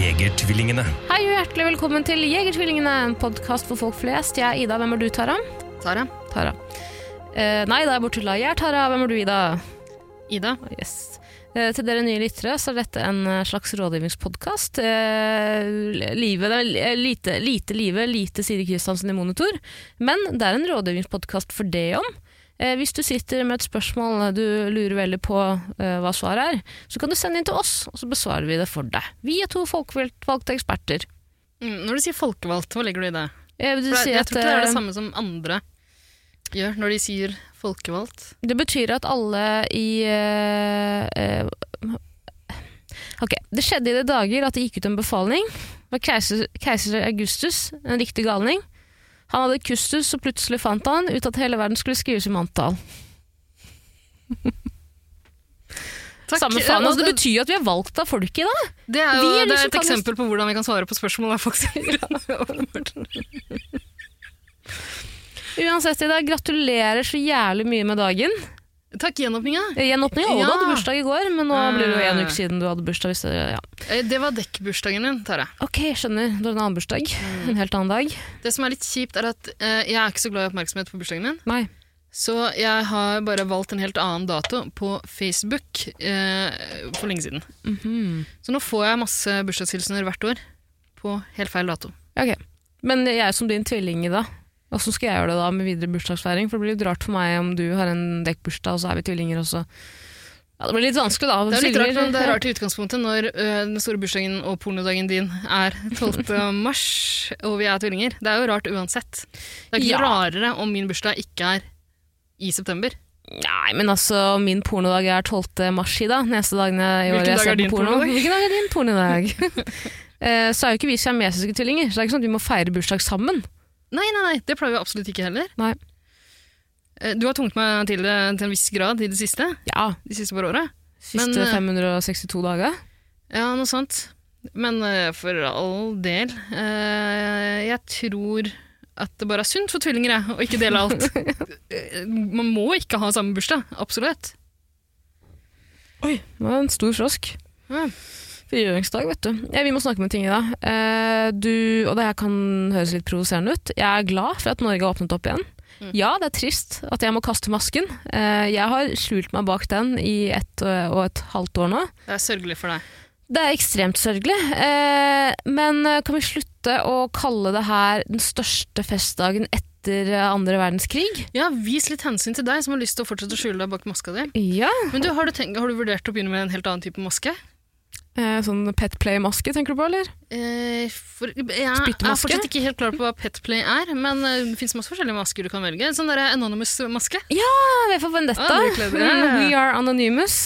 Jegertvillingene. Hei og hjertelig velkommen til Jegertvillingene, en podkast for folk flest. Jeg er Ida, hvem er du, Tara? Tara. Tara. Eh, nei, da er jeg borte til deg. Jeg er Tara, hvem er du, Ida? Ah, Ida. Yes. Eh, til dere nye lyttere så er dette en eh, slags rådgivningspodkast. Eh, livet, det er li- eh, lite, lite livet, lite Siri Kristiansen i monitor. Men det er en rådgivningspodkast for det om. Eh, hvis du sitter med et spørsmål du lurer veldig på eh, hva svaret er, så kan du sende inn til oss, og så besvarer vi det for deg. Vi er to folkevalgte eksperter. Mm, Når du sier folkevalgt, hva legger du i det? Jeg, vil For det si jeg at, tror ikke det er eh, det samme som andre gjør når de sier folkevalgt. Det betyr at alle i eh, eh, Ok, det skjedde i de dager at det gikk ut en befaling. Det var keiser, keiser Augustus, en riktig galning. Han hadde kustus, og plutselig fant han ut at hele verden skulle skrives i manntall. Takk. Samme faen, Ja, altså, det det, betyr jo at vi er valgt av folket, da. det er jo vi er de det er som et kan- eksempel på hvordan vi kan svare på spørsmål. av folk sier. Uansett, Ida, gratulerer så jævlig mye med dagen. Takk, gjenåpninga. Eh, Gjenåpning, og Ja. du hadde bursdag i går, men nå Mm. blir det jo en uke siden du hadde bursdag. Hvis det, ja. Eh, Det var dekkbursdagen din, Tara. Ok, jeg skjønner. Du har en annen bursdag. Mm. En helt annen dag. Det som er litt kjipt, er at eh, jeg er ikke så glad i oppmerksomhet på bursdagen min. Nei. Så jeg har bare valgt en helt annen dato på Facebook eh, for lenge siden. Mhm. Så nå får jeg masse bursdagshilsener hvert år på helt feil dato. Ok, Men jeg som din tvilling, Ida, hvordan skal jeg gjøre det da med videre bursdagsfeiring? For det blir litt rart for meg om du har en dekkbursdag, og så er vi tvillinger også. Ja, det blir litt vanskelig, da. Det er jo litt rart, Tvillinger- men det er rart i utgangspunktet når ø, den store bursdagen og pornodagen din er 12. mars, og vi er tvillinger. Det er jo rart uansett. Det er ikke Ja. noe rarere om min bursdag ikke er i september. Nei, men altså, min pornodag er 12. mars, Ida. Neste dagen jeg, i Hvilken året jeg dag ser er på din porno. pornodag? Hvilken dag er din pornodag? Eh, så er jo ikke vi siamesiske tvillinger, så det er ikke sånn at vi må feire bursdag sammen. Nei, nei, nei, det pleier vi absolutt ikke heller. Nei. Eh, Du har tvunget meg til det til en viss grad i det siste, Ja, de siste par åra. siste Men, eh, 562 dager. Ja, noe sånt. Men eh, for all del. eh, jeg tror at det bare er sunt for tvillinger, jeg, å ikke dele alt. Eh, Man må ikke ha samme bursdag. Absolutt. Det var en stor frosk. Ja. Frigjøringsdag, vet du. Ja, vi må snakke med ting i dag. Eh, du, og det her kan høres litt provoserende ut. Jeg er glad for at Norge har åpnet opp igjen. Ja, det er trist at jeg må kaste masken. Eh, jeg har slult meg bak den i ett eh, og et halvt år nå. Det er sørgelig for deg. Det er ekstremt sørgelig. Eh, men eh, kan vi slutte å kalle det her den største festdagen etter eh, andre verdenskrig? Ja, Vis litt hensyn til deg som har lyst til å fortsette å skjule deg bak maska di. Ja. Men du, har, du tenkt, har du vurdert å begynne med en helt annen type maske? Eh, sånn pet play-maske, tenker du på, eller? Eh, for, jeg er Spyttmaske? fortsatt ikke helt klar på hva Petplay er, men eh, det fins masse forskjellige masker du kan velge. En Sånn der Anonymous-maske. Ja, V for Vendetta. Ah, det er kledd, ja, ja, ja. We are anonymous.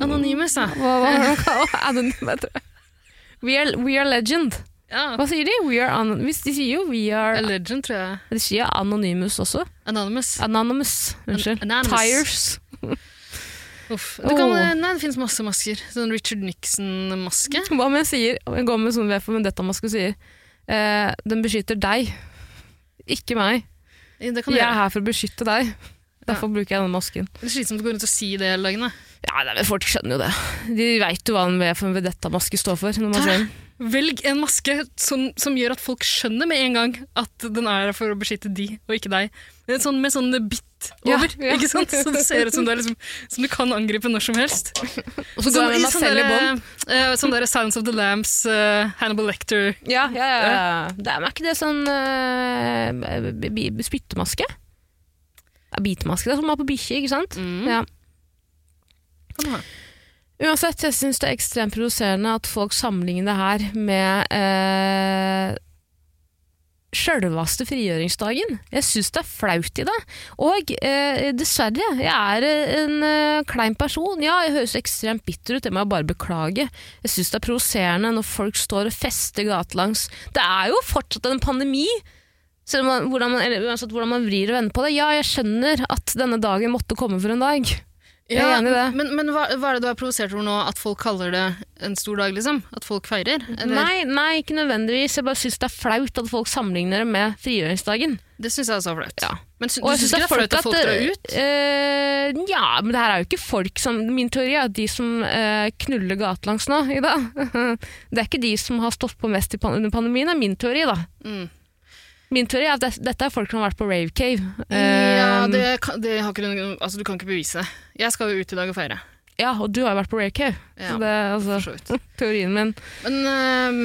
Anonymous, ja. Hva hva var det de kalte Anonym, jeg tror jeg. We are, we are legend. ja. Hva sier de? We are anon Hvis de sier jo we A are legend, tror jeg. De sier anonymous også. Anonymous. Anonymous. Unnskyld. An- anonymous. Tires. Uff. Det, kan, eh, Åh. nei, det finnes masse masker. Sånn Richard Nixon-maske. Hva om jeg sier Jeg går med sånn V for Vendetta-maske og sier eh, Den beskytter deg, ikke meg. Det kan Jeg du er gjøre. her for å beskytte deg. Derfor bruker jeg denne masken. Det er slitsomt å gå rundt og si det hele dagen. da. Ja, nei, men Folk skjønner jo det. De veit jo hva en V for Vendetta-maske står for. Når man Tara, ser den. Velg en maske som, som gjør at folk skjønner med en gang at den er for å beskytte de, og ikke deg. Det er Sånn, med sånn bitt Ja, over, ja. ikke sant? Så det ser ut som, det er liksom, som du kan angripe når som helst. Og så går i den av selv i sånn der, bånd. eh, sånn der Sounds of the Lambs, eh, Hannibal Lecter. Ja, ja, ja, ja. Det er men er ikke det sånn eh, bi- bi- spyttemaske? Det er bitemaske, det er som man har på bikkje, ikke sant? Mm. Ja. Kan du ha. Uansett, jeg syns det er ekstremt provoserende at folk sammenligner det her med eh, sjølveste frigjøringsdagen. Jeg syns det er flaut i det. Og eh, dessverre, jeg er eh, en eh, klein person. Ja, jeg høres ekstremt bitter ut, det må jeg bare beklage. Jeg syns det er provoserende når folk står og fester gatelangs. Det er jo fortsatt en pandemi. Selv om man, hvordan, man, eller, uansett hvordan man vrir og vender på det. Ja, jeg skjønner at denne dagen måtte komme for en dag. Jeg er enig i det. Men, men hva, hva er det du er provosert over nå? At folk kaller det en stor dag, liksom? At folk feirer? Eller? Nei, nei, ikke nødvendigvis. Jeg bare syns det er flaut at folk sammenligner det med frigjøringsdagen. Det syns jeg er så flaut. Ja. Men sy Og du jeg syns synes ikke det er flaut at folk drar det- ut? eh, ja, men det her er jo ikke folk som Min teori er at de som eh, knuller gatelangs nå, Ida Det er ikke de som har stått på mest i pan under pandemien, er min teori, da. Mm. Min teori er at det, dette er folk som har vært på rave cave. Ja, Eh, det, kan- det har ikke du Altså, du kan ikke bevise det. Jeg skal jo ut i dag og feire. ja, og du har jo vært på rave cave. Ja, Så det er for altså så vidt. teorien min. Men øhm,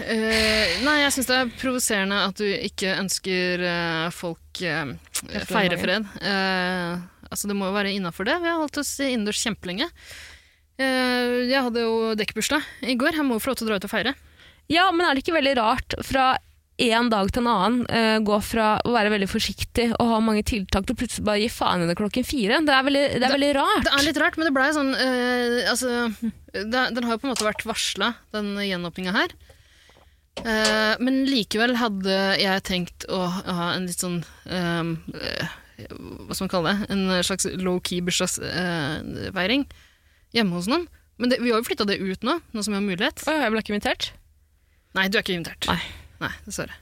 øh, Nei, jeg syns det er provoserende at du ikke ønsker øh, folk øh, feire fred. Eh, altså, det må jo være innafor det. Vi har holdt oss innendørs kjempelenge. Eh, jeg hadde jo dekkbursdag i går. Jeg må jo få lov til å dra ut og feire. Ja, men er det ikke veldig rart fra en dag til en annen eh, gå fra å være veldig forsiktig og ha mange tiltak til å plutselig bare gi faen i det klokken fire? Det er veldig, det er veldig rart. Det er litt rart, men det blei sånn eh, Altså, det, den har jo på en måte vært varsla, den gjenåpninga her. Eh, men likevel hadde jeg tenkt å ha en litt sånn eh, eh, Hva skal man kalle det? En slags low-key bursdagsfeiring hjemme hos noen. Men det, vi har jo flytta det ut nå, nå som vi har mulighet. Åh, jeg ble ikke invitert. Nei, du er ikke invitert. Nei. Nei, dessverre.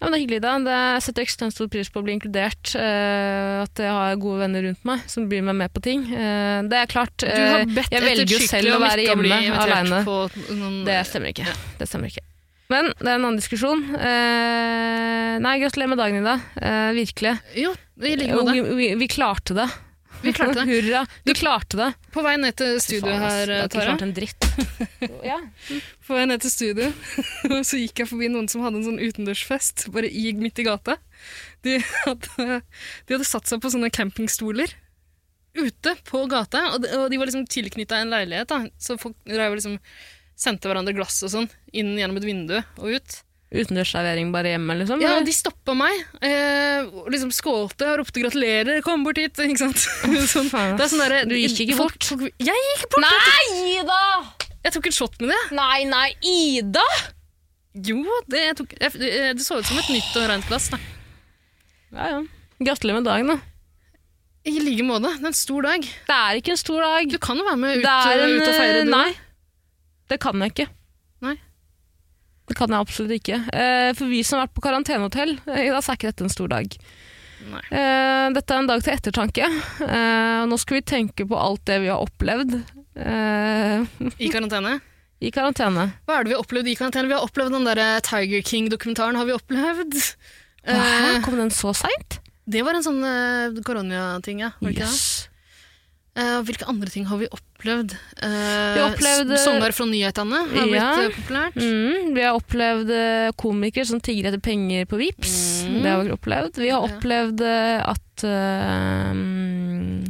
Ja, men det er hyggelig, da. Det jeg setter ekstremt stor pris på å bli inkludert. eh, at jeg har gode venner rundt meg som blir meg med på ting. Eh, det er klart. Du eh, har bedt jeg etter velger jo selv skikkelig å om være ikke å bli hjemme alene. invitert på noen Det stemmer ikke. Det stemmer ikke. Men det er en annen diskusjon. Eh, nei, gratulerer med dagen, Ida. Eh, virkelig. Jo, i like Og måte. vi, vi, vi klarte det. Vi klarte det. Hurra. Vi klarte det. På vei ned til studioet her, eh, Tara. Ikke Tara. klart en dritt. ja. På vei ned til studio, og så gikk jeg forbi noen som hadde en sånn utendørsfest, bare i midt i gata. De hadde, de hadde satt seg på sånne campingstoler ute på gata, og de, og de var liksom tilknytta en leilighet, da. så folk drev og liksom sendte hverandre glass og sånn inn gjennom et vindu og ut. Utendørsservering bare hjemme, liksom? Ja, eller? De stoppa meg, eh, og liksom skålte og ropte 'gratulerer, kom bort hit'. ikke sant? Sånn, Faen, det er sånn derre- Du gikk ikke folk- bort. folk- Jeg gikk bort! Nei, Ida! Jeg tok en shot med det. Nei, nei, Ida! Jo, det, jeg tok, jeg, det så ut som et nytt og rent glass. Da. Ja, ja. Gratulerer med dagen, da. I like måte. Det er en stor dag. Det er ikke en stor dag. Du kan jo være med ut, Det er en, eh, ut og feire. du. Nei, det kan jeg ikke. Nei. Det kan jeg absolutt ikke. Eh, For vi som har vært på karantenehotell, eh, da er ikke dette en stor dag. Nei. Eh, Dette er en dag til ettertanke. Eh, Og nå skal vi tenke på alt det vi har opplevd eh, I karantene. i karantene. Hva er det vi har opplevd i karantene? Vi har opplevd den der eh, Tiger King-dokumentaren. har vi opplevd. Hæ, Eh, kom den så seint? det var en sånn eh, koronating, ja. Var det ikke det? Yes. Eh, og hvilke andre ting har vi opplevd? Eh, Vi har opplevd- s- Sångar fra nyhetene har blitt Ja. eh, populært. Mm, vi har opplevd eh, komikere som tigger etter penger på VIPs. Mm. Det har vi opplevd. Vi har Ja. opplevd eh, at eh, mm,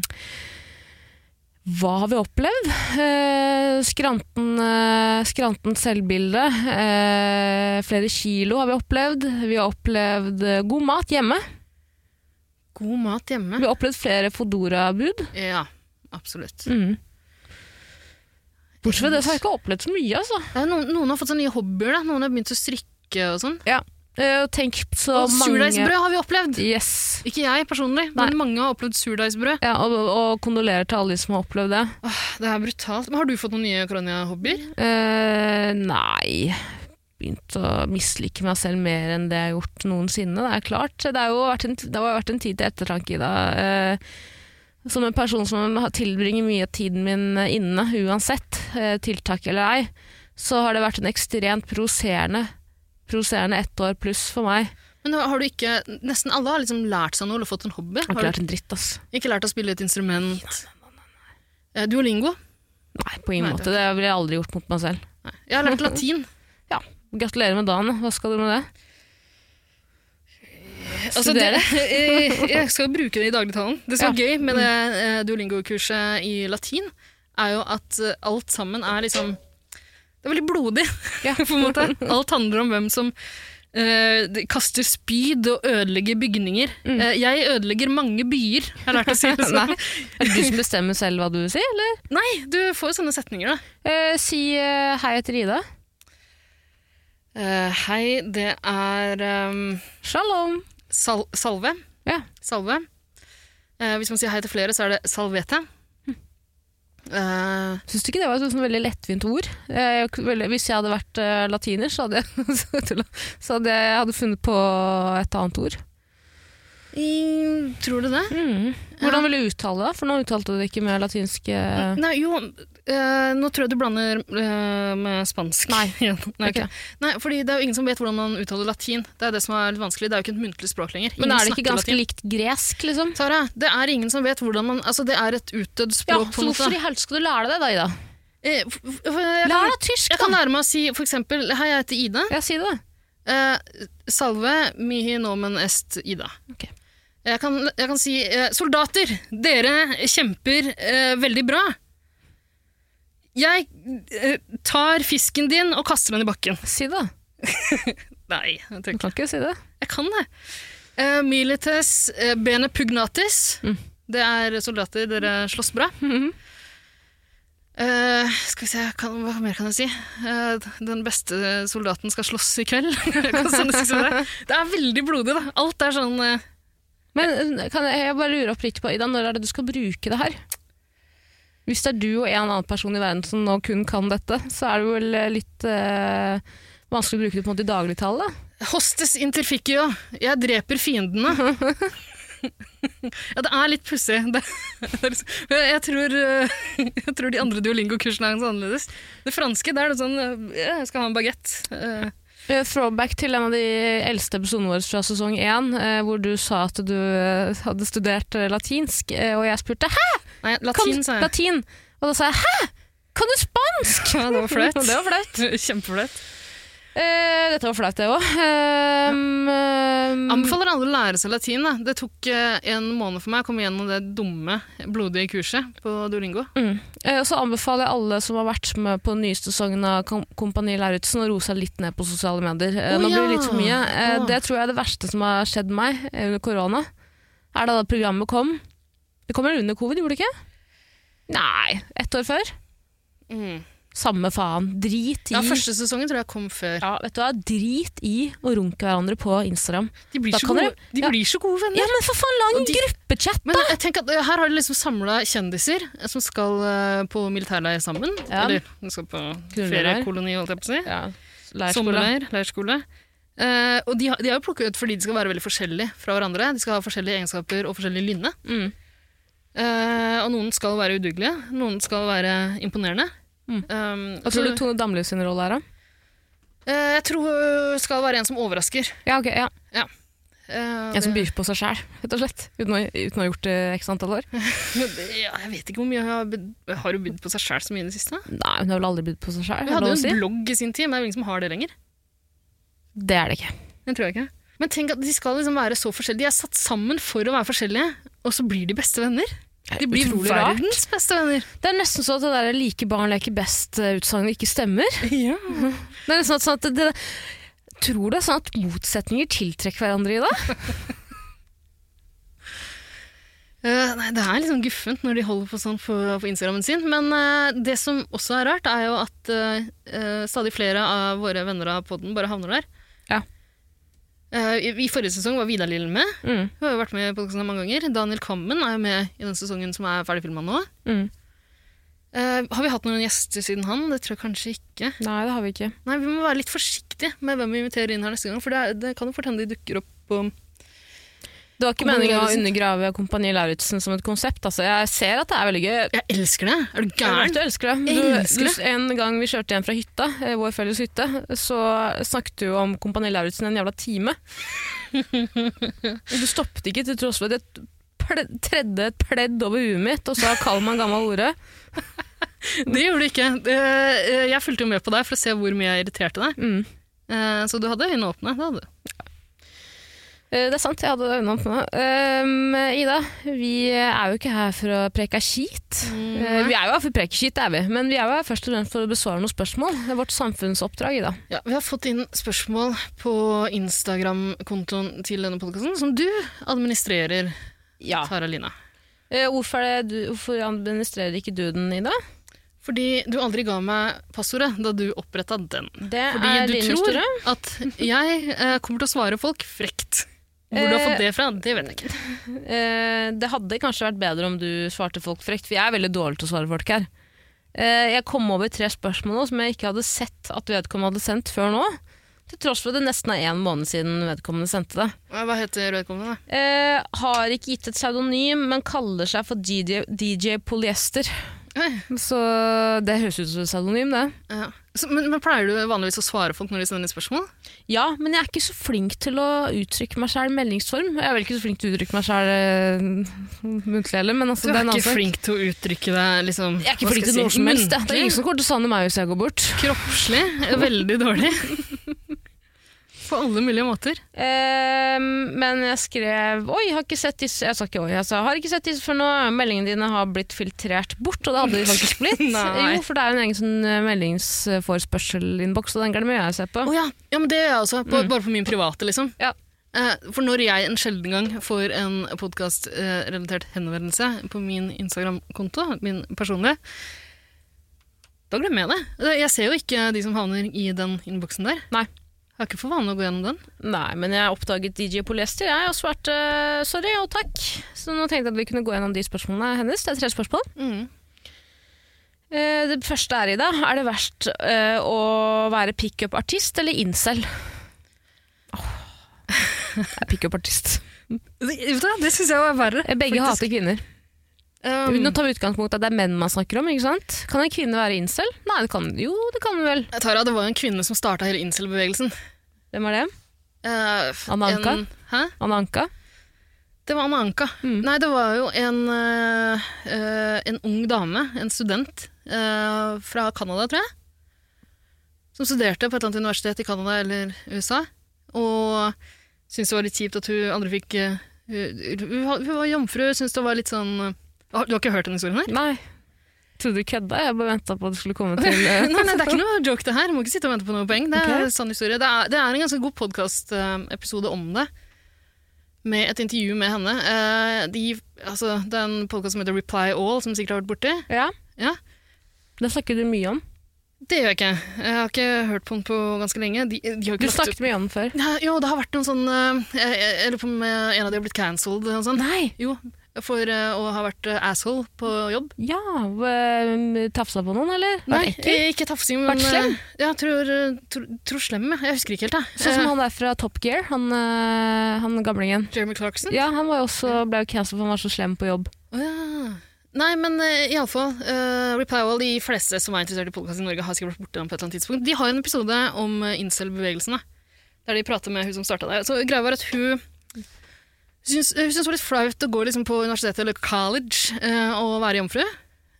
Hva har vi opplevd? Eh, skranten, eh, skranten selvbilde. eh, flere kilo har vi opplevd. Vi har opplevd eh, god mat hjemme. God mat hjemme. Vi har opplevd flere Fodora-bud. Ja, absolutt. Mm. Bortsett fra det så har jeg ikke opplevd så mye, altså. Eh, noen, noen har fått sånne nye hobbyer. Da. Noen har begynt å strikke og sånn. Eh, tenk så Og mange surdeigsbrød har vi opplevd! Yes. Ikke jeg personlig, men mange har opplevd surdeigsbrød. Ja, og, og kondolerer til alle de som har opplevd det. Det er brutalt. Men har du fått noen nye koronahobbier? Eh, nei Begynt å mislike meg selv mer enn det jeg har gjort noensinne. Det er klart. Det har jo vært en, det har jo vært en tid til ettertanke i dag. Eh, som en person som har- tilbringer mye av tiden min inne, uansett eh, tiltak eller ei, så har det vært en ekstremt provoserende provoserende ett år pluss for meg. Men har du ikke, Nesten alle har liksom lært seg noe eller fått en hobby. Jeg har ikke Har lært en dritt, ass. du ikke lært å spille et instrument? Eh, Duolingo? Nei, på ingen Nei, måte. Det ville jeg aldri gjort mot meg selv. Nei. Jeg har lært latin. Gratulerer med dagen. Hva skal du med det? Altså, det, eh, jeg skal bruke det i dagligtalen. Det som er gøy Mm. med det eh, duolingo-kurset i latin, er jo at eh, alt sammen er liksom Det er veldig blodig, Ja. på en måte. Alt handler om hvem som eh, de- kaster spyd og ødelegger bygninger. Mm. Eh, jeg ødelegger mange byer, jeg har lært å si det sånn. Er det du som bestemmer selv hva du vil si, eller? Nei, du får jo sånne setninger, da. Eh, si eh, hei etter Ida. Eh, hei, det er ehm, Shalom! sal salve. Ja. Salve. Eh, hvis man sier hei til flere, så er det salvete. Hm. Eh, Syns du ikke det var et sånn veldig lettvint ord? Eh, veldig- hvis jeg hadde vært eh, latiner, så hadde jeg, så hadde jeg hadde funnet på et annet ord. i- tror du det? Mm. Hvordan ville du uttale det? da? For nå uttalte du det ikke med latinsk eh, Nei, jo, eh, nå tror jeg du blander eh, med spansk. Nei. igjen. Nei, ok. Ok. Nei, fordi det er jo ingen som vet hvordan man uttaler latin. Det er det som er litt vanskelig. Det er jo ikke et muntlig språk lenger. Men Ingen er det ikke snakker ganske likt gresk, liksom? latin. Tara, det er ingen som vet hvordan man Altså, det er et utdødd Ja, språk, på så en hvorfor måte. i helvete skal du lære deg det, da, Ida? Eh, f- f- Lær jeg, kan, deg tysk, jeg kan da! lære meg å si for eksempel Hei, jeg heter Ida. Ja, si det, da. Eh, salve mihi nomen est Ida. Ok. Jeg, kan, jeg kan si eh, Soldater, dere kjemper eh, veldig bra. Jeg eh, tar fisken din og kaster den i bakken. Si det, da. Nei, jeg, tror Du ikke. kan ikke si det. jeg kan det. Eh, milites eh, bene pugnatis. Det er soldater, dere slåss bra. Eh, skal vi se, kan, Hva mer kan jeg si? Eh, den beste soldaten skal slåss i kveld. Kan sånn det, skal være. det er veldig blodig, da. Alt er sånn eh, Men eh, kan jeg, jeg bare lurer oppriktig på, Ida, når er det du skal bruke det her? Hvis det er du og en annen person i verden som nå kun kan dette, så er det vel eh, litt eh, vanskelig å bruke det på en måte i dagligtale, da. Hostes interficio. Jeg dreper fiendene. ja, det er litt pussig. Det- det er liksom- Jeg, tror, eh, jeg tror de andre duolingo-kursene er så annerledes. Det franske, der er det sånn eh, Jeg skal ha en bagett. Eh, Eh, Throwback til en av de eldste episodene våre fra sesong 1, hvor du sa at du eh, hadde studert eh, latinsk, eh, og jeg spurte «Hæ? Nei, Kan, latin, sa jeg. latin! Og da sa jeg «Hæ? Kan du spansk?» Ja, det var flaut. Og det var flaut. Kjempeflaut. Eh, dette var flaut, det Ehm, òg. Mm. Anbefaler alle å lære seg latin. Da. Det tok eh, en måned for meg å komme gjennom det dumme, blodige kurset på Duolingo. Mm. Eh, Og så anbefaler jeg alle som har vært med på den nyeste sesongen av Kom Kompani Lauritzen, å roe seg litt ned på sosiale medier. Eh, Å, Nå blir ja. det litt for mye. Eh, Å. Det tror jeg er det verste som har skjedd meg eh, under korona. Er da det programmet kom. Det kom vel under covid, gjorde det ikke? Nei, ett år før. Samme faen. Drit i Ja, Første sesongen tror jeg kom før. Ja, vet du hva? Drit i å runke hverandre på Instagram. De blir, Da så kan gode, de ja. blir så gode venner. Ja, men for faen, lag en Og de- gruppechat! Men jeg tenker at eh, her har de liksom samla kjendiser eh, som skal eh, på militærleir sammen. Ja. Eller de skal på Knulleleir. feriekoloni, holdt jeg på å si. Ja, Sommerleir, leirskole. Eh, og de har, de har jo plukket ut fordi de skal være veldig forskjellige fra hverandre. De skal ha forskjellige egenskaper og forskjellig lynne. Mm. Eh, og noen skal være udugelige, noen skal være imponerende. Mm. Um, Hva tror du Tone Damli sin rolle er, da? eh, jeg tror hun skal være en som overrasker. Ja, ok, ja. Eh, En som det- byr på seg sjæl, rett og slett. Uten å, uten å ha gjort det x antall år. ja, jeg vet ikke hvor mye hun har, byd- har hun bydd på seg sjæl så mye i det siste. Nei, hun har vel aldri bydd på seg sjæl. Hun hadde jo en blogg i sin tid, men det er jo ingen som har det lenger. Det er det ikke. Det tror jeg ikke. Men tenk at de skal liksom være så forskjellige. De er satt sammen for å være forskjellige, og så blir de beste venner. De blir Utrolig rart. verdens beste venner. Det er nesten så at det der 'like barn leker best'-utsagnet ikke stemmer. Ja. Det er nesten sånn at det, Tror du det er sånn at motsetninger tiltrekker hverandre i dag? nei, det er litt sånn guffent når de holder på sånn på, på Instagrammen sin. Men eh, det som også er rart, er jo at eh, eh, stadig flere av våre venner av podden bare havner der. Ja. Eh, i, I forrige sesong var Vidar Lillen med. Mm. Hun har jo vært med i podkasten mange ganger. Daniel Kammen er jo med i den sesongen som er ferdig filma nå. Mm. Eh, har vi hatt noen gjester siden han? Det tror jeg kanskje ikke. Nei, det har vi ikke. Nei, vi må være litt forsiktige med hvem vi inviterer inn her neste gang, for det, er, det kan jo fort hende de dukker opp på Det var ikke Kompani meningen å Lauritzen. undergrave Kompani Lauritzen som et konsept. Altså, jeg ser at det er veldig gøy. Jeg elsker det! Er du Jeg vet gæren? du elsker det. Jeg Du, elsker du, en gang vi kjørte hjem fra hytta, eh, vår felles hytte, så snakket du om Kompani Lauritzen en jævla time. Og du stoppet ikke til tross for at jeg ple- tredde et pledd over huet mitt og sa 'kall meg en gammel hore'. Det gjorde du ikke. Eh, Jeg fulgte jo med på deg for å se hvor mye jeg irriterte deg. Mm. Eh, Så du hadde øynene åpne. Det hadde du. Eh, Det er sant, jeg hadde øynene åpne. Um, Ida, vi er jo ikke her for å preke skit. Mm. Eh, Vi er jo her for å preke skit, det er vi. Men vi er jo her først og fremst for å besvare noen spørsmål. Det er vårt samfunnsoppdrag, Ida. Ja, vi har fått inn spørsmål på Instagram-kontoen til denne podkasten, som du administrerer, Tara Lina. Eh, Hvorfor, er det du, hvorfor administrerer ikke du den, Ida? Fordi du aldri ga meg passordet da du oppretta den. Det Fordi er du din tror historie. at jeg eh, kommer til å svare folk frekt. Hvor du har fått det fra, det vet jeg ikke. Eh, det hadde kanskje vært bedre om du svarte folk frekt, for jeg er veldig dårlig til å svare folk her. Eh, jeg kom over tre spørsmål nå som jeg ikke hadde sett at vedkommende hadde sendt før nå. Til tross for at det nesten er én måned siden vedkommende sendte det. Hva heter vedkommende? Eh, har ikke gitt et pseudonym, men kaller seg for DJ, DJ Polyester. Oi. Så det høres ut som et pseudonym, det. Ja. Så, men, men pleier du vanligvis å svare folk når de sender spørsmål? Ja, men jeg er ikke så flink til å uttrykke meg sjøl i meldingsform. Jeg er vel ikke så flink til å uttrykke meg sjøl muntlig heller, men altså, Du det er en annen ikke sak. flink til å uttrykke deg liksom, Jeg er ikke hva flink skal til jeg noe si, som helst. Det er muntlig, ingen som kommer til å savne meg hvis jeg går bort. Kroppslig. eh, Veldig dårlig. På alle mulige måter. Ehm, men jeg skrev Oi, har ikke sett disse Jeg sa ikke oi, jeg sa har ikke sett disse før nå. Meldingene dine har blitt filtrert bort, og det hadde de faktisk blitt. Nei. jo, for det er en egen sånn eh, meldingsforespørsel-innboks, og den glemmer jeg å se på. Å ja. ja, men det gjør jeg også. På, Bare på min private, liksom. Ja. Eh, For når jeg en sjelden gang får en podkast-relatert henvendelse på min Instagram-konto, min personlige, da glemmer jeg det. Eh, Jeg ser jo ikke de som havner i den innboksen der. Nei. Jeg har ikke for vane å gå gjennom den. Nei, men jeg oppdaget DJ Polyester, jeg, og svarte eh, sorry og takk. Så nå tenkte jeg at vi kunne gå gjennom de spørsmålene hennes. Det er tre spørsmål. Mm. Eh, det første er i dag. Er det verst eh, å være pickup-artist eller incel? Åh, Jeg er pickup-artist. Det, vet du hva, det syns jeg var verre. Eh, Begge hater kvinner. Um, Nå tar vi utgangspunkt i at det er menn man snakker om. ikke sant? Kan en kvinne være incel? Nei, det kan jo, det kan hun vel. Tara, det var jo en kvinne som starta hele incel-bevegelsen. Hvem er det? Eh, Anna Anka? en- Hæ? Anna Anka? Det var Anna Anka. Nei, det var jo en, eh, eh, en ung dame, en student eh, fra Canada, tror jeg. Som studerte på et eller annet universitet i Canada eller USA. Og syntes det var litt kjipt at hun aldri fikk eh, hun, hun var- hun var jomfru, syntes det var litt sånn eh, har- Du har ikke hørt den historien her? Nei. Trodde du kødda? Jeg bare venta på at det skulle komme til eh, Nei, nei, det er ikke noe joke, det her. Du må ikke sitte og vente på noe poeng. Det er Ok. sann historie. Det er, det er en ganske god podkastepisode om det, med et intervju med henne. Eh, De, altså, det er en podkast som heter Reply All, som du sikkert har vært borti. Ja. Ja. Det snakker du mye om. Det gjør jeg ikke. Jeg har ikke hørt på den på ganske lenge. De, de har Du ikke lagt snakket mye om den før. ut- Nei, Jo, det har vært noen sånn eh, Jeg jeg lurer på om eh, en av de har blitt cancelled og sånn. Nei! Jo, for eh, å ha vært eh, asshole på jobb. Ja, eh, Tafsa på noen, eller? Var Nei, det ekkelt? eh, ikke tafsing, men Vært slem? eh, Ja, jeg tror, eh, tror, tror slem, jeg. Jeg husker ikke helt, jeg. Sånn Eh, som han der fra Top Gear, han, eh, han gamlingen. Jeremy Clarkson? Ja, han var jo også, ble jo cancelled for han var så slem på jobb. Å ja. Nei, men uh, iallfall uh, Repowell, de fleste som er interessert i podkast i Norge, har sikkert vært borti den på et eller annet tidspunkt. De har en episode om eh, incel-bevegelsene, der de prater med hun som starta det. Så greia var at hun syns hun syns det var litt flaut å gå liksom, på universitetet eller college eh, og være jomfru.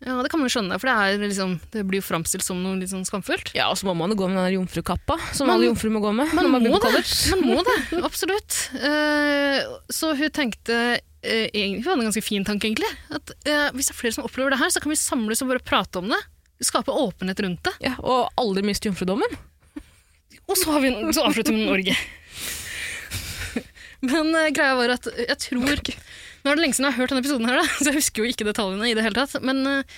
Ja, det kan man jo skjønne, for det, er, liksom, det blir jo framstilt som noe litt sånn skamfullt. Ja, og så må man jo gå med den der jomfrukappa, som Man- alle jomfruer må gå med. Man når man må begynner på det. college. Man må det, absolutt. Eh, så hun tenkte eh, egentlig- Hun hadde en ganske fin tanke, egentlig. At eh, hvis det er flere som opplever det her, så kan vi samles og bare prate om det. Skape åpenhet rundt det. Ja, og aldri miste jomfrudommen. Og så, har vi, så avslutter vi med Norge. Men eh, greia var at jeg tror Nå er det lenge siden jeg har hørt denne episoden, her, da, så jeg husker jo ikke detaljene. i det hele tatt, Men eh,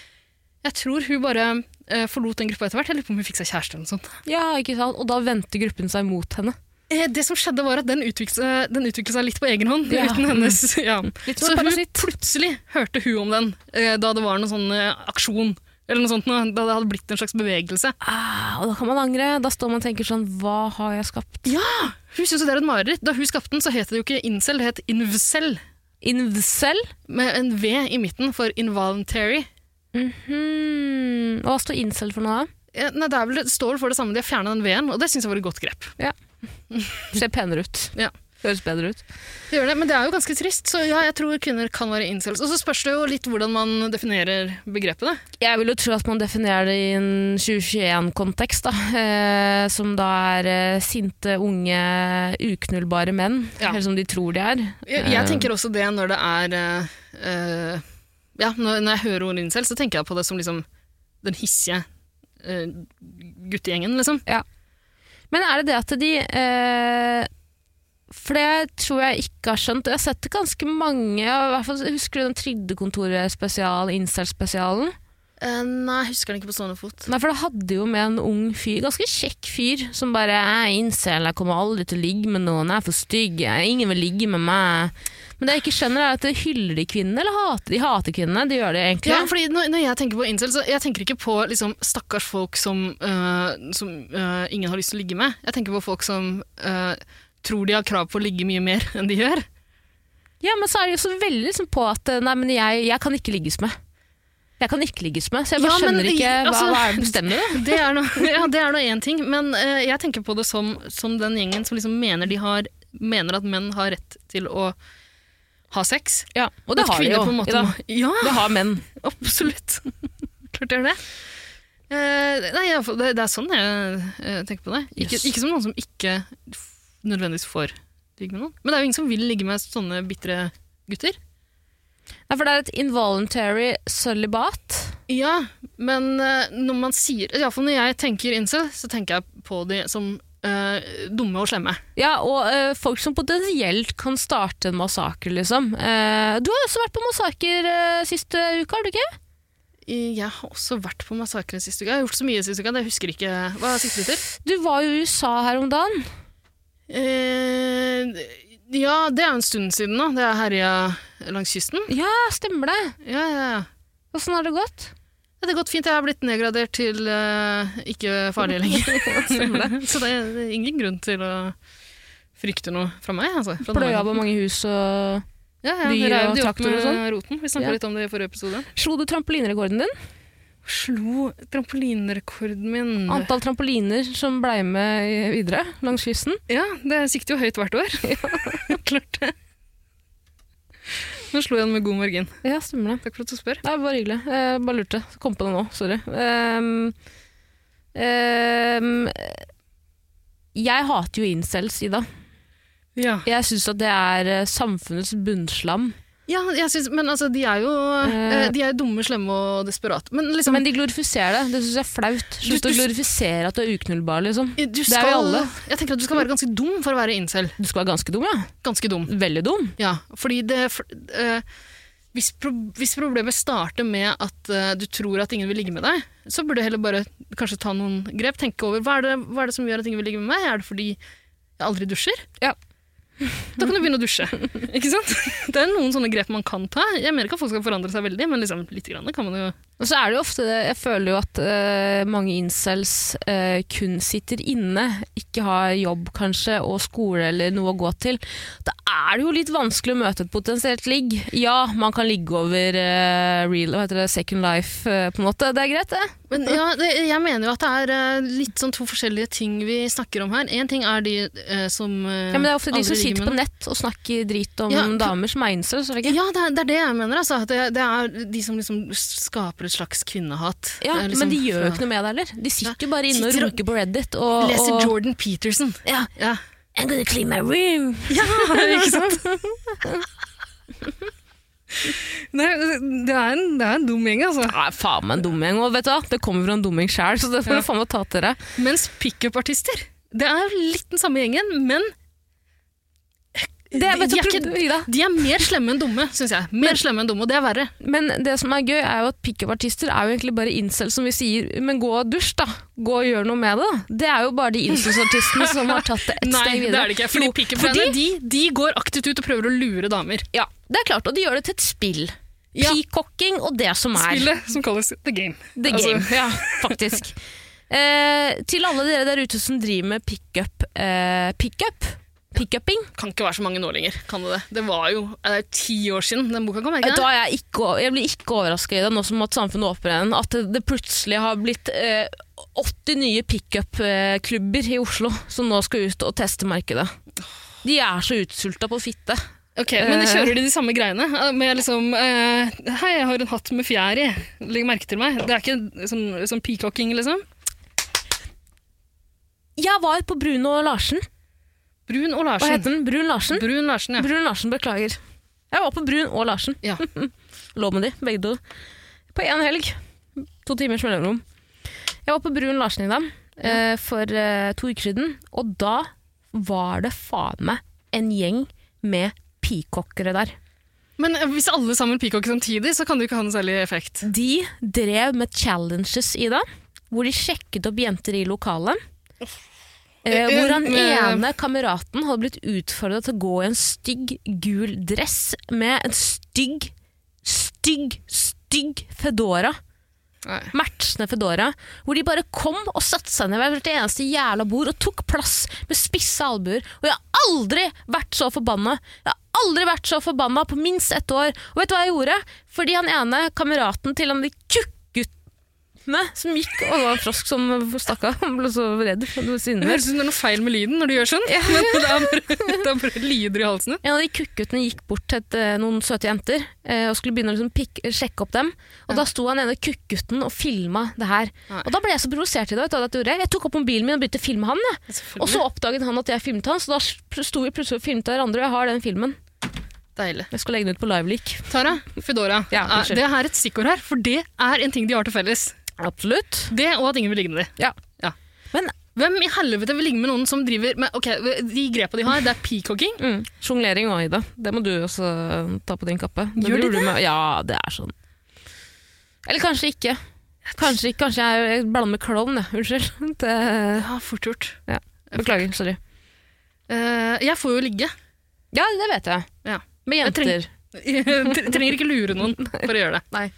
jeg tror hun bare eh, forlot den gruppa etter hvert. Jeg lurer på om hun fikk seg kjæreste. eller noe sånt. Ja, ikke sant? Og da vendte gruppen seg mot henne. Eh, Det som skjedde var at den utviklet, seg- den utviklet seg litt på egen hånd. Ja. uten hennes... Ja. Litt Så som en hun parasitt. plutselig hørte hun om den eh, da det var noen sånn eh, aksjon. Eller noe sånt, noe, da det hadde blitt en slags bevegelse. Ah, og da kan man angre. Da står man og tenker sånn, hva har jeg skapt? Hun syntes jo det er et mareritt. Da hun skapte den, så het det jo ikke incel, det het invcel. Incel? Med en V i midten for involuntary. Mhm. Og hva står incel for noe da? Eh, Nei, det, er vel, det står vel for det samme, de har fjerna den V-en, og det syns jeg var et godt grep. Ser penere ut. Ja. Høres bedre ut. Det gjør det, men det er jo ganske trist, så ja, jeg tror kvinner kan være incels. Og så spørs det jo litt hvordan man definerer begrepet, da. Jeg vil jo tro at man definerer det i en 2021-kontekst, da. Eh, som da er eh, sinte, unge, uknullbare menn. Ja. Eller som de tror de er. Jeg, jeg tenker også det når det er eh, eh, Ja, når, når jeg hører ordet incel, så tenker jeg på det som liksom den hissige eh, guttegjengen, liksom. Men er det det at de eh, For det tror jeg ikke har skjønt. Jeg har sett ganske mange. Jeg, hvert fall, husker du den Trygdekontoret-spesial, incel-spesialen? Eh, nei, jeg husker den ikke på stående fot. Nei, for det hadde jo med en ung fyr, ganske kjekk fyr, som bare er incel, jeg kommer aldri til å ligge med noen, jeg er for stygg, jeg- ingen vil ligge med meg. Men det jeg ikke skjønner er at det hyller de kvinnene, eller hater de hater kvinnene? De gjør det egentlig. Ja, fordi når, når jeg tenker på incel, så jeg tenker ikke på liksom, stakkars folk som, øh, som øh, ingen har lyst til å ligge med. Jeg tenker på folk som øh, tror de har krav på å ligge mye mer enn de gjør. Ja, men så er de jo så veldig liksom på at nei, men jeg, jeg kan ikke ligges med. Jeg kan ikke ligges med, så jeg bare Ja, men skjønner ikke i- altså- hva, hva er det bestemmer. da? Det er nå- ja, det er nå én ting, men øh, jeg tenker på det som, som den gjengen som liksom mener, de har, mener at menn har rett til å ha sex. Ja, og det At har de kvinner jo. på en måte i dag. må- Ja, Det har menn. absolutt. Klart gjør det. Eh, nei, ja, for det, det er sånn jeg eh, tenker på det. Ikke, Yes. ikke som noen som ikke f- nødvendigvis får ligge med noen. Men det er jo ingen som vil ligge med sånne bitre gutter. Nei, for det er et involuntary sølibat. Ja, men eh, når man sier Iallfall når jeg tenker incel, så tenker jeg på de som eh, dumme og slemme. Ja, og eh, folk som potensielt kan starte en massakre, liksom. Eh, du har også vært på massakre eh, siste uke, har du ikke? Jeg har også vært på massakre sist uke. Jeg har gjort så mye sist uke at jeg husker ikke Hva sikter du til? Du var jo i USA her om dagen. Eh, ja, det er jo en stund siden nå. Det er herja langs kysten. Ja, stemmer det. Ja, ja, ja. Åssen har det gått? Ja, Det har gått fint. Jeg har blitt nedgradert til eh, ikke farlig lenger. Stemmer det. Så det er, det er ingen grunn til å frykte noe fra meg. Altså, fra den Pløya veien. på mange hus og ja, ja, byer Dere er og jo de opp traktor og med sånn. roten. Vi snakka Ja. litt om det i forrige episode. Slo du trampolinerekorden din? Slo trampolinerekorden min. Antall trampoliner som blei med i- videre langs kysten? Ja, det sikter jo høyt hvert år. Klart det. Nå slo jeg den med god margin. Ja, stemmer det. Takk for at du spør. Nei, bare hyggelig. Jeg bare lurte. Kom på det nå, sorry. Ehm, ehm, jeg hater jo incels, Ida. Ja, Jeg syns at det er eh, samfunnets bunnslam. ja jeg synes, men altså, de er jo eh, de er jo dumme, slemme og desperate. Men liksom Men de glorifiserer det. Det syns jeg er flaut. Slutt Du- å du- glorifisere at du er uknullbar, liksom. du er skal, vi alle. Jeg tenker at du skal være ganske dum for å være incel. Du skal være ganske dum, ja. Ganske dum. Veldig dum. Ja, fordi det for, eh, hvis, pro hvis problemet starter med at eh, du tror at ingen vil ligge med deg, så burde du heller bare kanskje ta noen grep. Tenke over hva er, det, hva er det som gjør at ingen vil ligge med meg? Er det fordi jeg aldri dusjer? Ja. Da kan du begynne å dusje. ikke sant? Det er noen sånne grep man kan ta. Jeg mener ikke at folk skal forandre seg veldig, men liksom litt grann kan man jo Og så er det jo ofte det Jeg føler jo at eh, mange incels eh, kun sitter inne, ikke har jobb kanskje, og skole eller noe å gå til. Da er det jo litt vanskelig å møte et potensielt ligg. Ja, man kan ligge over eh, real, hva heter det, second life, eh, på en måte. Det er greit, det. Men ja, det, jeg mener jo at det er eh, litt sånn to forskjellige ting vi snakker om her. Én ting er de eh, som eh, Ja, men det er ofte de aldri som ligger sitter med på nett og snakker drit om Ja, for- damer som er incels. er det ikke? Ja, det er, det er det jeg mener. Altså, at det, det er de som liksom skaper et slags kvinnehat. Ja, Det er liksom men de gjør jo fra- ikke noe med det heller. De sitter jo bare inne og Sitter og- runker på Reddit og, Leser og Jordan Peterson. ja, Ja, I'm gonna clean my room. ikke sant? Nei, det er, en, det er en dum gjeng, altså. Ja, faen meg en dumming. Og vet du hva, det kommer fra en dumming sjæl, så det får Ja. du faen meg ta til deg. Mens pickup-artister, det er litt den samme gjengen, men Det, vet du, de, er prøv- ikke, Ida. de er mer slemme enn dumme, syns jeg. Mer slemme enn dumme, og det er verre. Men det som er gøy, er jo at pickup-artister er jo egentlig bare incels som vi sier Men gå og dusj, da. Gå og gjør noe med det, da. Det er jo bare de incels-artistene som har tatt det ett steg videre. Jo, pickup-bandene de, de går aktivt ut og prøver å lure damer. Ja, det er klart. Og de gjør det til et spill. Ja. Peacocking og det som er. Spillet som kalles The Game. The Altså, game, ja, faktisk. Eh, til alle dere der ute som driver med pickup eh, Pickup? Pickuping? kan ikke være så mange nå lenger. Kan det det? Det var jo eh, det er jo ti år siden den boka kom. er det Da Ikke det? er jeg, ikke, jeg blir ikke overraska i det nå som at samfunnet åpner igjen, at det- det plutselig har blitt eh, 80 nye pickup-klubber i Oslo som nå skal ut og teste markedet. De er så utsulta på fitte. Ok, Men kjører de de samme greiene? eh, Med liksom eh, Hei, jeg har en hatt med fjær i. Legg merke til meg. Det er ikke sånn, sånn peacocking, liksom. Jeg var på Brun og Larsen. Brun og Hva Larsen. heter den? Brun Larsen? Brun Larsen, ja. Brun Larsen, beklager. Jeg var på Brun og Larsen. ja. Lå med de, begge to. På én helg. To timers mellomrom. Jeg var på Brun Larsen i dag eh, for eh, to uker siden, og da var det faen meg en gjeng med peacockere der. Men eh, hvis alle sammen peacocker samtidig, så kan det jo ikke ha noe særlig effekt. De drev med challenges, Ida, hvor de sjekket opp jenter i lokalet. Eh, hvor han Men- ene kameraten hadde blitt utfordra til å gå i en stygg gul dress med en stygg, stygg, stygg fedora. Nei. Matchende fedora. Hvor de bare kom og satte seg ned ved hvert eneste jævla bord og tok plass med spisse albuer. Og jeg har aldri vært så forbanna. Jeg har aldri vært så forbanna på minst ett år. Og vet du hva jeg gjorde? Fordi han ene kameraten til han de kukkguttene som gikk og var en frosk som stakk av, han ble så redd. Det var Det synder. høres ut som det er noe feil med lyden når du gjør sånn. Men det er bare, det er bare lyder i halsen din. En av de kukkguttene gikk bort til et, eh, noen søte jenter eh, og skulle begynne å liksom pikk, sjekke opp dem. Og Da sto han ene kukkgutten og filma det her. Nei. Og Da ble jeg så provosert. i det, vet du hva jeg gjorde? Jeg tok opp mobilen min og begynte å filme han. Jeg. Og så oppdaget han at jeg filmet han, så da pl- sto vi plutselig og filmet hverandre. Og jeg har den filmen. Deilig. Jeg skal legge den ut på liveleak. Tara, Foodora. Ja, Eh, unnskyld. det er et stikkord her, for det er en ting de har til felles. Absolutt. Det og at ingen vil ligge med dem. Ja. Ja. Men Hvem i helvete vil ligge med noen som driver med Ok, de grepa de har, det er peacocking. mm, sjonglering òg, Ida. Det må du også eh, ta på din kappe. Det Gjør de driver du med- Ja, det er sånn. Eller kanskje ikke. Kanskje, ikke. kanskje jeg jeg blander med klovn, jeg. Unnskyld. Det, Ja, fort gjort. beklager. Sorry. Eh, jeg får jo ligge. Ja, det vet jeg. Ja. Med Jeg jenter. trenger- Jeg trenger ikke lure noen for å gjøre det. Nei.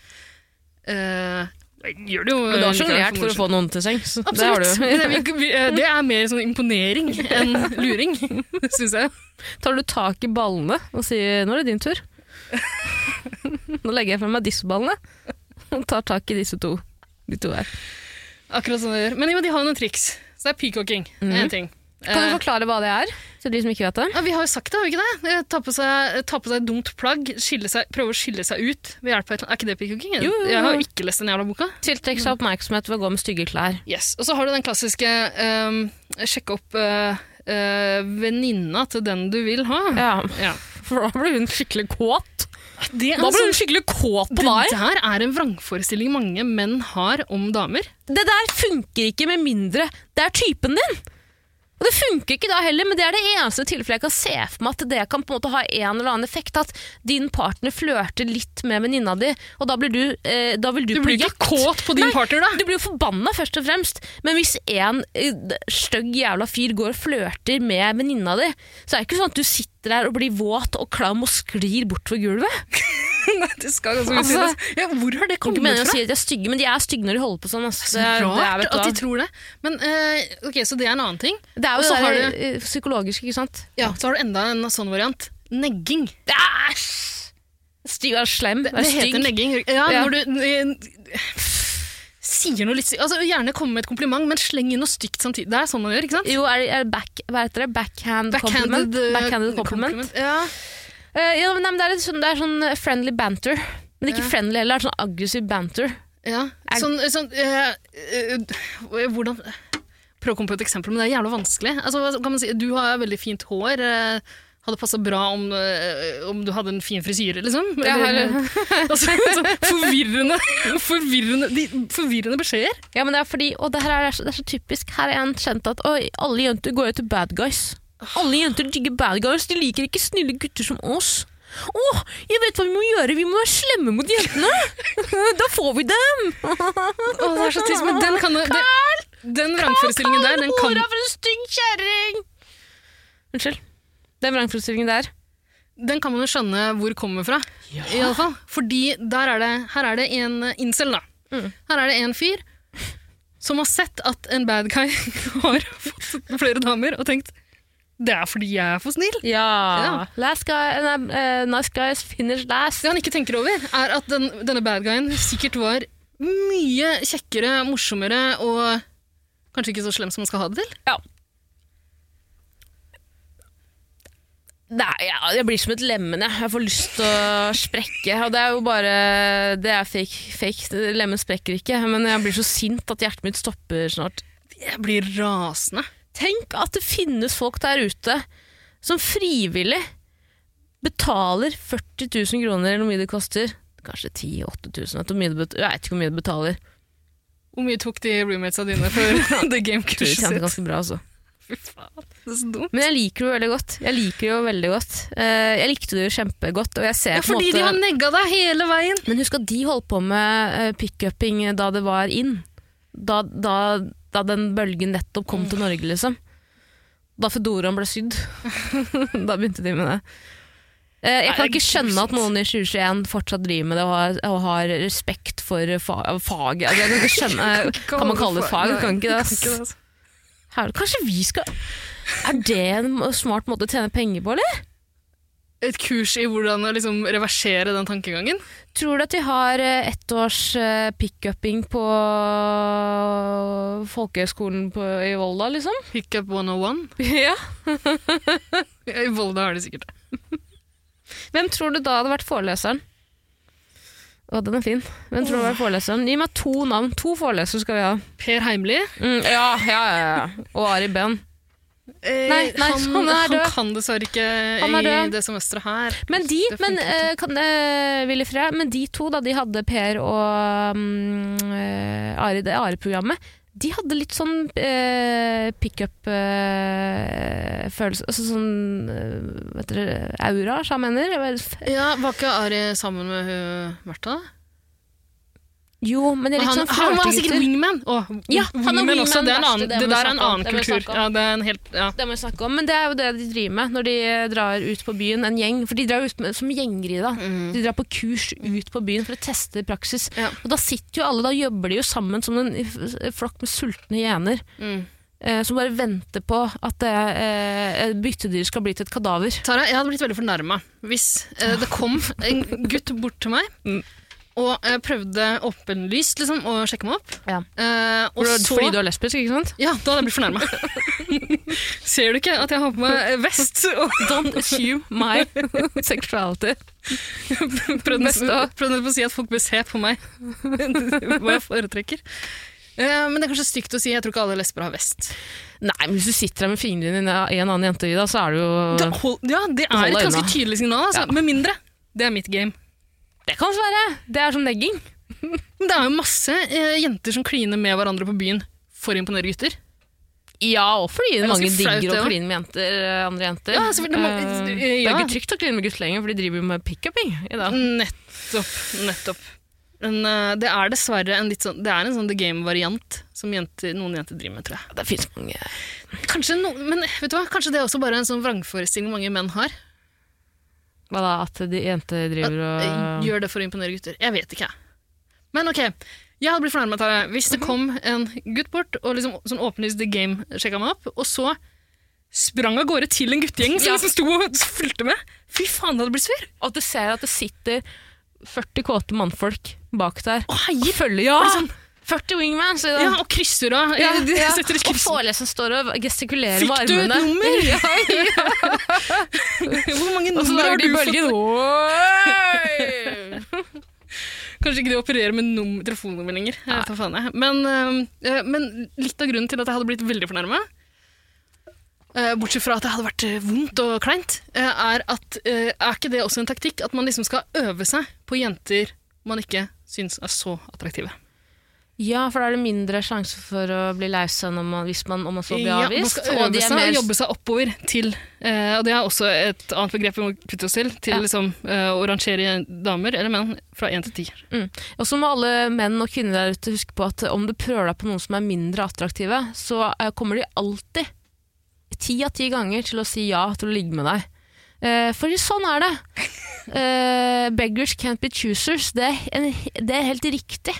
Eh, jeg gjør det jo Men du har likevel sjonglert for å morsomt. få noen til sengs. Det har Absolutt. du. Men Det, er- vi- eh, det er mer sånn imponering enn luring, syns jeg. Tar du tak i ballene og sier 'nå er det din tur'? Nå legger jeg fra meg disse ballene og tar tak i disse to. De to her. Akkurat sånn det gjør. Men jo, de har jo noen triks. Så det er peacocking. Det er en ting. Mm. Kan Eh, du forklare hva det er, til de som ikke vet det? Ja, vi har jo sagt det, har vi ikke det? Eh, Ta på seg, ta på seg et dumt plagg, skille seg, prøve å skille seg ut ved hjelp av et eller annet. Er ikke det peacocking? Jo, jo, jo. Jeg har jo ikke lest den jævla boka. Tiltrekke seg oppmerksomhet ved å gå med stygge klær. Yes. Og så har du den klassiske ehm, sjekke opp eh, eh, venninna til den du vil ha. Ja, Ja. For da blir hun skikkelig kåt. Det, er Da blir sånn- hun skikkelig kåt på det deg! der er en vrangforestilling mange menn har om damer. Det der funker ikke med mindre det er typen din. Og det funker ikke da heller, men det er det eneste tilfellet jeg kan se for meg at det kan på en måte ha en eller annen effekt. At din partner flørter litt med venninna di, og da blir du, eh, da vil du, Du blir på ikke jakt. kåt på din Nei, partner, da. Du blir jo forbanna, først og fremst. Men hvis en eh, stygg jævla fyr går og flørter med venninna di, så er det ikke sånn at du sitter der og blir våt og klam og sklir bortover gulvet. Nei, det skal ganske Altså, mye til. Ja, hvor har det Ikke kommet mener å fra? si at de er stygge, men de er stygge når de holder på sånn. ass. Så er- rart er, vet du at de hva. tror det. Men, eh, ok, Så det er en annen ting. Det er Og jo så det har der, eh, psykologisk, ikke sant? Ja, Så har du enda en sånn variant. Negging. Æsj! Stygg og slem. Det, det heter negging. Ja, Ja. når du eh, sier noe litt stygt. Altså, gjerne komme med et kompliment, men sleng inn noe stygt samtidig. Det er sånn man gjør, ikke sant? Jo, er, er back, hva heter det? Backhand, compliment? eh, Backhanded compliment. Ja. Eh, ja, men nei, men det, er litt sånn, det er sånn friendly banter. Men ikke Ja. friendly heller, det er sånn aggressiv banter. ja. Er- Sånn, sånn eh, eh, Hvordan Prøv å komme på et eksempel, men det er jævla vanskelig. Altså, hva kan man si? Du har veldig fint hår. eh, hadde passa bra om, eh, om du hadde en fin frisyre, liksom. Ja, altså, sånn forvirrende, forvirrende, de, forvirrende beskjeder. Ja, men det er fordi, og det her er, så- det er så typisk. Her er en kjent at oi, alle jenter går jo til bad guys. Alle jenter digger bad guys, de liker ikke snille gutter som oss. Å, jeg vet hva vi må gjøre, vi må være slemme mot jentene! da får vi dem! Å, det er så trist, men den kan det, Den vrangforestillingen der, den kan Hora for en stygg kjerring! Unnskyld. Den vrangforestillingen der. den kan man jo skjønne hvor kommer fra. I alle fall. Fordi der er det, her er det en incel, da. Mm. Her er det en fyr som har sett at en bad guy har fått flere damer, og tenkt det er fordi jeg er for snill. Ja. Last guy, nei, eh, nice guys finish last. Det han ikke tenker over, er at den, denne bad guyen sikkert var mye kjekkere, morsommere og kanskje ikke så slem som man skal ha det til. Nei, ja, jeg blir som et lemen, jeg. Jeg får lyst til å sprekke. Og det er jo bare Det er fake. fake. Lemen sprekker ikke, men jeg blir så sint at hjertet mitt stopper snart. Jeg blir rasende. Tenk at det finnes folk der ute som frivillig betaler 40 000 kroner, eller hvor mye det koster. Kanskje 10 000-8000, jeg vet ikke hvor mye det betaler. Hvor mye tok de roommatesa dine for tror The de tjente Game-kurset sitt? ganske bra, altså. Fy faen, det er så dumt. Men jeg liker det jo veldig godt. Jeg liker det jo veldig godt. Eh, Jeg likte det jo kjempegodt, og jeg ser Ja, på en fordi måte... de har negga deg hele veien. Men husk at de holdt på med eh, pick-upping da det var inn. Da, da, da den bølgen nettopp kom til Norge, liksom. Da fedoraen ble sydd. da begynte de med det. Eh, Nei, Jeg kan det er ikke skjønne at grusomt. noen i 2021 fortsatt driver med det og har, og har respekt for fa faget. Altså, jeg kan ikke skjønne Kan man kalle det fag? Kan ikke det, ass. ass. Her- Kanskje vi skal Er det en smart måte å tjene penger på, eller? Et kurs i hvordan å liksom reversere den tankegangen? Tror du at de har eh, ett års eh, pick-upping på folkehøgskolen på, i Volda, liksom? Hiccup 101? Ja. Ja, I Volda har de sikkert det. Hvem tror du da hadde vært foreleseren? Å, den er fin. Hvem tror du hadde vært foreleseren? Gi meg to navn. To forelesere skal vi ha. Per Heimli? Mm, ja, ja, ja, ja. Og Ari Behn. Nei, Eh, nei, han, han er død. Han kan dessverre ikke Han er i død. det semesteret her. Men de, Det men, funker eh, kan, eh, Willy Frey, men de to, da de hadde Per og mm, eh, Ari, det Ari-programmet, de hadde litt sånn eh, pickup-følelse altså Sånn eh, vet dere, aura, som jeg mener. Jeg bare- Ja, Var ikke Ari sammen med hun Märtha? Jo, men det er litt Han, sånn han var flørtegutter. sikkert wingman! Å, Ja, han er wingman, også. Det, er verste, en annen, det må det vi der er en snakke om, annen det må vi kultur. snakke om. Ja, det er en helt, ja. Det må vi snakke om, men det er jo det de driver med når de eh, drar ut på byen, en gjeng. For de drar ut med, som gjenger i det. De drar på kurs ut på byen for å teste praksis. Mm. Ja. Og da sitter jo alle, da jobber de jo sammen som en f- flokk med sultne hyener. Mm. Eh, som bare venter på at det eh, byttedyr skal bli til et kadaver. Tara, jeg hadde blitt veldig fornærma hvis eh, det kom en gutt bort til meg Mm. og eh, prøvde åpenlyst liksom, å sjekke meg opp. Ja. Eh, og så Fordi du er lesbisk, ikke sant? Ja, da hadde jeg blitt fornærma. Ser du ikke at jeg har på meg vest og Don't assume my sexuality. prøvd Vest og- prøvd på å si at folk bør se på meg hva jeg foretrekker? Eh, men det er kanskje stygt å si. Jeg tror ikke alle lesber har vest. Nei, men hvis du sitter her med fingrene dine i en annen jente, Ida, så er det Da jo hold, ja, det er Hold et deg ganske unna. tydelig signal. Altså. Ja. Med mindre. Det er mitt game. Det kan være. Det er som negging. Men det er jo masse eh, jenter som kliner med hverandre på byen for å imponere gutter. Ja, og fordi er ganske mange flaut, digger det å også. kline med jenter, eh, andre jenter. Ja, selvfølgelig, det må- Eh, ja. Mm. Det er ikke trygt å kline med gutter lenger, for de driver jo med pick-upping i dag. Nettopp. Nettopp. Men eh, det er dessverre en litt sånn Det er en sånn the game-variant som jenter, noen jenter driver med, tror jeg. Det finnes mange Kanskje, no, men eh, vet du hva? Kanskje det er også bare en sånn vrangforestilling mange menn har. Hva da, at de jenter driver og eh, Gjør det for å imponere gutter. Jeg vet ikke. Men ok, jeg hadde blitt fornærmet av det hvis det kom en gutt bort og liksom sånn åpenlyst The Game sjekka meg opp, og så sprang av gårde til en guttegjeng som Ja. liksom sto og fulgte med. Fy faen, det hadde blitt sur! Og at du ser at det sitter 40 kåte mannfolk bak der. Og heier! Følger, ja! sånn Liksom. 40 wingmans! i dag. Ja, og krysser av. Ja, de ja. setter et Og kryss. foreleseren står og gestikulerer Fikk med du et armene. nummer? Ja, ja. Hvor mange Og så nummer lager har du de fått? bølgen. Oi! Kanskje ikke de opererer med num- telefonnummer lenger. Jeg vet hva faen jeg. Men, eh, men litt av grunnen til at jeg hadde blitt veldig fornærma, bortsett fra at det hadde vært eh, vondt og kleint, eh, er at eh, er ikke det også en taktikk at man liksom skal øve seg på jenter man ikke syns er så attraktive? Ja, for da er det mindre sjanse for å bli lei seg når man- hvis man, om man så blir Ja, man avvist. skal øve og de er seg og mer jobbe seg oppover til eh, Og det er også et annet begrep vi må kutte oss til, til Ja. liksom, eh, å rangere damer eller menn fra én til ti. Og så må alle menn og kvinner der ute huske på at om du prøver deg på noen som er mindre attraktive, så eh, kommer de alltid, ti av ti ganger, til å si ja til å ligge med deg. Eh, for sånn er det. Eh, beggars can't be choosers. Det er, en, det er helt riktig.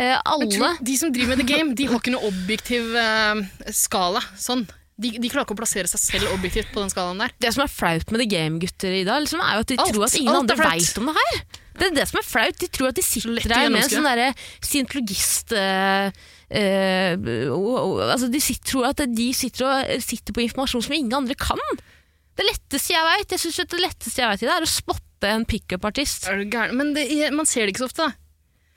Eh, Men alle tror, de som driver med the game, de har ikke noe objektiv eh, skala. Sånn. De, de klarer ikke å plassere seg selv objektivt på den skalaen der. Det som er flaut med The Game-gutter i dag, liksom, er jo at de Alt- tror at ingen alt er andre flaut. veit om det her. Det er det som er flaut. De tror at de Lett sitter å der med en gjennomskue. sånn derre scientologist eh, eh, og- og- altså De sitter, tror at de sitter, og, sitter på informasjon som ingen andre kan. Det letteste jeg veit, jeg synes at det letteste jeg vet i det, er å spotte en pickup-artist. Er du gæren? Men det, man ser det ikke så ofte, da.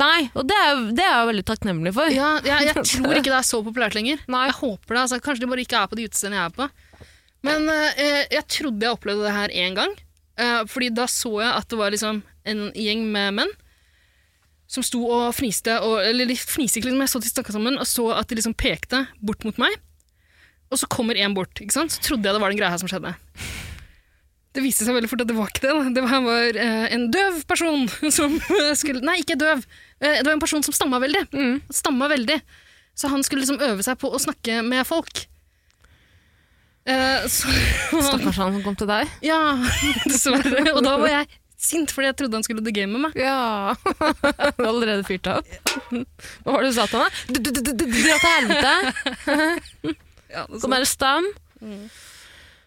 Nei, og det er, det er jeg veldig takknemlig for. Ja, jeg, jeg tror ikke det er så populært lenger. Nei. Jeg håper det, altså, Kanskje de bare ikke er på de utestedene jeg er på. Men eh, jeg trodde jeg opplevde det her én gang. Eh, fordi da så jeg at det var liksom en gjeng med menn som sto og fniste. Og, eller de fniste ikke, liksom, jeg så de snakka sammen og så at de liksom pekte bort mot meg. Og så kommer én bort. ikke sant? Så trodde jeg det var den greia her som skjedde. Det viste seg veldig fort at det var ikke det. da. Det var, var eh, en døv person som eh, skulle Nei, ikke døv. Eh, det var en person som stamma veldig. Mm. Stamma veldig. Så han skulle liksom øve seg på å snakke med folk. Eh, så Stakkars han som kom til deg. Ja, dessverre. Og da var jeg sint fordi jeg trodde han skulle the game med meg. Ja. Du har allerede fyrt deg opp. Hva var det du sa til meg? Du, du, du, du, du, dra til helvete! Sånn Kom her og stam.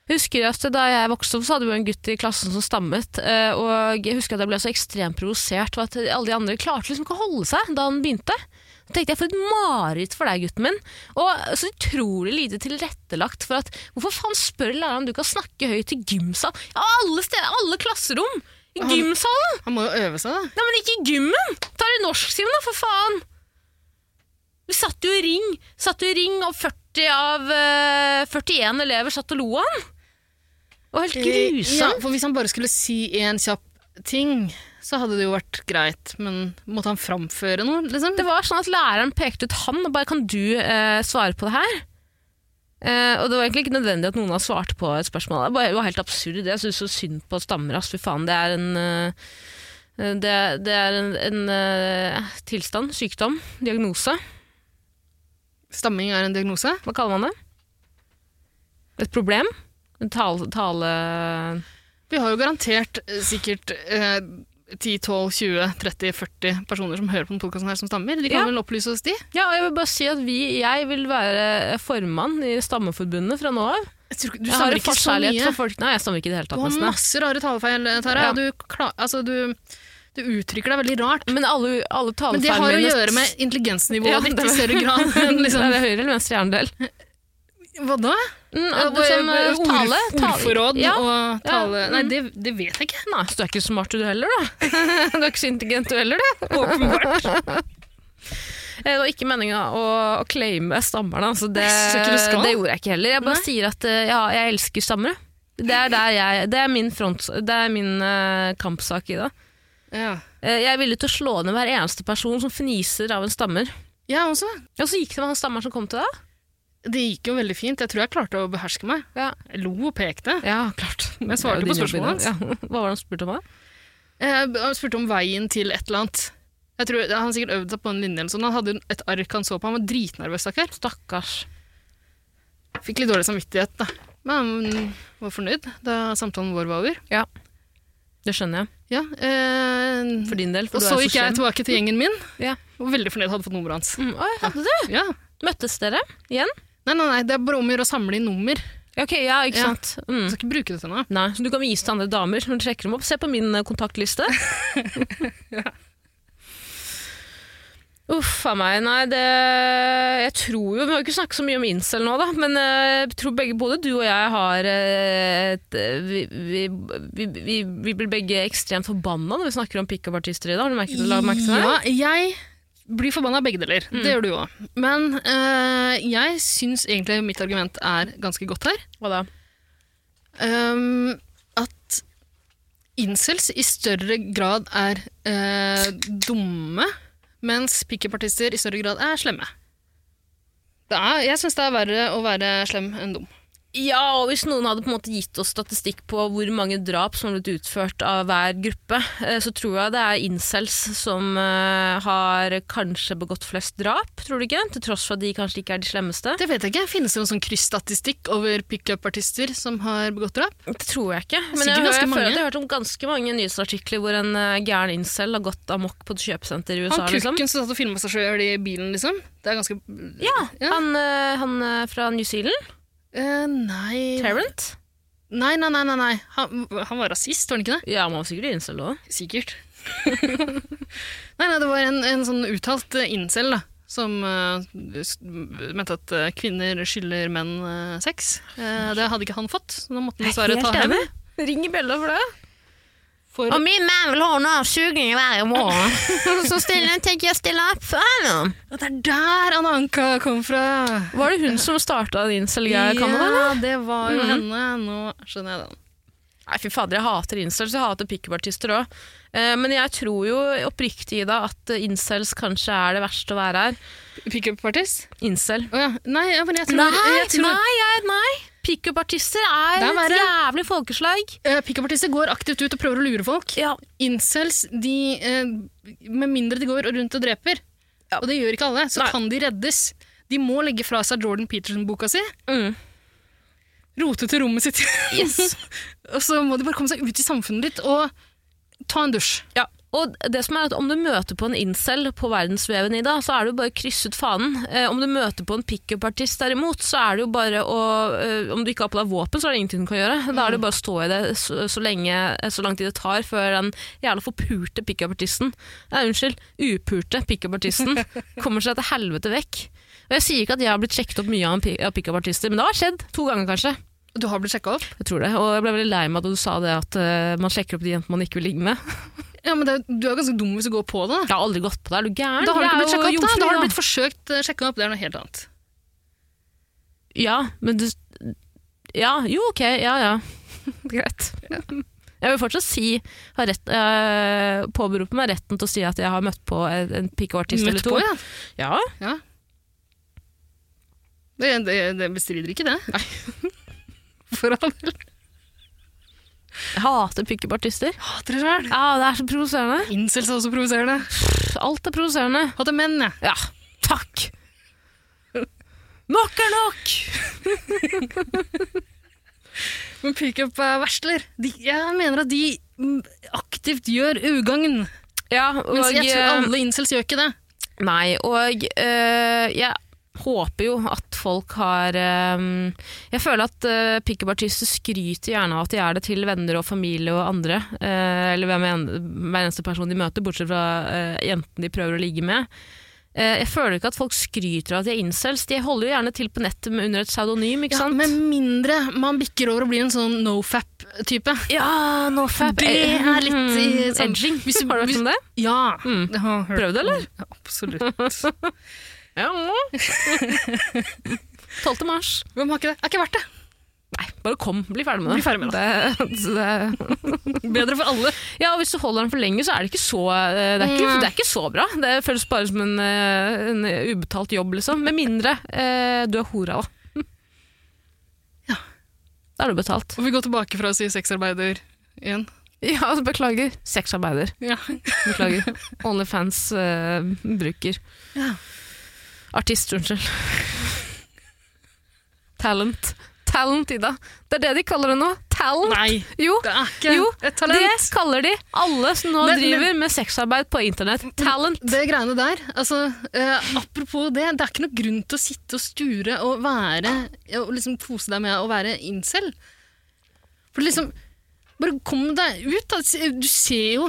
Husker jeg at Da jeg vokste opp, så hadde vi jo en gutt i klassen som stammet. eh, Og jeg husker at jeg ble så ekstremt provosert ved at alle de andre klarte liksom ikke å holde seg da han begynte. Så tenkte jeg, For et mareritt for deg, gutten min. Og så utrolig lite tilrettelagt for at Hvorfor faen spør læreren om du kan snakke høyt i gymsal? Ja, alle, steder, alle klasserom! I Han- gymsalen! Han må jo øve seg, da. Nei, men ikke i gymmen! Ta det i norsktimen, da, for faen! Vi satt jo i ring, satt jo i ring og 40 av eh, 41 elever satt og lo av han. Og helt Eh, Ja, grusom. for hvis han bare skulle si én kjapp ting, så hadde det jo vært greit. Men måtte han framføre noe, liksom? Det var sånn at læreren pekte ut han og bare 'kan du eh, svare på det her'? Eh, og det var egentlig ikke nødvendig at noen av oss svarte på et spørsmål. Det var, det var helt absurd. Jeg syns så synd på stammer, ass. Fy faen, det er en eh, det, det er en, en eh, tilstand, sykdom, diagnose. Stamming er en diagnose? Hva kaller man det? Et problem? En tale, tale... Vi har jo garantert eh, sikkert eh, 10, 12, 20, 30, 40 personer som hører på denne podkasten her, som stammer. De kan Ja. vel opplyse oss, de? Ja, og jeg vil bare si at vi, jeg vil være formann i Stammeforbundet fra nå av. Jeg tror, ikke- du jeg har stammer en ikke så forkjærlighet mye. for folk. Nei, jeg stammer ikke i det hele Du tatt, har nesten. jeg. masse rare talefeil, eh, Tara. Ja. og Du, kla- altså, du, du uttrykker deg veldig rart. Men alle, alle Men det har talefeilene jo å mine- gjøre med intelligensnivået Mm, Ja, ditt det- i større grad enn liksom Er det høyre eller venstre hjernedel? Hva da? Mm, Ja, det som, eh, ord- tale, tale- Ordforråd ja. og Ja, tale Nei, mm. det, det vet jeg ikke. Nei, så du er ikke smart du heller, da. du er ikke så intelligent du heller, du. Åpenbart. Eh, Det var ikke meninga å, å claime stammerne, altså det, Jeg synes ikke du skal. det gjorde jeg ikke heller. Jeg bare Nei. sier at eh, ja, jeg elsker stammere. Det er, der jeg, det er min, front, det er min eh, kampsak i det. Ja. Eh, jeg er villig til å slå ned hver eneste person som fniser av en stammer. Jeg også. Og så gikk det med han stammeren som kom til deg. Det gikk jo veldig fint. Jeg tror jeg klarte å beherske meg. Ja. Jeg lo og pekte. ja, klart. Men jeg svarte Det er jo på din jobb i spørsmålet dag. Ja. Hva var det han spurte om? da? Jeg b- han spurte om veien til et eller annet. Jeg tror, han har sikkert øvd seg på en linje eller sånn. Han hadde jo et ark han så på. Han var dritnervøs, stakkar. Stakkars. Fikk litt dårlig samvittighet, da. Men han var fornøyd da samtalen vår var over. Det skjønner jeg. Ja, eh, For din del. For og du så er gikk jeg slem. tilbake til gjengen min. Ja. Og var veldig fornøyd hadde fått nummeret hans. Mm, oi, hadde du? Ja. Møttes dere igjen? Nei, nei, nei, det er bare om å gjøre å samle inn nummer. Ja, Ok, ja, ikke Ja. sant. Mm. Jeg skal ikke bruke det til noe. Nei, så du kan vise til andre damer når du trekker dem opp. Se på min eh, kontaktliste. Uff a meg. Nei, det Jeg tror jo Vi har jo ikke snakket så mye om incel nå, da, men eh, jeg tror begge, både du og jeg har eh, et, eh, vi, vi, vi, vi, vi blir begge ekstremt forbanna når vi snakker om pickup-artister i dag. Har du merket det? La merke til det? Ja, jeg blir forbanna begge deler. Det gjør du òg. Men eh, jeg syns egentlig mitt argument er ganske godt her. Hva da? Ehm, at incels i større grad er eh, dumme, mens pickup-artister i større grad er slemme. Det er, jeg syns det er verre å være slem enn dum. Ja, og hvis noen hadde på en måte gitt oss statistikk på hvor mange drap som har blitt utført av hver gruppe, eh, så tror jeg det er incels som eh, har kanskje begått flest drap, tror du ikke? Til tross for at de kanskje ikke er de slemmeste. Det vet jeg ikke. Finnes det noen sånn kryssstatistikk over pickup-artister som har begått drap? Det tror jeg ikke. Men jeg, Sikkert hører- jeg føler ganske at jeg mange. har hørt om ganske mange nyhetsartikler hvor en eh, gæren incel har gått amok på et kjøpesenter i USA. Han liksom. kukken som satt og filma seg sjøl i bilen, liksom. Det er ganske Ja, Ja. han, eh, han eh, fra New Zealand, Eh, nei Tarrant. Nei, nei, nei, nei, nei. Han, han var rasist, var han ikke det? Ja, man var sikkert incel òg. Sikkert. nei, nei, det var en, en sånn uttalt eh, incel, da. Som eh, s- mente at eh, kvinner skylder menn eh, sex. Eh, det hadde ikke han fått, så da måtte han dessverre ta hevn. Ring i bjella for det. For Om min man vil ha en avsugning hver morgen, så stiller, tenker jeg å stille opp for ham. Og det er der Anna Anka kom fra! Var det hun som starta den incel-greia i ja, Canada? det var jo Mhm. henne. Nå skjønner jeg den. Nei, fy fader, jeg hater incels. Jeg hater pickup-artister òg. Men jeg tror jo oppriktig, Ida, at eh, incels kanskje er det verste å være her. Pickup-partis? Incel. Å ja. Nei, ja, men jeg tror, Nei, jeg tror nei, jeg, nei! Pickup-artister er, Det er et verre. jævlig folkeslag. eh, Pickup-partister går aktivt ut og prøver å lure folk. Ja, Incels, de, eh, med mindre de går rundt og dreper, Ja. og det gjør ikke alle, så Nei. kan de reddes. De må legge fra seg Jordan Peterson-boka si, Mm. rote til rommet sitt, og så må de bare komme seg ut i samfunnet litt og ta en dusj. Ja, og det som er at om du møter på en incel på verdensveven i dag, så er det jo bare å krysse ut fanen. Eh, om du møter på en pickup-artist derimot, så er det jo bare å eh, Om du ikke har på deg våpen, så er det ingenting du kan gjøre. Da er det bare å stå i det så, så, lenge, eh, så lang tid det tar før den jævla forpurte pickup-artisten Nei, unnskyld, upurte pickup-artisten kommer seg til helvete vekk. Og Jeg sier ikke at jeg har blitt sjekket opp mye av en pi- av pickup-artister, men det har skjedd to ganger, kanskje. Du har blitt sjekka opp? Jeg tror det. Og jeg ble veldig lei meg da du sa det at eh, man sjekker opp de jentene man ikke vil ligge med. Ja, men det, du er ganske dum hvis du går på det. Da, Jeg har aldri gått på deg, er du gæren? da har du Jeg ikke er blitt jo sjekka opp, da. jomfru, da har du blitt forsøkt eh, sjekka opp, det er noe helt annet. Ja, men du Ja, jo, ok, ja ja. Greit. Jeg vil fortsatt si ha rett, eh, påberope meg retten til å si at jeg har møtt på en, en pickup-artist eller Møtt to. på, ja. Ja. ja. Det, det, det bestrider ikke det. Nei. For all del. Jeg hater pickup-artister. Hater det sjøl. Ja, det er så provoserende. Incels er også provoserende. Alt er provoserende. Hater menn, jeg. Ja, takk. Nok er nok! Men pickup-versler, de- jeg mener at de mm, aktivt gjør ugagn. Ja, Mens jeg tror eh, alle incels gjør ikke det. Nei, og eh, jeg håper jo at folk har eh, Jeg føler at uh, pickup-artister skryter gjerne av at de er det til venner og familie og andre. eh, eller hvem en, hver eneste person de møter, bortsett fra uh, jentene de prøver å ligge med. Eh, jeg føler ikke at folk skryter av at de er incels. De holder jo gjerne til på nettet med, under et pseudonym, ikke Ja, sant? med mindre man bikker over og blir en sånn nofap-type. ja, nofap. Det er litt i- sånn- mm, edging. Hvis du- har du hørt eh, hvis- om det? Ja. Mm. det har jeg hørt. Prøvd det, eller? Ja, absolutt. Ja. 12. mars. Hvem har ikke det? Er ikke verdt det. Nei, bare kom. Bli ferdig med det. Bli ferdig med det. det, Bedre for alle. Ja, og hvis du holder den for lenge, så er det ikke så, eh, det er ikke, Nei. det er ikke så bra. Det føles bare som en, eh, en ubetalt jobb, liksom. Med mindre eh, du er hora, da. Ja. Da er du betalt. Og vi går tilbake fra å si sexarbeider igjen. Ja, altså, beklager. Sexarbeider. Ja. Beklager. Onlyfans-bruker. Ja. Artist, unnskyld. Talent. Talent, Ida. Det er det de kaller det nå. Talent. Nei, Jo. det er ikke Jo, et talent. Det kaller de alle som nå Men- men- driver med sexarbeid på internett. Talent. Det greiene der, altså, eh, apropos det, det er ikke noe grunn til å sitte og sture og være, og liksom kose deg med å være incel. For liksom, bare kom deg ut da. Du ser jo,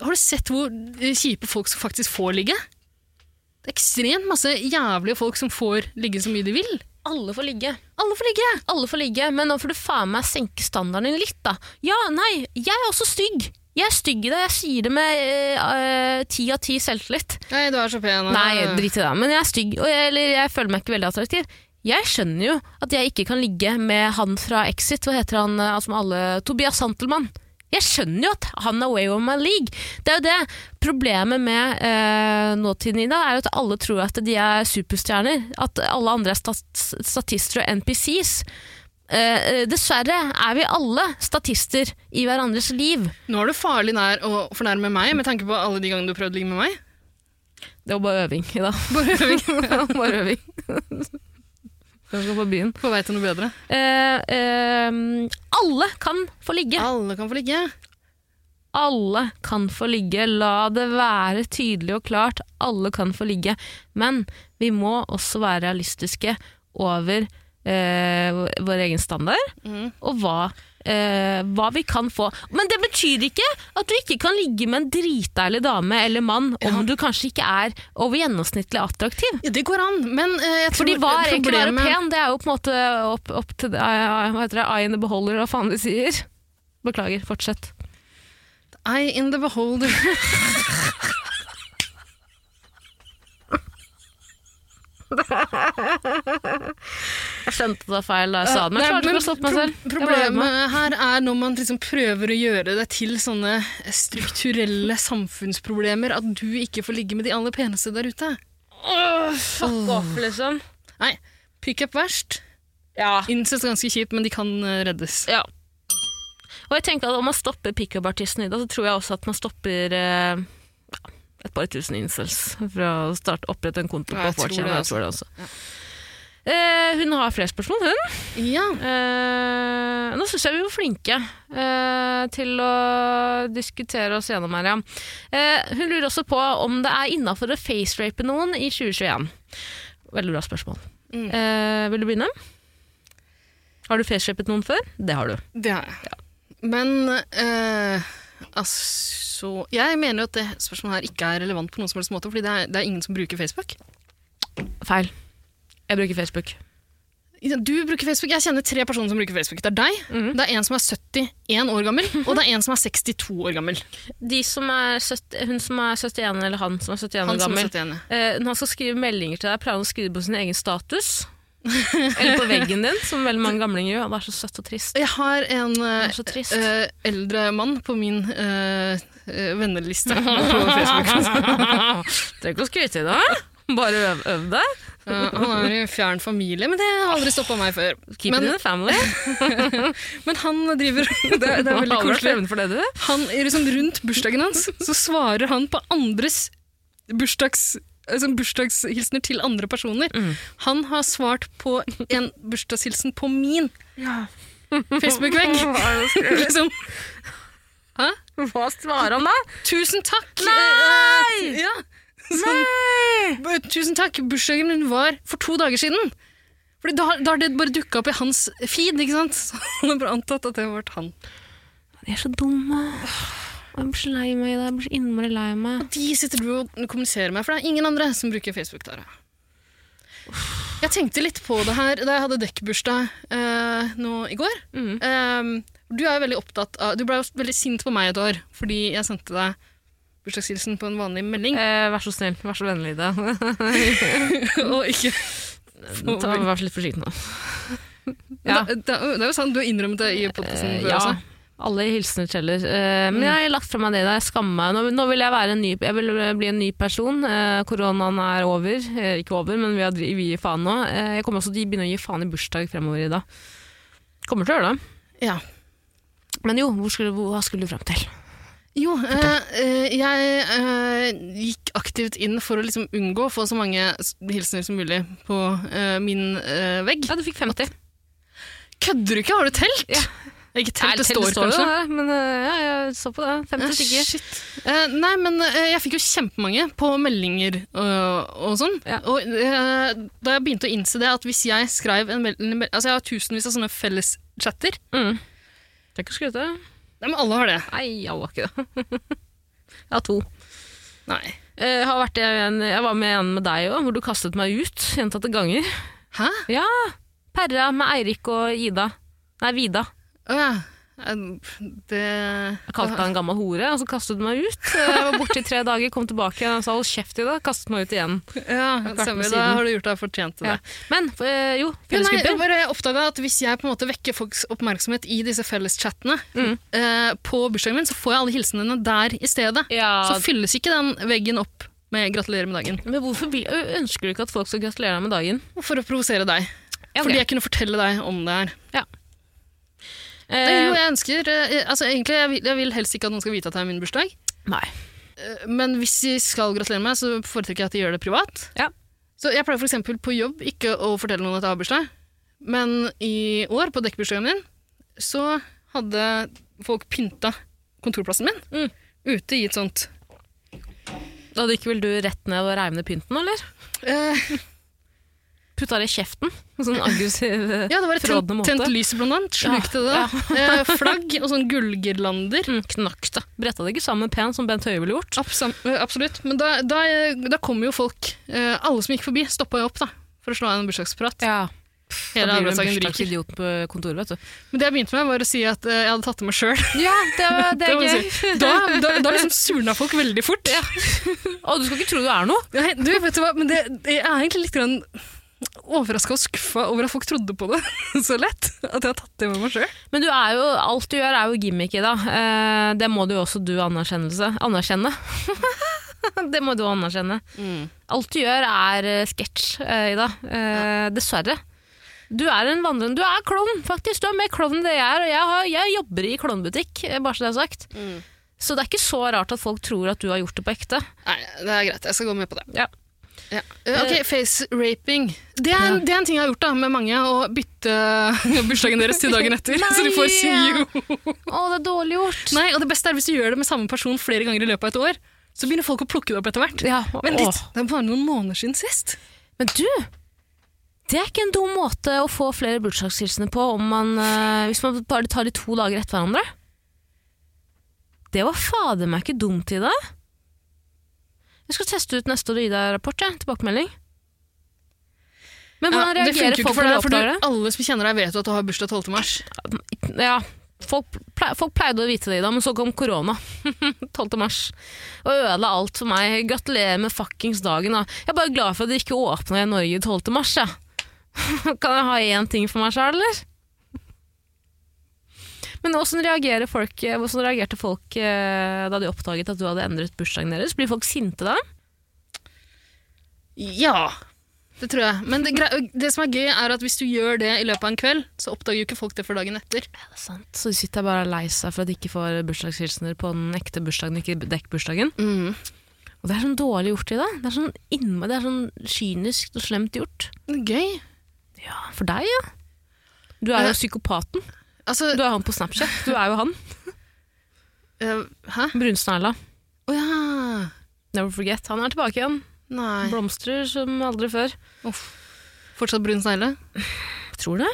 har du sett hvor eh, kjipe folk som faktisk får ligge? Det er ekstremt masse jævlige folk som får ligge så mye de vil. Alle får ligge. Alle får ligge! Alle får ligge, men nå får du faen meg senke standarden din litt, da. Ja, nei, jeg er også stygg. Jeg er stygg i det. Jeg sier det med ti av ti selvtillit. Nei, du er så pen. og- Nei, drit i det. Men jeg er stygg, og jeg, eller jeg føler meg ikke veldig attraktiv. Jeg skjønner jo at jeg ikke kan ligge med han fra Exit, hva heter han eh, som alle Tobias Santelmann. Jeg skjønner jo at han er way over my league. Det er jo det. Problemet med eh, nåtiden i dag er jo at alle tror at de er superstjerner. At alle andre er stat statister og NPCs. Eh, eh, dessverre er vi alle statister i hverandres liv. Nå er du farlig nær å fornærme meg, med tanke på alle de gangene du prøvde å ligge med meg. Det var bare øving i dag. Bare øving. bare øving. Jeg skal på byen. På vei til noe bedre. Eh, eh, alle kan få ligge. Alle kan få ligge. Alle kan få ligge. La det være tydelig og klart. Alle kan få ligge. Men vi må også være realistiske over eh, vår- vår egen standard, Mhm. og hva, eh, hva vi kan få. Men det betyr ikke at du ikke kan ligge med en dritdeilig dame eller mann, om du kanskje ikke er over gjennomsnittlig attraktiv. Ja, det går an, men eh, jeg tror Fordi hva er egentlig å være problemet- pen? Det er jo på en måte opp, opp til eh, hva heter det, eye in the beholder, hva faen de sier. Beklager, fortsett. Eye in the beholder. Jeg skjønte det var feil da jeg sa det, men jeg klarte ikke å stoppe meg pro- selv. Jeg var hjemme. Problemet her er når man liksom prøver å gjøre det til sånne strukturelle samfunnsproblemer, at du ikke får ligge med de aller peneste der ute. Åh, fuck off, liksom. Nei, pickup verst. Ja. Incest ganske kjipt, men de kan eh, reddes. ja. Og jeg tenker at om man stopper pickup-artisten i dag, så tror jeg også at man stopper eh, ja, et par tusen incels fra å starte opprette en konto Ja, på jeg tror 4chan. det, Jeg altså. tror det også. Eh, hun har flere spørsmål, hun. Ja. Eh, nå syns jeg vi var flinke eh, til å diskutere oss gjennom her, ja. Eh, hun lurer også på om det er innafor å facerape noen i 2021. Veldig bra spørsmål. Mm. Eh, vil du begynne? Har du facerapet noen før? Det har du. Det har jeg. Men eh, altså Jeg mener jo at det spørsmålet her ikke er relevant på noen som helst måte, fordi det er, det er ingen som bruker Facebook. Feil. Jeg bruker Facebook. Du bruker Facebook. Jeg kjenner tre personer som bruker Facebook. Det er deg, Mhm. det er en som er 71 år gammel, og det er en som er 62 år gammel. De som er 70, hun som er 71, eller han som er 71 Han år som er gammel, 71. Eh, når han skal skrive meldinger til deg, pleier han å skrive på sin egen status. Eller på veggen din, som veldig mange gamlinger gjør. Det er så søtt og trist. Jeg har en Det eh, er så trist. eh, eldre mann på min eh, eh, venneliste på Facebook. altså. Trenger ikke å skryte i det. Bare øv, øv deg. Eh, han er i fjern familie, men det har aldri stoppa meg før. Keep Men- it in the family. Men han driver Det, er- det er veldig koselig. For det, du. han, liksom rundt bursdagen hans så svarer han på andres bursdags, altså bursdagshilsener til andre personer. Mm. Han har svart på en bursdagshilsen på min Facebook-vegg. liksom, Hva svarer han da? tusen takk! Nei! eh, Ja. Sånn, «B- Tusen takk, bursdagen min var for to dager siden. Fordi da, har- da har det bare dukka opp i hans feed, ikke sant? Så han har bare antatt at det har vært han. De er så dumme. Jeg blir så lei meg i det. Jeg blir så innmari lei meg. De sitter du og kommuniserer med, for det er ingen andre som bruker Facebook. der. Jeg tenkte litt på det her da jeg hadde dekkbursdag eh, nå i går. Mm. Ehm, du er jo veldig opptatt av Du ble jo veldig sint på meg et år fordi jeg sendte deg bursdagshilsen på en vanlig melding. Eh, vær så snill. Vær så vennlig, Ida. og ikke Ta- Vær så litt forsiktig nå. Men det, det, er jo- det er jo sant, du har innrømmet det i podkasten Eh, før ja. også. Alle hilsener teller. Eh, men jeg har lagt fra meg det der. Jeg skammer meg. Nå, nå vil jeg, være en ny, jeg vil bli en ny person. Eh, koronaen er over. Eh, ikke over, men vi, har, dri- vi gir faen nå. Eh, jeg kommer også til å begynne å gi faen i bursdag fremover i dag. Kommer til å gjøre det. Ja. Men jo, hvor skulle, hvor, hva skulle du frem til? Jo, eh, eh, jeg eh, gikk aktivt inn for å liksom unngå å få så mange s- hilsener som mulig på eh, min eh, vegg. Ja, du fikk 50. Kødder du ikke? Har du telt? Ja. Ikke telt, det Eller står kanskje. det, men eh, ja, jeg så på det. 50 Eh, stykker. shit. Eh, nei, men eh, jeg fikk jo kjempemange på meldinger øh, og sånn. Ja. Og eh, da jeg begynte å innse det, at hvis jeg skrev en melding Altså, jeg har tusenvis av sånne felleschatter. Mm. Trenger ikke å skryte. Nei, men alle har det. Nei, jeg var ikke det. jeg har to. Nei. Eh, Jeg, har vært i en, jeg var med en med deg òg, hvor du kastet meg ut gjentatte ganger. Hæ? Ja, Perra med Eirik og Ida. Nei, Vida. Å ja. Eh, Det Jeg kalte deg en gammel hore, og så kastet du meg ut. Jeg var borte i tre dager, kom tilbake og sa hold kjeft i dag, kastet meg ut igjen. Ja, vært med stemmer. Da siden. har du gjort deg fortjent til det. Ja. Men f- eh, jo, Jo, nei, jeg fellesgrupper. bare oppdaga at hvis jeg på en måte vekker folks oppmerksomhet i disse felleschattene Mm. eh, på bursdagen min, så får jeg alle hilsenene der i stedet. Ja, Så fylles ikke den veggen opp med 'gratulerer med dagen'. men hvorfor blir- ø- ønsker du ikke at folk skal gratulere deg med dagen? For å provosere deg. Ja, Fordi ok. jeg kunne fortelle deg om det her. Eh, Nei, jo, jeg ønsker eh, altså, Egentlig jeg vil, jeg vil helst ikke at noen skal vite at det er min bursdag. Nei. Eh, Men hvis de skal gratulere meg, så foretrekker jeg at de gjør det privat. Ja. Så jeg pleier f.eks. på jobb ikke å fortelle noen at jeg har bursdag. Men i år, på dekkbursdagen min, så hadde folk pynta kontorplassen min Mm. ute i et sånt Da gikk vel du rett ned og reiv ned pynten, eller? eh, Putta det i kjeften? Sånn aggressiv eh, Ja, det var et tent, Frådende måte. tent lyset, blant annet. Slukte det. Eh, flagg og sånn gullgirlander. mm, knakk, da. Bretta det ikke sammen pent som Bent Høie ville gjort? Absam- eh, Absolutt. Men da, da, da kom jo folk eh, Alle som gikk forbi, stoppa jo opp da, for å slå av en bursdagsprat. Ja. Da blir du Hele en arbeidsdagen ryker. bursdagsidioten på kontoret, vet du. Men det jeg begynte med, var å si at eh, jeg hadde tatt det med sjøl. Ja, det, var- det Det er må jeg gøy. Da, da, da liksom surna folk veldig fort. Å, du skal ikke tro du er noe. Nei, du, vet du hva, men det, det er egentlig litt grann overraska og skuffa over at folk trodde på det så lett. At jeg har tatt det med meg sjøl. Men du er jo, alt du gjør er jo gimmick i da. Eh, det må du jo også du anerkjennelse. anerkjenne. det må du anerkjenne. Mm. Alt du gjør er eh, sketsj, eh, Ida. Eh, Dessverre. Du er en vandrende, du er klovn, faktisk. Du er mer klovn enn det jeg er. Og jeg, har, jeg jobber i klovnbutikk, eh, bare så det er sagt. Så det er ikke så rart at folk tror at du har gjort det på ekte. Nei, det er greit. Jeg skal gå med på det. Ja. Ja. Eh, Ok, face raping. Det er, en, det er en ting jeg har gjort da, med mange. Å bytte bursdagen deres til dagen etter. så de får Nei! see you. Å, det er dårlig gjort. Nei, og det beste er hvis du gjør det med samme person flere ganger i løpet av et år. Så begynner folk å plukke det opp etter hvert. Ja, Men å. litt, det er bare noen måneder siden sist. Men du, det er ikke en dum måte å få flere bursdagshilsener på om man, eh, hvis man bare tar de to dager etter hverandre. Det var fader meg ikke dumt i det. Jeg skal teste ut neste år og gi deg rapport, jeg. Tilbakemelding. Men hvordan Ja, det funker reagerer jo ikke folk for når de deg, for oppdager du, alle som kjenner deg vet jo at du har bursdag 12. mars. det? Ja, folk, ple- folk pleide å vite det i dag, men så kom korona. 12. mars. Og ødela alt for meg. Gratulerer med fuckings dagen. Da. Jeg er bare glad for at de ikke åpna i Norge 12. mars. Ja. Kan jeg ha én ting for meg sjøl, eller? Men hvordan, reagerer folk, eh, hvordan reagerte folk eh, da de oppdaget at du hadde endret bursdagen deres? Blir folk sinte da? Ja, det tror jeg. Men det, grei- det som er gøy, er at hvis du gjør det i løpet av en kveld, så oppdager jo ikke folk det før dagen etter. Er det sant? Så de sitter bare og er lei seg for at de ikke får bursdagshilsener på den ekte bursdagen, ikke dekkbursdagen. Mm. Og det er sånn dårlig gjort i dag. Det er sånn, innma- det er sånn kynisk og slemt gjort. Det er Gøy. Ja, for deg, ja. Du er Eh. jo psykopaten. Altså, Du er han på Snapchat. Du er jo han. eh, hæ? Brunsnegla. Å ja. Never forget. Han er tilbake igjen. Nei. Blomstrer som aldri før. Uff. Fortsatt brun snegle? Tror det.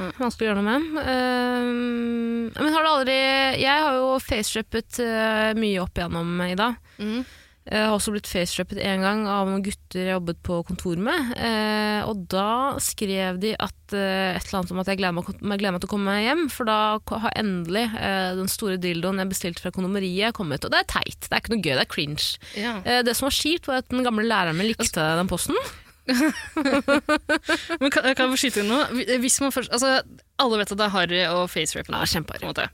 Mm. Vanskelig å gjøre noe med. Eh, men har du aldri Jeg har jo facerapet uh, mye opp igjennom, Ida. Mm. Jeg Eh, har også blitt facetrappet en gang av noen gutter jeg jobbet på kontor med. Eh, og da skrev de at, eh, et eller annet om at jeg gleder meg, jeg gleder meg til å komme hjem, for da ko- har endelig eh, den store dildoen jeg bestilte fra kondomeriet kommet. Og det er teit. Det er ikke noe gøy. Det er cringe. Ja. Eh, det som var kjipt, var at den gamle læreren min likte den posten. Men kan, kan jeg få skyte inn noe? Hvis man først, altså, alle vet at det er harry og facerape nå. Ja, kjempeharry. på en måte.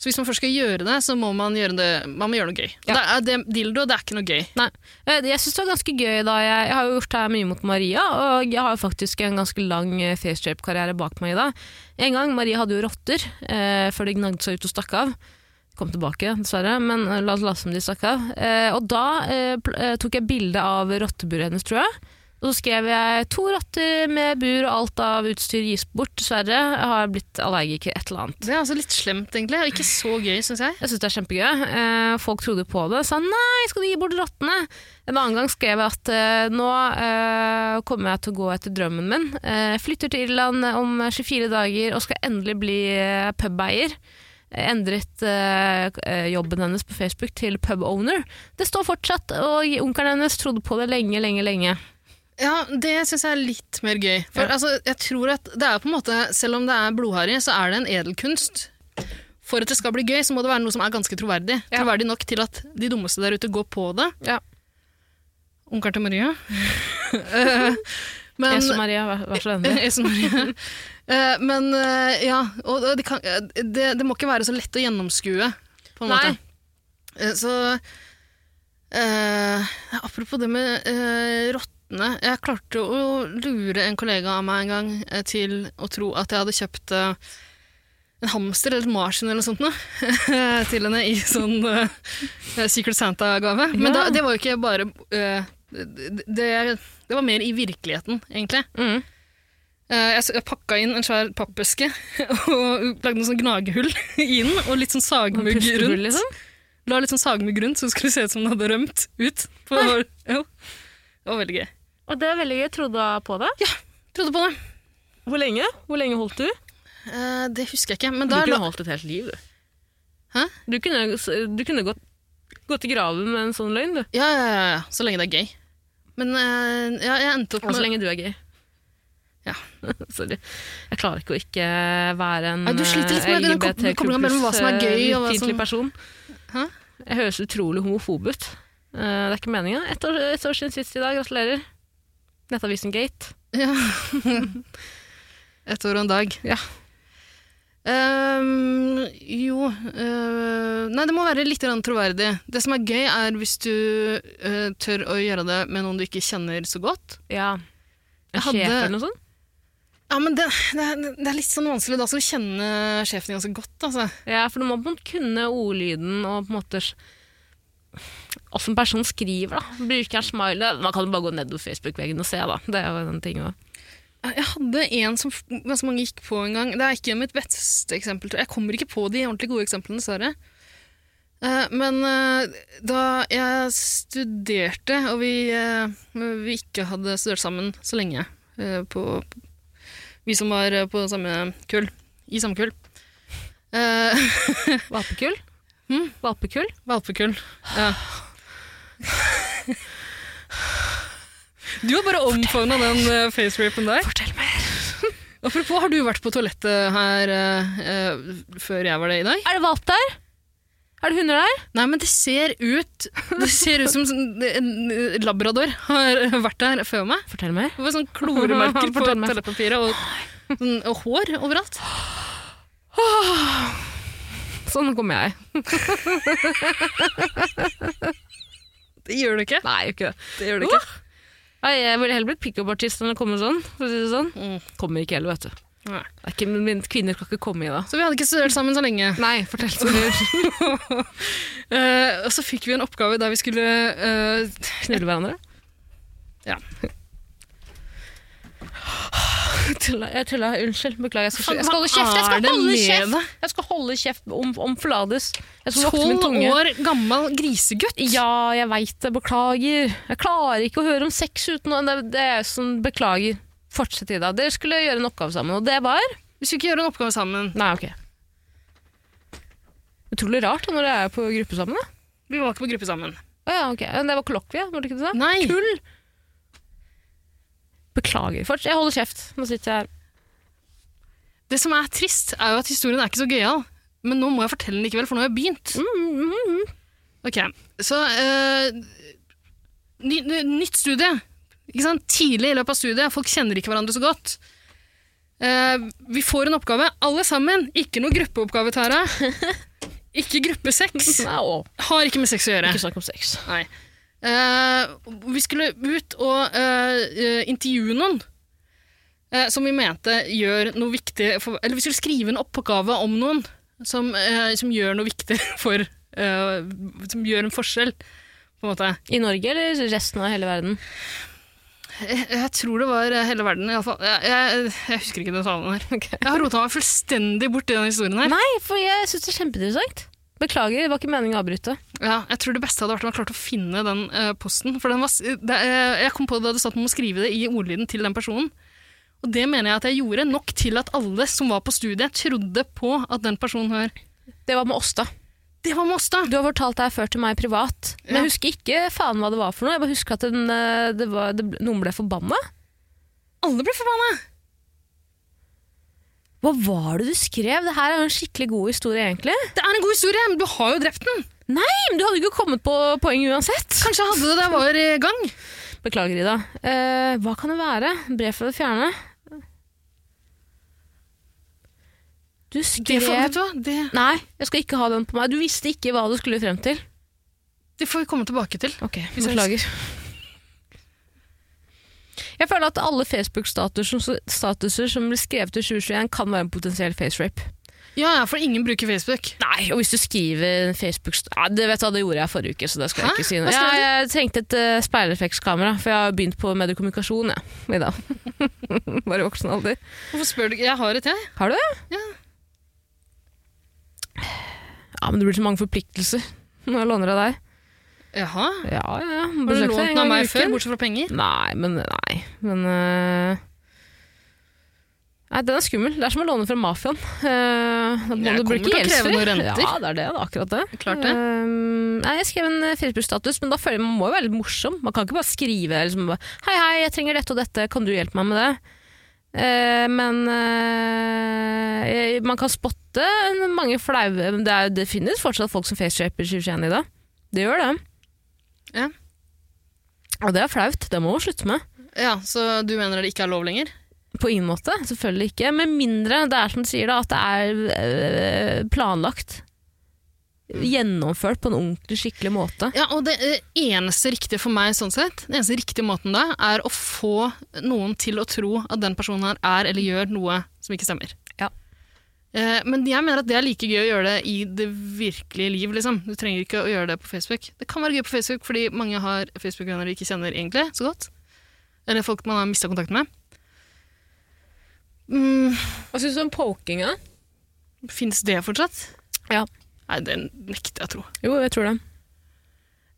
Så hvis man først skal gjøre det, så må man gjøre, det, man må gjøre noe gøy. Ja. Det er, det, dildo det er ikke noe gøy. Nei. Eh, Jeg syns det var ganske gøy da jeg, jeg har jo gjort det her mye mot Maria, og jeg har jo faktisk en ganske lang eh, facetape-karriere bak meg i dag. En gang, Maria hadde jo rotter eh, før de gnagde seg ut og stakk av. Kom tilbake, dessverre, men eh, la oss late som de stakk av. Eh, og da eh, pl- eh, tok jeg bilde av rotteburet hennes, tror jeg. Og så skrev jeg 'to rotter med bur og alt av utstyr gis bort', dessverre. Jeg har blitt allergiker, et eller annet. Det er altså litt slemt, egentlig, og ikke så gøy, syns jeg. Jeg synes det er kjempegøy. Eh, folk trodde på det. Sa nei, skal du gi bort rottene? En annen gang skrev jeg at eh, nå eh, kommer jeg til å gå etter drømmen min. Eh, flytter til Irland om 24 dager og skal endelig bli eh, pubeier. Eh, Endret eh, k- eh, jobben hennes på Facebook til pubowner. Det står fortsatt, og onkelen hennes trodde på det lenge, lenge, lenge. Ja, Det syns jeg er litt mer gøy. For altså, jeg tror at det er på en måte, Selv om det er blodharry, så er det en edelkunst. For at det skal bli gøy, så må det være noe som er ganske troverdig. Ja. Troverdig nok til at de dummeste der ute går på det. Ja. Onkelen til Maria. Eh, men, Jesu Maria, vær, vær så vennlig. Jeg som Maria. Eh, Men eh, ja, og det, kan, eh, det, det må ikke være så lett å gjennomskue, på en Nei. måte. Eh, Så eh, Apropos det med eh, rottene. Jeg klarte å lure en kollega av meg en gang eh, til å tro at jeg hadde kjøpt eh, en hamster eller et marsvin eller noe sånt noe, til henne i sånn eh, Secret Santa-gave. Men da, Ja. det var jo ikke bare eh, det, det, det var mer i virkeligheten, egentlig. Mm. Eh, Jeg s- jeg pakka inn en svær pappeske og lagde noen sånn gnagehull i den, og litt sånn sagmugg Pustehull, rundt. liksom. La litt sånn sagmugg rundt, så det skulle se ut som den hadde rømt ut. På, jo. Det var veldig gøy. Og det er veldig gøy. Trodde på det. Trodde på det. Hvor lenge? Hvor lenge holdt du? Eh, det husker jeg ikke, men Du da kunne la- holdt et helt liv, du. Hæ? Du kunne, du kunne gått, gått i graven med en sånn løgn, du. ja, ja, ja, ja, så lenge det er gøy. Men eh, ja, jeg endte opp Og så med lenge du er gay. Ja. Sorry. Jeg klarer ikke å ikke være en Nei, du sliter litt med den kom- den koblingen mellom hva som er gøy og hva som- fiendtlig person. Hæ? Jeg høres utrolig homofob ut. Eh, Det er ikke meninga. Ett år, ett år siden sist i dag. Gratulerer. Nettavisen Gate. Ja. Ett år og en dag. Ja. Ehm, jo eh, Nei, det må være litt grann troverdig. Det som er gøy, er hvis du eh, tør å gjøre det med noen du ikke kjenner så godt. Ja. En Jeg hadde- sjef eller noe sånt? Ja, men det, det, er, det er litt sånn vanskelig. Da skal du kjenne sjefen din ganske godt. Altså. Ja, for du må på en måte kunne ordlyden og på en måte s- Åssen personen skriver, da. Bruker han smile? Man kan jo bare gå nedover Facebook-veggen og se, da. Det er jo en ting også. Jeg hadde en som f- ganske mange gikk på en gang. Det er ikke mitt beste eksempel. tror jeg. Jeg kommer ikke på de ordentlig gode eksemplene, dessverre. Eh, Men eh, da jeg studerte, og vi, eh, vi ikke hadde studert sammen så lenge eh, på, Vi som var eh, på samme kull. I samme kull. Eh, Valpekull? Hm? Mm. Valpekull? Valpekull. Ja. Du har bare omfavna den eh, facerapen der. Fortell mer! Apropos, har du vært på toalettet her eh, eh, før jeg var det i dag? Er det valp der? Er det hunder der? Nei, men det ser ut Det ser ut som sånn- en labrador har vært der før meg. Fortell mer. Det var sånn kloremerker på Fortell meg. toalettpapiret og, sånn- og hår overalt. Sånn kommer jeg. Det gjør du ikke. Nei, gjør ikke det. Det gjør du ikke. Nei, jeg ville heller blitt pickup-artist enn å komme sånn. For å si det sånn. Mm. Kommer ikke heller, vet du. Nei. Det er ikke, min- kvinner skal ikke komme i det. Så vi hadde ikke studert sammen så lenge. Nei, fortell så mye. Eh, og så fikk vi en oppgave der vi skulle eh, Knulle hverandre. Ja. Tulla, jeg tulla. Unnskyld. Beklager. Jeg skal, Faen, jeg skal hva holde kjeft! Jeg er skal det holde med det? kjeft, jeg skal holde kjeft om, om Flades. Jeg skal vokte min Tolv tunge. år gammel grisegutt. Ja, jeg veit det. Beklager. Jeg klarer ikke å høre om sex uten noe. Det, det er sånn, beklager. Fortsett, Ida. Dere skulle gjøre en oppgave sammen, og det var Vi skulle ikke gjøre en oppgave sammen. Nei, ok. Utrolig rart da, når dere er på gruppe sammen. da. Vi var ikke på gruppe sammen. Å ja, ok. Men Det var kollokvie, var det ikke det du sa? Nei. Tull! Beklager. Forts- jeg holder kjeft. Nå sitter jeg her. Det som er trist, er jo at historien er ikke så gøyal. Men nå må jeg fortelle den likevel, for nå har jeg begynt. Mm. Mhm. Ok, så eh, ny, ny, Nytt studie. Ikke sant? Tidlig i løpet av studiet. Folk kjenner ikke hverandre så godt. Eh, vi får en oppgave, alle sammen. Ikke noe gruppeoppgave, Tara. Ikke gruppe sex. Nei, å, Har ikke med sex å gjøre. ikke snakk om sex. Nei. Eh, vi skulle ut og eh, eh, intervjue noen eh, som vi mente gjør noe viktig for, Eller vi skulle skrive en oppgave om noen som, eh, som gjør noe viktig for eh, Som gjør en forskjell, på en måte. I Norge eller resten av hele verden? Jeg, jeg tror det var eh, hele verden, iallfall. Jeg, jeg, jeg husker ikke den talen her. Jeg har rota meg fullstendig bort i den historien her. Nei, for jeg syns det er kjempeinteressant. Beklager, det var ikke meningen å avbryte. Ja, jeg tror det beste hadde vært om jeg klarte å finne den eh, posten. For den var, s- det, eh, jeg kom på det da du satt med å skrive det i ordlyden til den personen. Og det mener jeg at jeg gjorde nok til at alle som var på studiet, trodde på at den personen her Det var med oss, da. Det var med oss, da! Du har fortalt det her før til meg privat, men Ja. jeg husker ikke faen hva det var for noe. Jeg bare husker at den, eh, det var, det, ble- noen ble forbanna. Alle ble forbanna! Hva var det du skrev? Det her er jo en skikkelig god historie, egentlig. Det er en god historie, men du har jo drept den! Nei, men du hadde ikke kommet på poeng uansett. Kanskje jeg hadde det da jeg var i gang? Beklager, Ida. Eh, hva kan det være? Brev fra det fjerne? Du Det, skrev får, vet du hva? Det, Nei, jeg skal ikke ha den på meg. Du visste ikke hva du skulle frem til. det får vi komme tilbake til. Ok, Vi ses. beklager. Jeg føler at alle Facebook-statuser som- statuser som blir skrevet i 2021, kan være en potensiell facerape. Ja, ja, for ingen bruker Facebook. Nei, og hvis du skriver en facebook ja, Det vet du hva, det gjorde jeg forrige uke, så det skal jeg Hæ? ikke si. Hva noe. skrev du? Ja, jeg trengte et eh, speilreflekskamera, for jeg har begynt på mediekommunikasjon, jeg. I dag. Bare i voksen alder. Hvorfor spør du ikke? Jeg har et, jeg. Har du det? Ja. Ja, men det blir så mange forpliktelser når jeg låner av deg. Jaha. Ja, ja. Har du Besøk deg lånt en den gang i av meg uken. før, bortsett fra penger? Nei, men Nei, men øh, Nei, den er skummel. Det er som å låne fra mafiaen. Uh, da må Jeg du bruke kommer til å kreve gjeldsfri. noen renter. Ja, det er det. det er akkurat det. Klart det. Ehm, nei, jeg skrev en eh, Facebook-status, men da føler jeg man må jo være litt morsom. Man kan ikke bare skrive liksom, bare, Hei, hei, jeg trenger dette og dette, kan du hjelpe meg med det? Eh, men eh, jeg- man kan spotte mange flaue men Det, er, jo- det finnes fortsatt folk som faceshaper 2021 i dag. Det gjør det. Ja. Og det er flaut. Det må man slutte med. Ja, Så du mener det ikke er lov lenger? På ingen måte, selvfølgelig ikke. Med mindre det er som du sier da, at det er øh, planlagt. Gjennomført på en ordentlig, skikkelig måte. Ja, og det eh, eneste riktige for meg sånn sett, den eneste riktige måten da, er å få noen til å tro at den personen her er eller gjør noe som ikke stemmer. Ja. Eh, Men jeg mener at det er like gøy å gjøre det i det virkelige liv, liksom. Du trenger ikke å gjøre det på Facebook. Det kan være gøy på Facebook, fordi mange har Facebook-venner de ikke kjenner egentlig så godt. Eller folk man har mista kontakt med. Mm, Hva syns du om pokinga? Fins det fortsatt? Ja. Nei, det nekter jeg å tro. Jo, jeg tror det.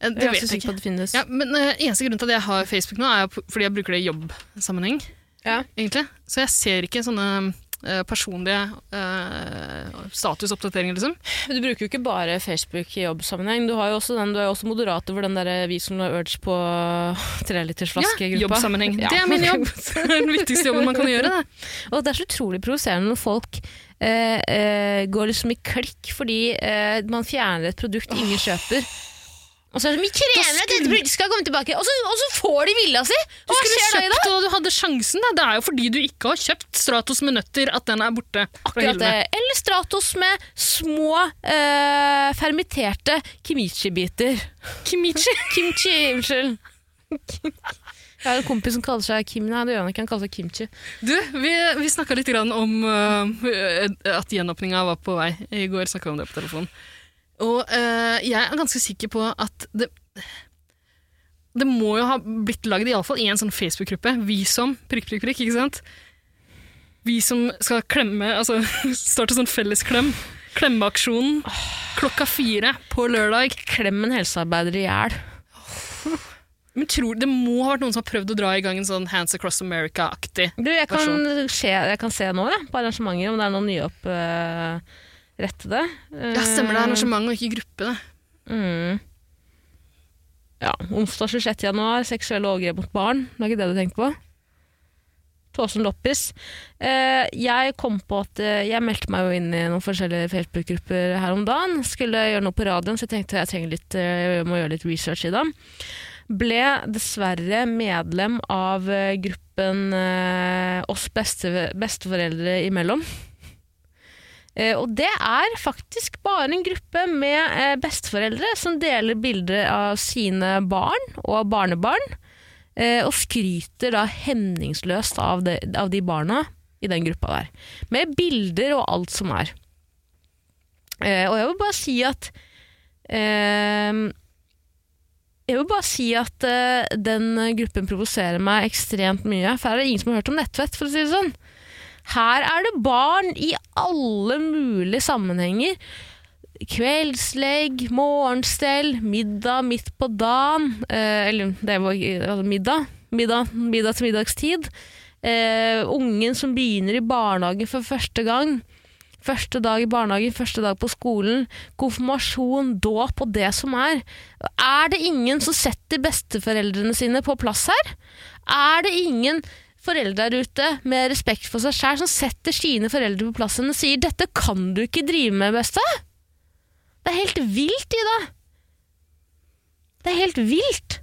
Eh, Jeg Det er også vet jeg ikke. sikker på at det finnes. Ja, men eh, Eneste grunn til at jeg har Facebook nå, er jo p- fordi jeg bruker det i jobbsammenheng. Ja. egentlig. Så jeg ser ikke sånne eh, personlige eh, statusoppdateringer, liksom. Du bruker jo ikke bare Facebook i jobbsammenheng. Du, har jo også den, du er jo også moderator for den der eh, vi som la urge på trelitersflaske-gruppa. jobbsammenheng. Ja. Det er min jobb! Det er den viktigste jobben man kan gjøre. Det. Og det er så utrolig provoserende når folk eh, eh, går liksom i klikk fordi eh, man fjerner et produkt ingen kjøper. Og så er det sånn, vi krever at dette produktet skal komme tilbake, og så, og så får de vilja si! Du Hva skulle skjer da i dag? kjøpt og du hadde sjansen. Da. Det er jo fordi du ikke har kjøpt Stratos med nøtter at den er borte. fra Akkurat det. hyllene. Eller Stratos med små eh, fermenterte kimchi-biter. Kimichi. Kimchi, unnskyld. Jeg har en kompis som kaller seg Kim. Nei, det gjør han ikke. Han kaller seg Kimchi. Du, vi, vi snakka litt grann om eh, at gjenåpninga var på vei. I går snakka vi om det på telefonen. Og eh, jeg er ganske sikker på at det Det må jo ha blitt lagd iallfall i en sånn Facebook-gruppe. Vi som prikk, prikk, prikk, ikke sant? Vi som skal klemme, altså starte sånn fellesklem. Klemmeaksjonen klokka fire på lørdag. Klem en helsearbeider i hjel. Men tror, Det må ha vært noen som har prøvd å dra i gang en sånn Hands Across America-aktig. Du, jeg kan, se, jeg kan se nå, jeg, på arrangementer, om det er noen eh, nyopprettede. Uh, Ja, stemmer det. Arrangement og ikke gruppe, det. Mm. Ja, onsdag 26. januar, seksuelle overgrep mot barn. Det er ikke det du tenkte på? Tåsen Loppis. Eh, jeg kom på at eh, jeg meldte meg jo inn i noen forskjellige Facebook-grupper her om dagen. Skulle gjøre noe på radioen, så jeg tenkte jeg, trenger litt, eh, jeg må gjøre litt research i dem. Ble dessverre medlem av eh, gruppen eh, oss beste, besteforeldre imellom. Eh, Og det er faktisk bare en gruppe med eh, besteforeldre som deler bilder av sine barn og barnebarn, eh, og skryter da hemningsløst av, det, av de barna i den gruppa der. Med bilder og alt som er. Eh, Og jeg vil bare si at eh, jeg vil bare si at eh, den gruppen provoserer meg ekstremt mye. For her er det ingen som har hørt om nettvett, for å si det sånn. Her er det barn i alle mulige sammenhenger. Kveldslegg, morgenstell, middag midt på dagen eh, Eller det var altså middag. middag. Middag til middagstid. Eh, ungen som begynner i barnehagen for første gang. Første dag i barnehagen, første dag på skolen. Konfirmasjon, dåp og det som er. Er det ingen som setter besteforeldrene sine på plass her? Er det ingen foreldre der ute med respekt for seg sjæl som setter sine foreldre på plass og sier 'dette kan du ikke drive med, beste'? Det er helt vilt, Ida. Det er helt vilt.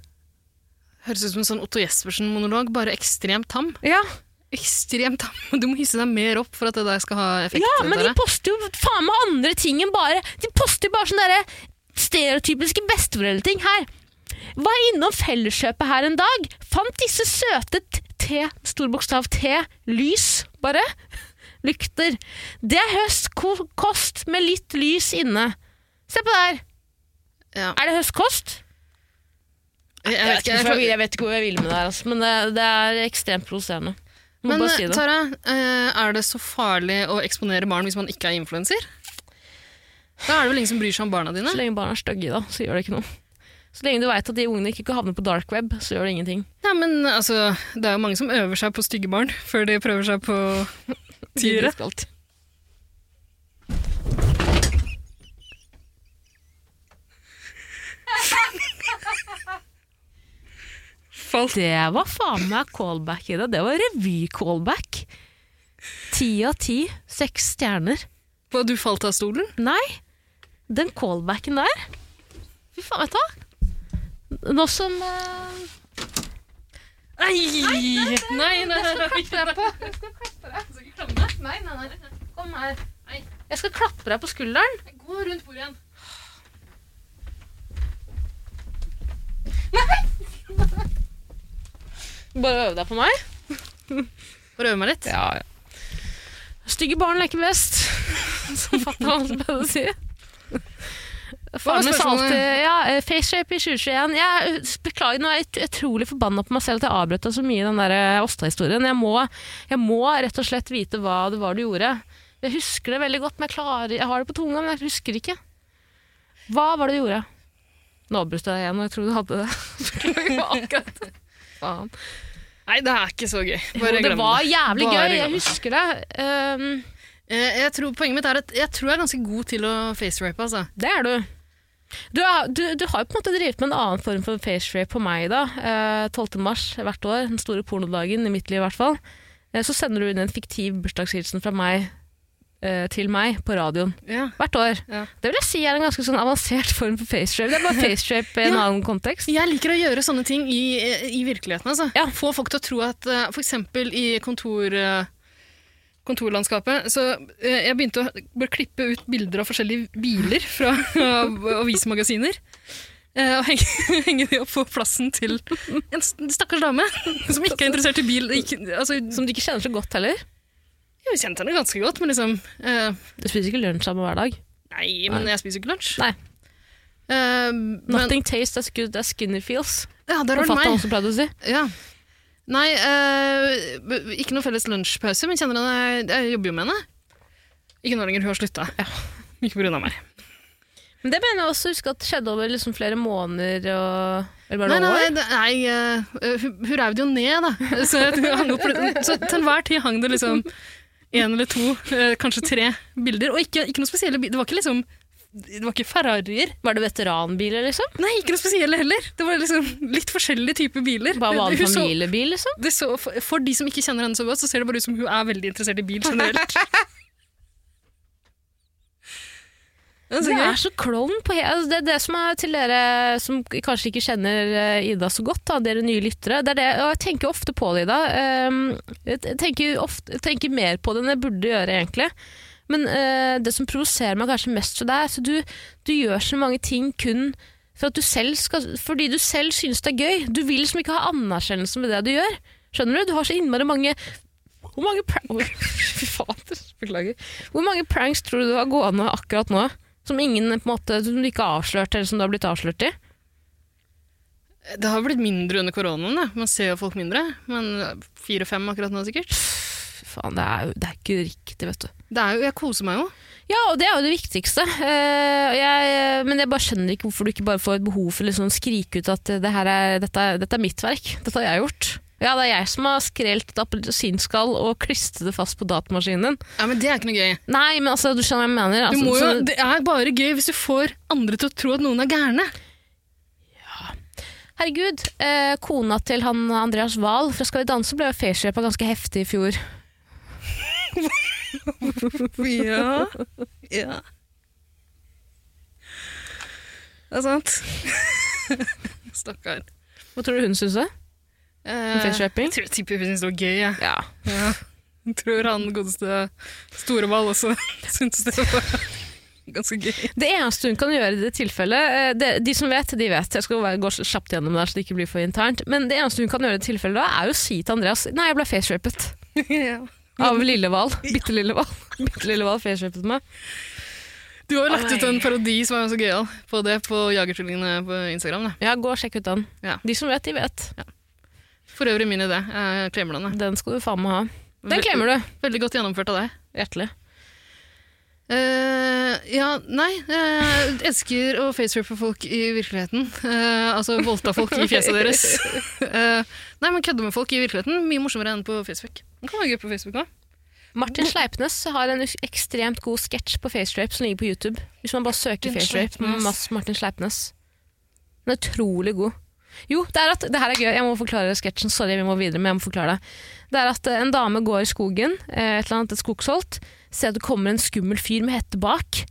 Høres ut som en sånn Otto Jespersen-monolog, bare ekstremt tam. Ja, Ekstremt tam. Du må hisse deg mer opp for at det der skal ha effekt. ja men de Tara. poster jo faen meg andre ting enn bare De poster jo bare sånne derre stereotypiske besteforeldreting her. Var innom Felleskjøpet her en dag. Fant disse søte t- T, stor bokstav T, lys, bare. Lykter. Det er høstkost med litt lys inne. Se på der. Ja. Er det høstkost? Jeg, jeg Jeg vet, ikke, vet ikke, hvorfor jeg, jeg, jeg vet ikke hvor jeg vil med det her, altså, men det, det er ekstremt provoserende. Må men bare si det. Tara, eh, er det så farlig å eksponere barn hvis man ikke er influenser? Da er det vel ingen som bryr seg om barna dine? Så lenge barna er stygge, da, så gjør det ikke noe. Så lenge du veit at de ungene ikke havner på dark web, så gjør det ingenting. Ja, men altså, Det er jo mange som øver seg på stygge barn før de prøver seg på tiere. Skal alltid- Det var faen meg callback i det. Det var revy-callback. Ti av ti. Seks stjerner. Hva, Du falt av stolen? Nei, den callbacken der Fy faen, vet du hva? Nå som eh, Nei, nei, nei, nei. Nei, nei, nei. Kom her. Jeg skal klappe deg på skulderen. Gå rundt bordet igjen. Bare øve deg på meg. Bare øve meg litt. Ja, ja. Stygge barn leker best, som fatter'n pleide å si. Faren min sa spørsmålet? alltid ja, eh, face shape i 2021. Jeg eh, beklager, nå er jeg ut- utrolig forbanna på meg selv at jeg avbrøt deg så mye i den der eh, Åsta-historien. Jeg, må- jeg må rett og slett vite hva det var du gjorde. Jeg husker det veldig godt, men jeg, klarer, jeg har det på tunga, men jeg husker ikke. Hva var det du gjorde? Nå avbrøt jeg deg igjen, og jeg tror du hadde det. Beklager, det. var akkurat det. Faen. Nei, det er ikke så gøy. Jo, Bare det glem var jævlig Bare gøy, jeg glem det. husker det. Um, Eh, Jeg tror, poenget mitt er at jeg tror jeg er ganske god til å facerape. Altså. det er du. Du, er, du. du har jo på en måte drevet med en annen form for facerape på meg da. Eh, 12. mars hvert år, den store pornodagen i mitt liv i hvert fall. Eh, så sender du inn en fiktiv bursdagshilsen fra meg eh, til meg på radioen. Ja. Hvert år. Ja. Det vil jeg si er en ganske sånn avansert form for facerape. Det er bare facerape i en Ja. annen kontekst. Jeg liker å gjøre sånne ting i, i virkeligheten. Altså. Ja. Få folk til å tro at eh, for eksempel i kontor, eh, kontorlandskapet Så eh, jeg begynte å bare klippe ut bilder av forskjellige biler fra av avismagasiner. eh, Og henge, henge de opp på plassen til en s- stakkars dame som ikke er interessert i bil. Ikke, altså, Som du ikke kjenner så godt heller. jeg har kjent henne ganske godt, men liksom eh, Du spiser ikke lunsj sammen hver dag. Nei, men jeg spiser jo ikke lunsj. Nei. Eh, men, Nothing tastes as good as skinner feels. ja, der var det Forfatteren meg. også pleide å si. Ja. Nei, eh, b- ikke noe felles lunsjpause, men kjenner henne, jeg jobber jo med henne. Ikke nå lenger, hun har slutta. Ikke på grunn av meg. Men det mener jeg også husker at det skjedde over liksom flere måneder og Eller bare Nei, noen nei, år. det- nei eh, hun, hun rev det jo ned, da. Så, jeg tror hun hang opp, så til enhver tid hang det liksom én eller to, eh, kanskje tre bilder. Og ikke, ikke noe spesielle bilder. Det var ikke liksom det var ikke Ferrarier. Var det veteranbiler, liksom? Nei, ikke noe spesielle heller. Det var liksom litt forskjellige typer biler. Bare vanlig Hun så- familiebil, liksom? det så, for, for de som ikke kjenner henne så godt, så ser det bare ut som hun er veldig interessert i bil generelt. Det Du er så er gøy. så klovn på he altså, Det er det som er til dere som kanskje ikke kjenner eh, Ida så godt, da, dere nye lyttere. Det er det, og jeg tenker ofte på det, Ida. Ehm, Jeg tenker, ofte, jeg tenker mer på det enn jeg burde gjøre, egentlig. Men eh, det som provoserer meg kanskje mest ved deg, er at du, du gjør så mange ting kun for at du selv skal, fordi du selv synes det er gøy. Du vil liksom ikke ha anerkjennelsen ved det du gjør. Skjønner du? Du har så innmari mange Hvor mange pra- Oi, Fy fader, beklager. Hvor mange pranks tror du du har gående akkurat nå? Som ingen på en måte, som du ikke har avslørt, eller som du har blitt avslørt i? Det har blitt mindre under koronaen. Da. Man ser jo folk mindre. Men fire-fem akkurat nå, sikkert. Fy faen, det er jo det er ikke riktig, vet du. Det er jo, jeg koser meg jo. Ja, og det er jo det viktigste. Eh, og jeg, men jeg bare skjønner ikke hvorfor du ikke bare får et behov for å liksom å skrike ut at det her er, dette, er- dette er mitt verk. Dette har jeg gjort. Ja, det er jeg som har skrelt et appelsinskall og klistret det fast på datamaskinen din. Ja, men Det er ikke noe gøy. Nei, men altså, du skjønner hva jeg mener. Du Altså, må jo, så- det er bare gøy hvis du får andre til å tro at noen er gærne. herregud, eh, kona til han Andreas Wahl fra Skal vi danse ble jo facerapa ganske heftig i fjor. Ja. ja. Det er sant. Stakkar. Hva tror du hun syns det? Eh, Faceraping? Jeg tror- tipper hun syns det var gøy. Jeg. Ja. Ja, jeg tror han godeste Storevall også syntes det var ganske gøy. Det eneste hun kan gjøre i det tilfellet eh, det, De som vet, de vet. Jeg skal bare gå kjapt gjennom det her, så det ikke blir for internt. Men det eneste hun kan gjøre i det tilfellet da, er jo å si til Andreas Nei, jeg ble facerapet av Lillehval. Bitte Lillehval. Bitte Lillehval facerapet meg. Du har jo lagt ut en parodi som er så gøyal på det på Jagertvillingene på Instagram. Da. Ja, gå og sjekk ut den. Ja. De som vet, de vet. For øvrig min idé. Jeg klemmer den. jeg. Den skal du faen meg ha. Den klemmer du. Veldig godt gjennomført av deg. Hjertelig. Eh, ja, nei Jeg elsker å facerape folk i virkeligheten. Eh, altså voldta folk i fjeset deres. Eh, nei, men kødde med folk i virkeligheten. Mye morsommere enn på Facebook. Det kan være gøy på Facebook òg. Martin Sleipnes har en ekstremt god sketsj på facerape som ligger på YouTube. Hvis man bare søker Martin facerape Sleipnes. masse Martin Sleipnes. Den er utrolig god. Jo, det er at, det her er gøy, jeg må forklare sketsjen. Sorry, vi må videre, men jeg må forklare det. Det er at eh, en dame går i skogen, eh, et eller annet, et skogsholt, ser at det kommer en skummel fyr med hette bak,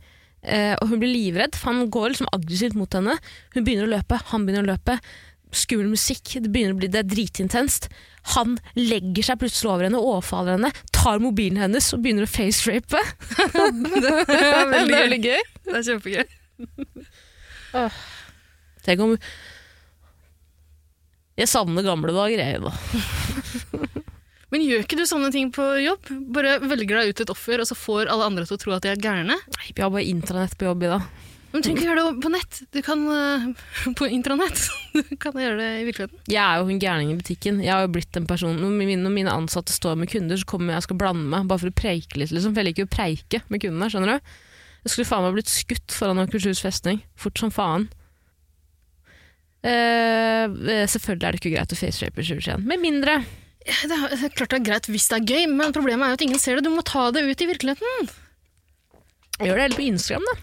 eh, og hun blir livredd, for han går liksom aggressivt mot henne. Hun begynner å løpe, han begynner å løpe. skummel musikk, det begynner å bli det er dritintenst. Han legger seg plutselig over henne, overfaller henne, tar mobilen hennes og begynner å facerape. Det er veldig gøy. gøy. Det er kjempegøy. Tenk om Jeg savner gamle dager, jeg, da. Men gjør ikke du sånne ting på jobb? Bare velger deg ut et offer, og så får alle andre til å tro at de er gærne? Nei, Vi har bare intranett på jobb i dag. Men du trenger ikke gjøre det på nett. Du kan eh, På intranett. Du kan gjøre det i virkeligheten. Jeg er jo hun gærningen i butikken. Jeg har jo blitt den personen Når mine, når mine ansatte står med kunder, så kommer jeg og skal blande meg, bare for å preike litt, liksom. For jeg liker jo å preike med kundene, skjønner du. Jeg skulle faen meg blitt skutt foran Akershus festning. Fort som faen. Eh, eh, selvfølgelig er det ikke greit å facerape i 2021. Med mindre Ja, Det er det er klart det er greit hvis det er gøy, men problemet er jo at ingen ser det. Du må ta det ut i virkeligheten. Gjør det heller på Instagram, da.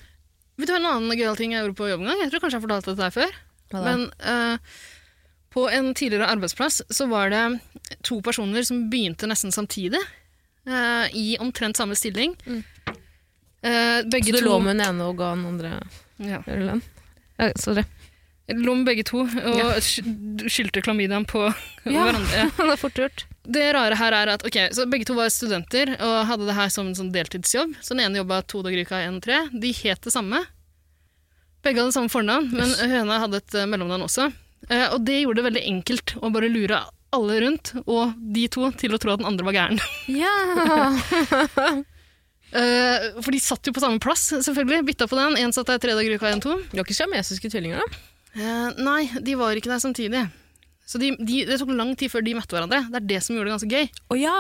Vet du hva en annen gøyal ting jeg gjorde på jobb en gang? Jeg tror kanskje jeg har fortalt dette her før. Hva da? Men eh, på en tidligere arbeidsplass så var det to personer som begynte nesten samtidig. eh, I omtrent samme stilling. Eh, begge Så du to, lå med den ene og ga den andre Ja. ølen? Ja, sorry. lå med begge to og Ja. sky- skyldte klamydiaen på Ja. hverandre. det er fort gjort. Det rare her er at ok, så begge to var studenter og hadde det her som en sånn deltidsjobb. Så den ene jobba to dager i uka, én tre. De het det samme. Begge hadde samme fornavn, men høna hadde et eh, mellomnavn også. Eh, og det gjorde det veldig enkelt å bare lure alle rundt, og de to, til å tro at den andre var gæren. Ja. Eh, for de satt jo på samme plass, selvfølgelig. Bytta på den. Én satt der tre dager i uka, én to. Du har ikke siamesiske tvillinger, da? Eh, nei, de var ikke der samtidig. Så de, de, det tok lang tid før de møtte hverandre. Det er det som gjorde det ganske gøy. Å ja!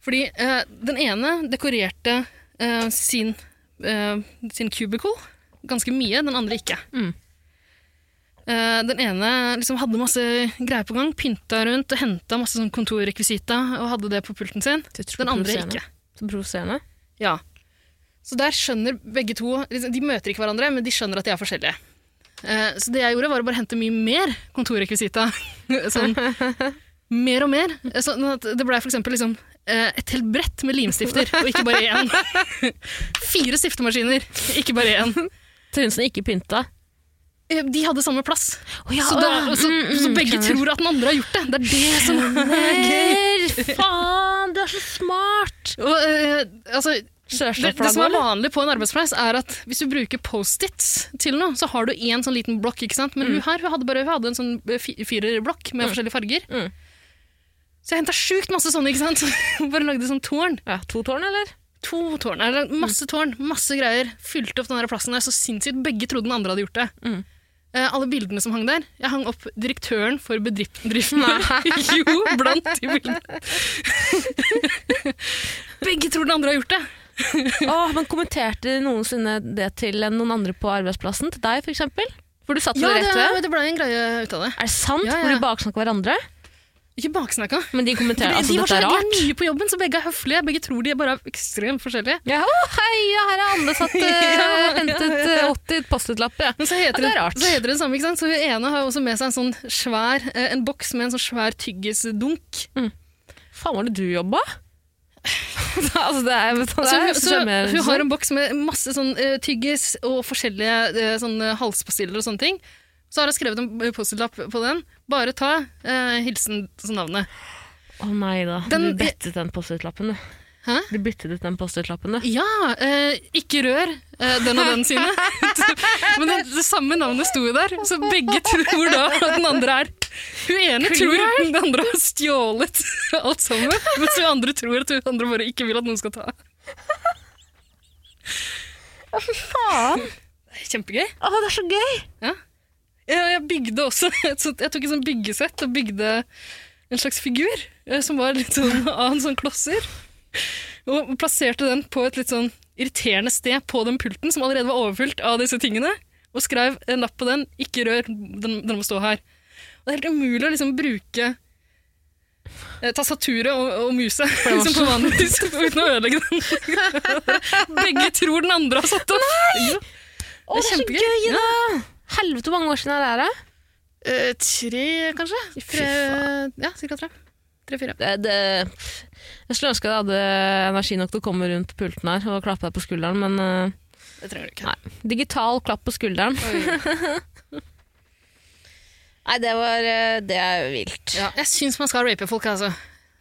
Fordi eh, den ene dekorerte eh, sin, eh, sin cubicle ganske mye, den andre ikke. Mm. Eh, den ene liksom hadde masse greier på gang, pynta rundt og henta masse sånn kontorrekvisita og hadde det på pulten sin. Den andre ikke. Så provoserende. Ja. Så der skjønner begge to liksom, De møter ikke hverandre, men de skjønner at de er forskjellige. Eh, så det jeg gjorde, var å bare hente mye mer kontorrekvisita. sånn, mer og mer. Eh, Sånn at det ble for eksempel liksom, eh, et helt brett med limstifter, og ikke bare én. Fire stiftemaskiner, ikke bare én. Til hun som ikke pynta. Eh, De hadde samme plass. Oh, ja, mm. Så, da, så, så begge tror at den andre har gjort det. Det er det som er gøy. Faen, du er så smart! Og, eh, altså, Det, det som er Sørstatsflagget. vanlig på en arbeidsplass, er at hvis du bruker Post-Its til noe, så har du én sånn liten blokk, ikke sant? Men hun her hun hadde bare hun hadde en sånn eh, fi- firerblokk med forskjellige farger. Mm. Mm. Så jeg henta sjukt masse sånne, ikke sant? bare lagde sånn tårn. Ja, to tårn, eller? To tårn. Jeg Mm. lagde masse tårn, masse greier. Fylte opp den der plassen der så sinnssykt. Begge trodde den andre hadde gjort det. Mm. Eh, alle bildene som hang der. Jeg hang opp direktøren for bedrif- bedriften. Nei. jo, blant de bildene. Begge tror den andre har gjort det. Åh, men kommenterte de noensinne det til noen andre på arbeidsplassen? Til deg, for eksempel? For du satt med Ja, det rett ved. det, det ble en greie ut av det. Er det sant? Ja, ja. Hvor de baksnakker hverandre? Ikke baksnakka. Men de kommenterer altså, de, var dette er så- rart. de er nye på jobben, så begge er høflige. Begge tror de er bare ekstremt forskjellige. Ja, å, hei, ja, her har Anne satt, eh, hentet eh, 80 Post-It-lapp. Ja. Men så heter Ja, det det, er rart. så heter det det samme, ikke sant? Så hun ene har også med seg en sånn svær, eh, en boks med en sånn svær tyggisdunk. Faen, var det du jobba? altså, det er, det er, Så, så hun- så skjønner jeg- hun har en boks med masse sånn eh, tyggis og forskjellige eh, sånne halspastiller og sånne ting. Så har hun skrevet en post-it-lapp på den. Bare ta eh, hilsen til navnet. Å nei da, Den- du byttet den post-it-lappen, du. Hæ? Du byttet ut den post-it-lappen, du. Ja, eh, ikke rør eh, den og den sine. Men det, det samme navnet sto jo der, så begge tror da at den andre er Hun ene tror at den andre har stjålet alt sammen, mens hun andre tror at hun andre bare ikke vil at noen skal ta. Faen! Det er Kjempegøy. Å, det er så gøy! Jeg, jeg bygde også et sånt, Jeg tok et sånt byggesett og bygde en slags figur eh, som var litt sånn av en sånn klosser. Og plasserte den på et litt sånn irriterende sted på den pulten som allerede var overfylt av disse tingene. Og skrev en lapp på den 'Ikke rør, den, den må stå her'. Og det er helt umulig å liksom bruke eh, tastaturet og, og muset det var liksom på vanlig vis uten å ødelegge den. Begge tror den andre har satt opp. Nei! Å, det er, kjempegøy. så gøy, da! Helvete, hvor mange år siden er det her? da? Eh, tre, kanskje? Fy Tre, ja, cirka tre. Tre-fire. Det, det, jeg skulle ønske jeg hadde energi nok til å komme rundt pulten her og klappe deg på skulderen, men eh, Det trenger du ikke. Nei. Digital klapp på skulderen. Oi. Nei, det var eh, Det er vilt. Ja, jeg syns man skal rape folk, altså.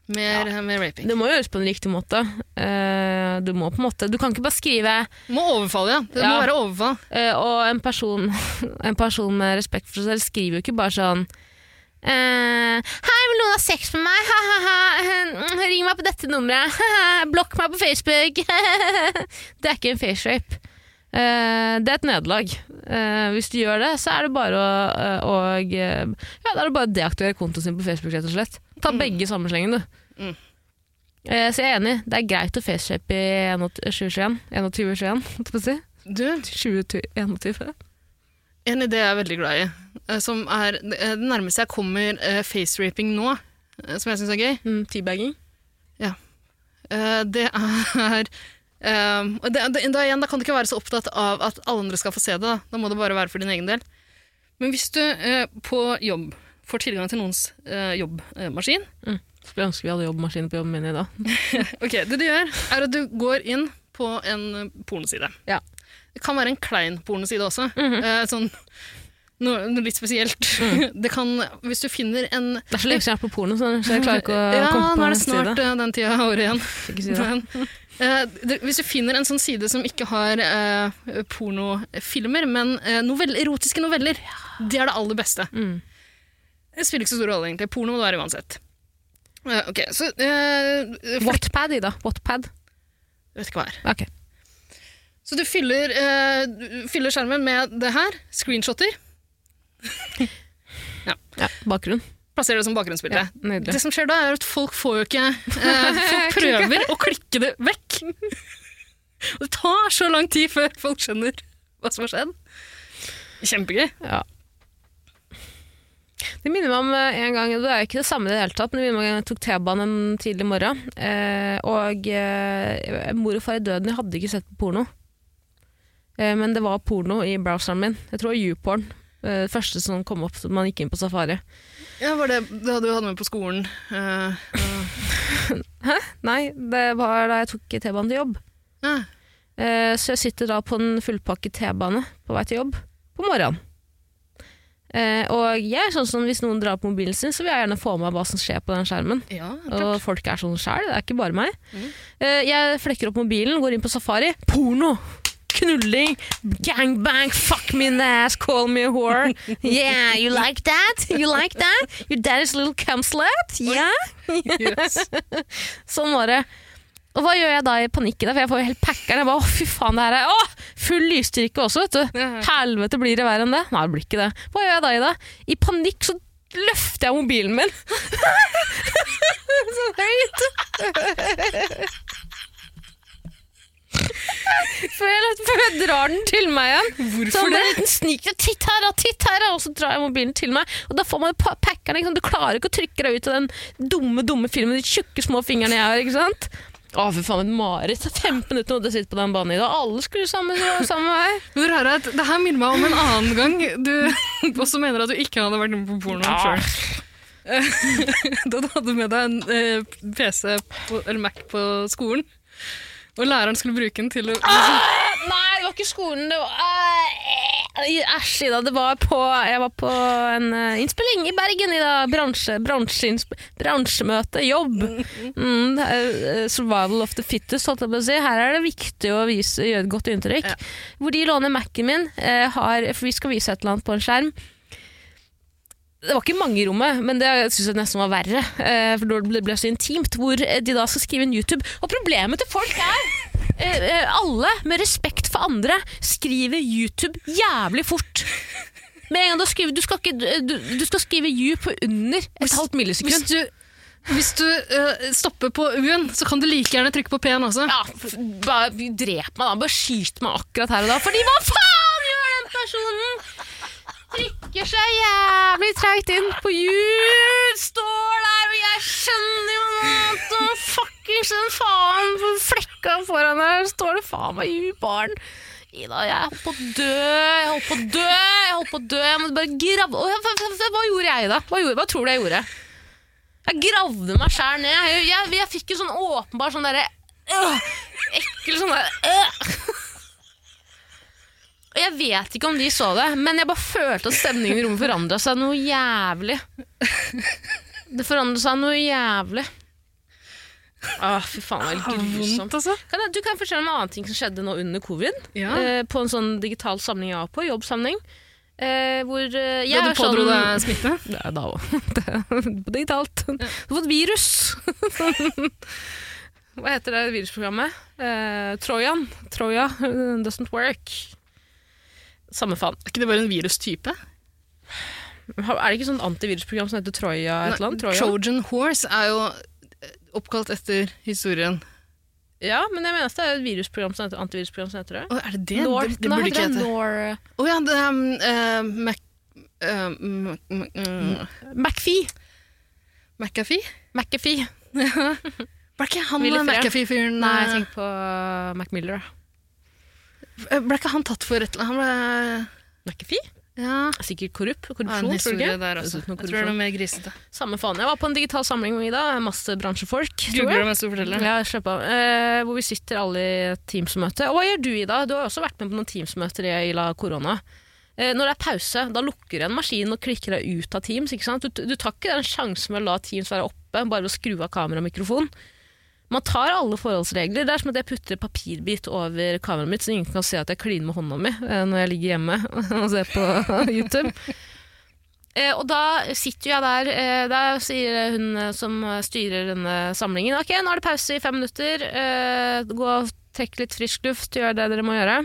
Mer, mer raping. Det må gjøres på en riktig måte. Eh, Du må på en måte Du kan ikke bare skrive Må overfalle, ja. Det Ja. må være overfall. eh, Og en person, en person med respekt for seg selv skriver jo ikke bare sånn eh, Hei, vil noen ha sex med meg? Ha-ha-ha. Ring meg på dette nummeret. Ha-ha. Blokk meg på Facebook. det er ikke en face rape. Eh, det er et nederlag. Eh, hvis du gjør det, så er det bare å, å og, eh, ja, da er det bare å deaktivere kontoen sin på Facebook. rett og slett. Ta begge i samme slengen, du. Mm. Eh, så jeg er enig. Det er greit å faceshape i 21, 21, holdt jeg på å si. Du, 2021. en idé jeg er veldig glad i, eh, som er eh, det nærmeste jeg kommer eh, face-raping nå, eh, som jeg syns er gøy, Mm, teabagging. Eh, det er eh, og det, det, da, igjen, da kan du ikke være så opptatt av at alle andre skal få se det. Da, da må det bare være for din egen del. Men hvis du eh, på jobb får tilgang til noens eh, jobbmaskin Skulle ønske vi hadde jobbmaskiner på jobben min i dag. Ok, Det du gjør, er at du går inn på en eh, pornoside. Ja. Mhm. Det kan være en klein pornoside også. eh, sånn, noe, noe litt spesielt. Mm. Det kan, hvis du finner en Det er så lenge siden jeg har vært på porno, så jeg klarer ikke å Ja, komme på nå er det neste snart Eh, side. eh, den tida av året igjen. Ikke si det. Men, eh, det, hvis du finner en sånn side som ikke har eh, pornofilmer, men eh, novell, erotiske noveller, det er det aller beste. Mm. Det spiller ikke så stor rolle, egentlig. Porno må det være uansett. Eh, ok, så eh, flik- Wattpad, Ida. Wattpad. Jeg vet ikke hva det er. Ok. Så du fyller, eh, du fyller skjermen med det her, screenshotter, Ja, bakgrunn. plasserer det som bakgrunnsbilde. Ja, nydelig. Det som skjer da, er at folk får jo ikke eh, Folk prøver å klikke det vekk. Og det tar så lang tid før folk skjønner hva som har skjedd. Kjempegøy. Ja. Det minner meg om eh, en gang, det er jo ikke det samme i det hele tatt, men det minner meg om en gang jeg tok T-banen en tidlig morgen, eh, og eh, mor og far i døden, jeg hadde ikke sett på porno. Eh, men det var porno i browseren min. Jeg tror det var YouPorn. eh, Det første som kom opp da man gikk inn på safari. Ja, var det det du hadde med på skolen? eh, Nei, det var da jeg tok T-banen til jobb. ja. Eh, Så jeg sitter da på en fullpakket T-bane på vei til jobb på morgenen. Eh, Og jeg er sånn som hvis noen drar på mobilen sin, så vil jeg gjerne få med meg hva som skjer på den skjermen. ja, Og klart. Mm. folk er sånn sjæl, det er ikke bare meg. Eh, Jeg flekker opp mobilen, går inn på safari. Porno! Knulling, gangbang, fuck me in the ass, call me a whore. Yeah, you like that? You like that? Your daddy's little cum slut? Yeah? Yes. Sånn var det. Og hva gjør jeg da i panikk i det? For jeg får jo helt packeren. Jeg bare, å fy faen, det her er å, full lysstyrke også, vet du. Ja, ja. Helvete, blir det verre enn det? Nei, det blir ikke det. Hva gjør jeg da i det? I panikk så løfter jeg mobilen min. så høyt. før, jeg, før jeg drar den til meg igjen. Så han Hvorfor ble det? Sånn, en liten snik. ja, Titt her, da, titt her, da. Og så drar jeg mobilen til meg. Og da får man jo pa- packeren. Ikke sant? Du klarer ikke å trykke deg ut av den dumme, dumme filmen. De tjukke, små fingrene jeg har. ikke sant? Å, for faen, et mareritt. Det er 15 minutter nå, du sitter på den banen i dag. Alle skrur sammen, sammen med meg. Men det rare er at det her minner meg om en annen gang du også mener at du ikke hadde vært inne på porno Ja. selv. da du hadde med deg en eh, PC på, eller Mac på skolen, og læreren skulle bruke den til å Ah, Nei, det var ikke skolen. Det var Æ, Æsj, Ida. Det var på, jeg var på en eh, innspilling i Bergen, Ida. Bransje, bransjeinnsp- bransjemøte, jobb. Mm, det er, eh, survival of the fittest, holdt jeg på å si. Her er det viktig å vise, gjøre et godt inntrykk. Hvor de låner Mac-en min, eh, har, for vi skal vise et eller annet på en skjerm. Det var ikke mange i rommet, men det syns jeg nesten var verre. eh, For da ble det ble så intimt. Hvor eh, de da skal skrive en YouTube. Og problemet til folk er eh, eh, Alle, med respekt for andre, skriver YouTube jævlig fort. Med en gang du har skrevet Du skal, ikke, du, du skal skrive U på under et halvt Hvis millisekund. du, hvis du eh, stopper på U-en, så kan du like gjerne trykke på P-en også. Ja, f- bare drep meg da, bare skyt meg akkurat her og da. Fordi hva faen gjør den personen? Trykker seg jævlig treigt inn på hjul, står der, og jeg skjønner jo nå at den fuckings den faen på flekka foran der, står det faen meg i baren. Ida, jeg holdt på å dø, jeg holdt på å dø, jeg holdt på å dø, jeg måtte bare grabbe. Og jeg- hva- hva- Hva gjorde jeg da? Hva, gjorde, hva tror du jeg gjorde? Jeg gravde meg sjæl ned. Jeg, jeg, jeg fikk en sånn åpenbar sånn derre øh, Ekkel sånn der øh. jeg vet ikke om de så det, men jeg bare følte at stemningen i rommet forandra seg noe jævlig. Det forandra seg noe jævlig. Å, fy faen, det var helt grusomt. altså. Kan jeg, du kan fortelle om en annen ting som skjedde nå under covid. Ja. Eh, på en sånn digital samling jeg var på, jobbsamling. Eh, hvor eh, jeg Da er du pådro sånn- deg smitte? det er da òg. Digitalt. Du har fått virus! Hva heter det virusprogrammet? Eh, Trojan. Troja eh, doesn't work. Samme faen. Er ikke det bare en virustype? Er det ikke sånt antivirusprogram som heter Troja et eller annet? Nei, Trojan? Trojan Horse er jo eh, oppkalt etter historien. Ja, men jeg mener at det er et virusprogram som heter antivirusprogram som heter det. Å, er det det? Nor- det, det Nei, burde ikke heter det hete. Nor- Å ja, det er um, eh, Mac... eh, Mac- Mac- eh, McPhee. McAfee? McAfee. Ble ikke han Willy Frey. McAfee-fyren Nei, jeg eh, tenker på McMiller. da. eh, Ble ikke han tatt for et eller annet? McAfee? Han ble Ja. Sikkert korrupt. Det er Korrupsjon, en tror du historie ikke? der også. Det er Jeg noe tror det er noe mer grisete. Samme faen. Jeg var på en digital samling med Ida. Masse bransjefolk. tror jeg. Googler det mens du forteller. Ja, slapp av. Eh, hvor vi sitter alle i et Teams-møte. Og hva gjør du, Ida? Du har jo også vært med på noen Teams-møter i i la korona. Eh, når det er pause, da lukker en maskin og klikker deg ut av Teams. ikke sant? Du, du tar ikke den sjansen med å la Teams være oppe bare ved å skru av kamera og mikrofon. Man tar alle forholdsregler. Det er som at jeg putter en papirbit over kameraet mitt, så ingen kan se at jeg kliner med hånda mi eh, når jeg ligger hjemme og ser på YouTube. Eh, og da sitter jeg der, eh, da sier hun eh, som styrer denne samlingen Ok, nå er det pause i fem minutter. Eh, gå og trekk litt frisk luft, gjør det dere må gjøre.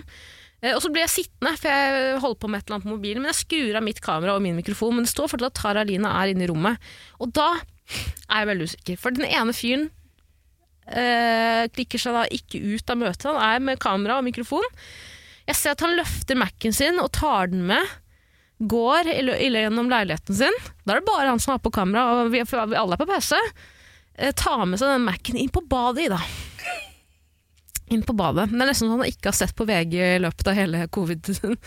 Eh, og så blir jeg sittende, for jeg holder på med et eller annet på mobilen. Men jeg skrur av mitt kamera og min mikrofon, men det står fortsatt at Tara Lina er inne i rommet. Og da er jeg veldig usikker. For den ene fyren eh, klikker seg da ikke ut av møtet. Han er med kamera og mikrofon. Jeg ser at han løfter Mac-en sin og tar den med går i lø- i lø- gjennom leiligheten sin, da er det bare han som har på kamera, og vi, for vi alle er på pause, eh, tar med seg den Mac-en inn på badet, Ida. Inn på badet. Det er nesten sånn han ikke har sett på VG i løpet av hele covid-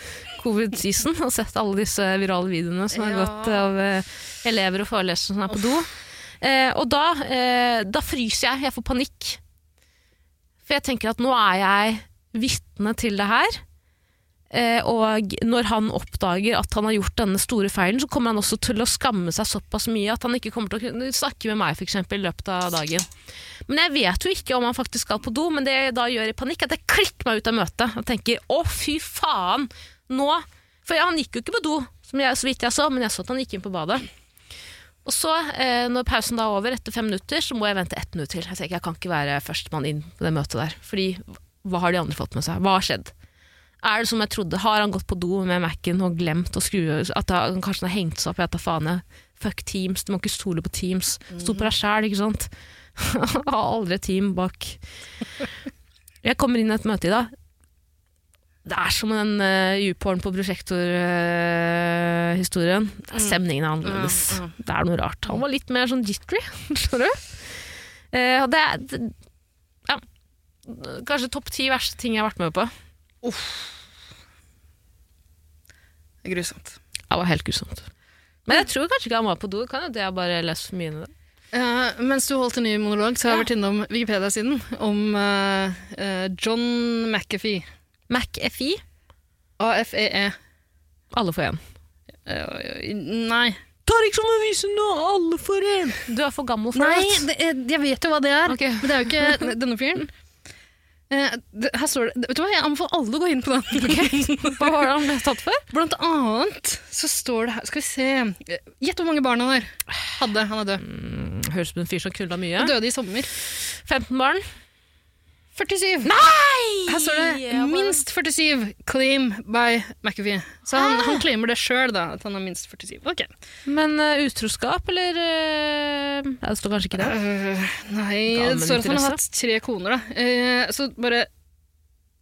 covid-season. Han har sett alle disse virale videoene som har Ja. gått av eh, elever og forelesere som er på do. Eh, og da, eh, da fryser jeg. Jeg får panikk. For jeg tenker at nå er jeg vitne til det her. Eh, og når han oppdager at han har gjort denne store feilen, så kommer han også til å skamme seg såpass mye at han ikke kommer til å kunne snakke med meg for eksempel, i løpet av dagen. Men jeg vet jo ikke om han faktisk skal på do, men det jeg da gjør i panikk, er at jeg klikker meg ut av møtet og tenker 'å, fy faen', nå For han gikk jo ikke på do, som jeg, så vidt jeg så, men jeg så at han gikk inn på badet. Og så, eh, når pausen da er over, etter fem minutter, så må jeg vente ett minutt til. Jeg tenker, jeg kan ikke være førstemann inn på det møtet der. Fordi, hva har de andre fått med seg? Hva har skjedd? Er det som jeg trodde? Har han gått på do med Mac-en og glemt å skru At han kanskje han har hengt seg opp i dette faen jeg. Fuck Teams, du må ikke stole på Teams. Stol på deg sjæl, ikke sant? har aldri et team bak. Jeg kommer inn i et møte i dag. Det er som den uh, U-porn på prosjektor-historien. Stemningen er annerledes. Mm, mm. Det er noe rart. Han var litt mer sånn jittery, skjønner du? Eh, og det er det- ja, kanskje topp ti verste ting jeg har vært med på. Det er grusomt. Det var helt grusomt. Men jeg tror kanskje ikke han var på do. Kan jo det jeg bare lest for mye inn i det. Eh, mens du holdt en ny monolog, så har jeg Ja. vært innom Wikipedia-siden om eh, eh, John McAfee. MacFI, AFEE. alle får en. E. Eh, nei. Tar ikke sånn avise nå, alle får en! Du er for gammel for Nei, det. det, er- jeg vet jo hva det er, Ok. men det er jo ikke denne fyren. Eh, det, her står det Vet du hva, jeg anbefaler alle å gå inn på den. Hva var det han ble tatt for? Blant annet så står det her Skal vi se eh, Gjett hvor mange barn han har. Hadde. Han er død. Høres ut som en fyr som knulla mye. Døde i sommer. 15 barn. 47. Her står det Ja, bare- minst 47 claim by McAfee. Så han, Ah! han claimer det sjøl, da. At han er minst 47. Ok. Men eh, utroskap, eller eh, ja, Det står kanskje ikke det. Øh, nei, Gammel det står at han har interesse. hatt tre koner, da. Eh, så bare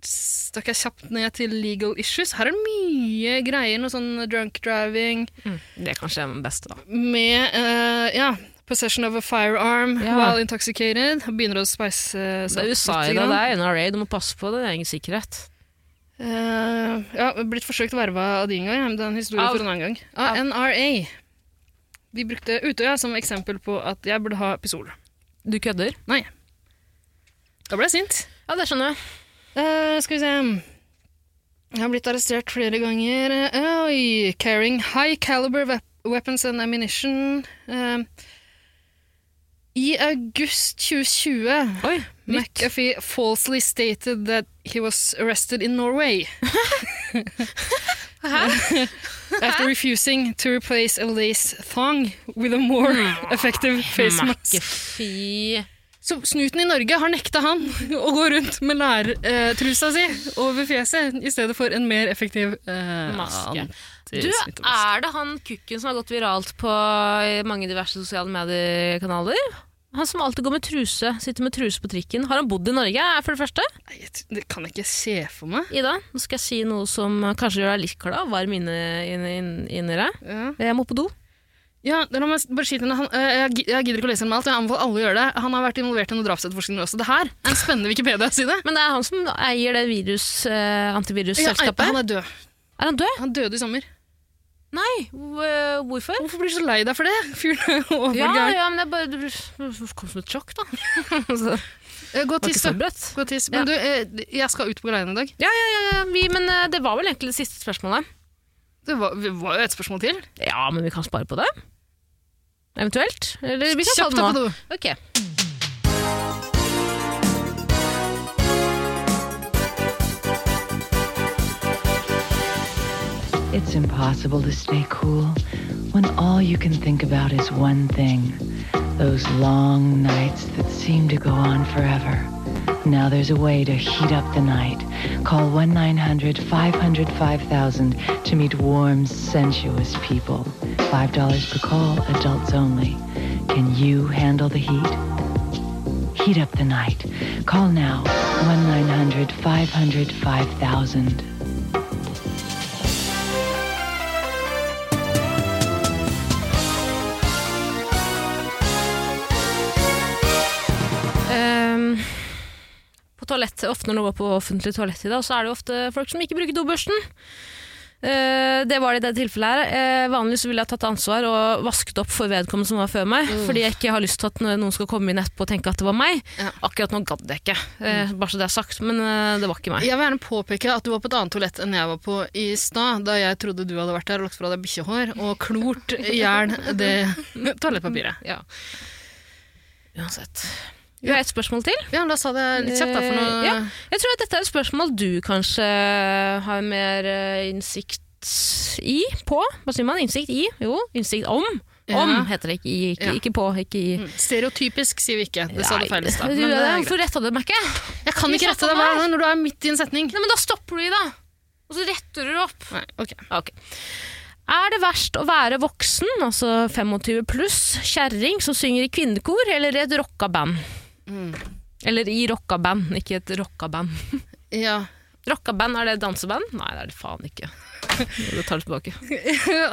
stakk jeg kjapt ned til legal issues. Her er det mye greier. Noe sånn drunk driving Mm. Det er kanskje den beste, da. med eh, Ja. Possession of a firearm Ja. while intoxicated. Han begynner å speise seg Det er USA i lite det. grann. Det er NRA. Du må passe på din egen sikkerhet. Eh, ja, blitt forsøkt verva av de en gang, ja, men det er en historie Av- for en annen gang. Av av- NRA. Vi brukte Utøya som eksempel på at jeg burde ha pistol. Du kødder? Nei. Da ble jeg sint. Ja, det skjønner jeg. Eh, skal vi se Jeg har blitt arrestert flere ganger. Eh, Oi, carrying high caliber wep weapons and ammunition. Eh, I august 2020 Oi, nytt. McAfee falsely stated that he was arrested in Norway after refusing to replace a lace thong with a more effective face mask. McAfee. Så snuten i Norge har nekta han å gå rundt med lærtrusa si over fjeset i stedet for en mer effektiv eh, Maske. Du, antismittemaske. er det han kukken som har gått viralt på mange diverse sosiale mediekanaler? Han som alltid går med truse, sitter med truse på trikken. Har han bodd i Norge, er for det første? Nei, jeg t- Det kan jeg ikke se for meg. Ida, nå skal jeg si noe som kanskje gjør deg litt glad, varm inne, inne, inne, inni deg. Ja. Jeg må på do. Ja, la meg bare skyte inn. Han, øh, jeg gi- jeg gidder ikke å lese om alt, og jeg anbefaler alle å gjøre det. Han har vært involvert i noen drapsetterforskninger også. Det her er en spennende Wikipedia-side. Men det er han som eier det virus, eh, Ja, antivirusselskapet. han er død. er han død? Han døde i sommer. Nei, hv- hvorfor? Hvorfor blir du så lei deg for det? Fyren er jo Ja, overgæren. ja, men jeg bare, det kom som et sjokk, da. Så, det Eh, Gå og var ikke sånn. tiss, så du. brøtt. Gå og tiss. Men du, eh, jeg skal ut på greien i dag. Ja, ja, ja, ja, vi, men eh, det var vel egentlig det siste spørsmålet. Det var, det var jo et spørsmål til. Ja, men vi kan spare på det. Eventuelt. Eller vi kan ta Kjapt det da nå. på do. Ok. It's impossible to stay cool when all you can think about is one thing those long nights that seem to go on forever. Now there's a way to heat up the night. Call 1 900 500 5000 to meet warm, sensuous people. $5 per call, adults only. Can you handle the heat? Heat up the night. Call now 1 900 500 5000. Ehm, på toalett, ofte når du går på offentlig toalett i dag, så er det jo ofte folk som ikke bruker dobørsten. Eh, det var det i det tilfellet her. Eh, vanligvis ville jeg tatt ansvar og vasket opp for vedkommende som var før meg, Mm. fordi jeg ikke har lyst til at noen skal komme inn etterpå og tenke at det var meg. Ja. Mm. Akkurat nå gadd jeg ikke, eh, bare så det er sagt, men eh, det var ikke meg. Jeg vil gjerne påpeke at du var på et annet toalett enn jeg var på i stad, da jeg trodde du hadde vært der og lagt fra deg bikkjehår og klort i hjel det toalettpapiret. Ja. Uansett. Vi har et spørsmål til. Ja, men da sa det litt kjapt, da, for nå Eh, ja. Jeg tror at dette er et spørsmål du kanskje har mer eh, innsikt i, på. Hva sier man? Innsikt i? Jo, innsikt om. Ja. Om heter det, ikke i. Ikke, Ja. ikke på, ikke i. Stereotypisk sier vi ikke. Det sa du Nei, feil i stad. du- men eh, det er greit. Hvorfor retta du meg ikke? Jeg kan ikke Vi rette snakker deg om hver her. gang når du er midt i en setning. Nei, men da stopper du i, da. Og så retter du opp. Nei, ok. Ok. Er det verst å være voksen, altså 25 pluss, kjerring som synger i kvinnekor, eller i et rocka band? Mm. Eller i rocka band, ikke et rocka band. Ja. Rocka band, er det danseband? Nei, det er det faen ikke. Det tar det tilbake.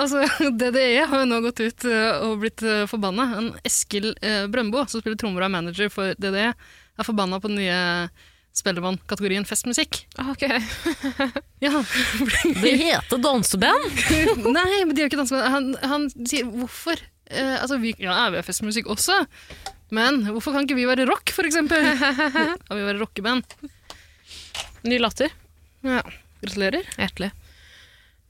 altså, DDE har jo nå gått ut eh, og blitt eh, forbanna. En Eskil eh, Brøndbo, som spiller trommer og er manager for DDE, er forbanna på den nye Spellemann-kategorien festmusikk. Ok. Ja. Det heter danseband? Nei, men de har ikke dansa Han, han sier hvorfor? Eh, altså, vi, ja, vi er festmusikk også, men hvorfor kan ikke vi være rock, for eksempel? Kan vi være rockeband? Ny latter. Ja. Gratulerer. Hjertelig.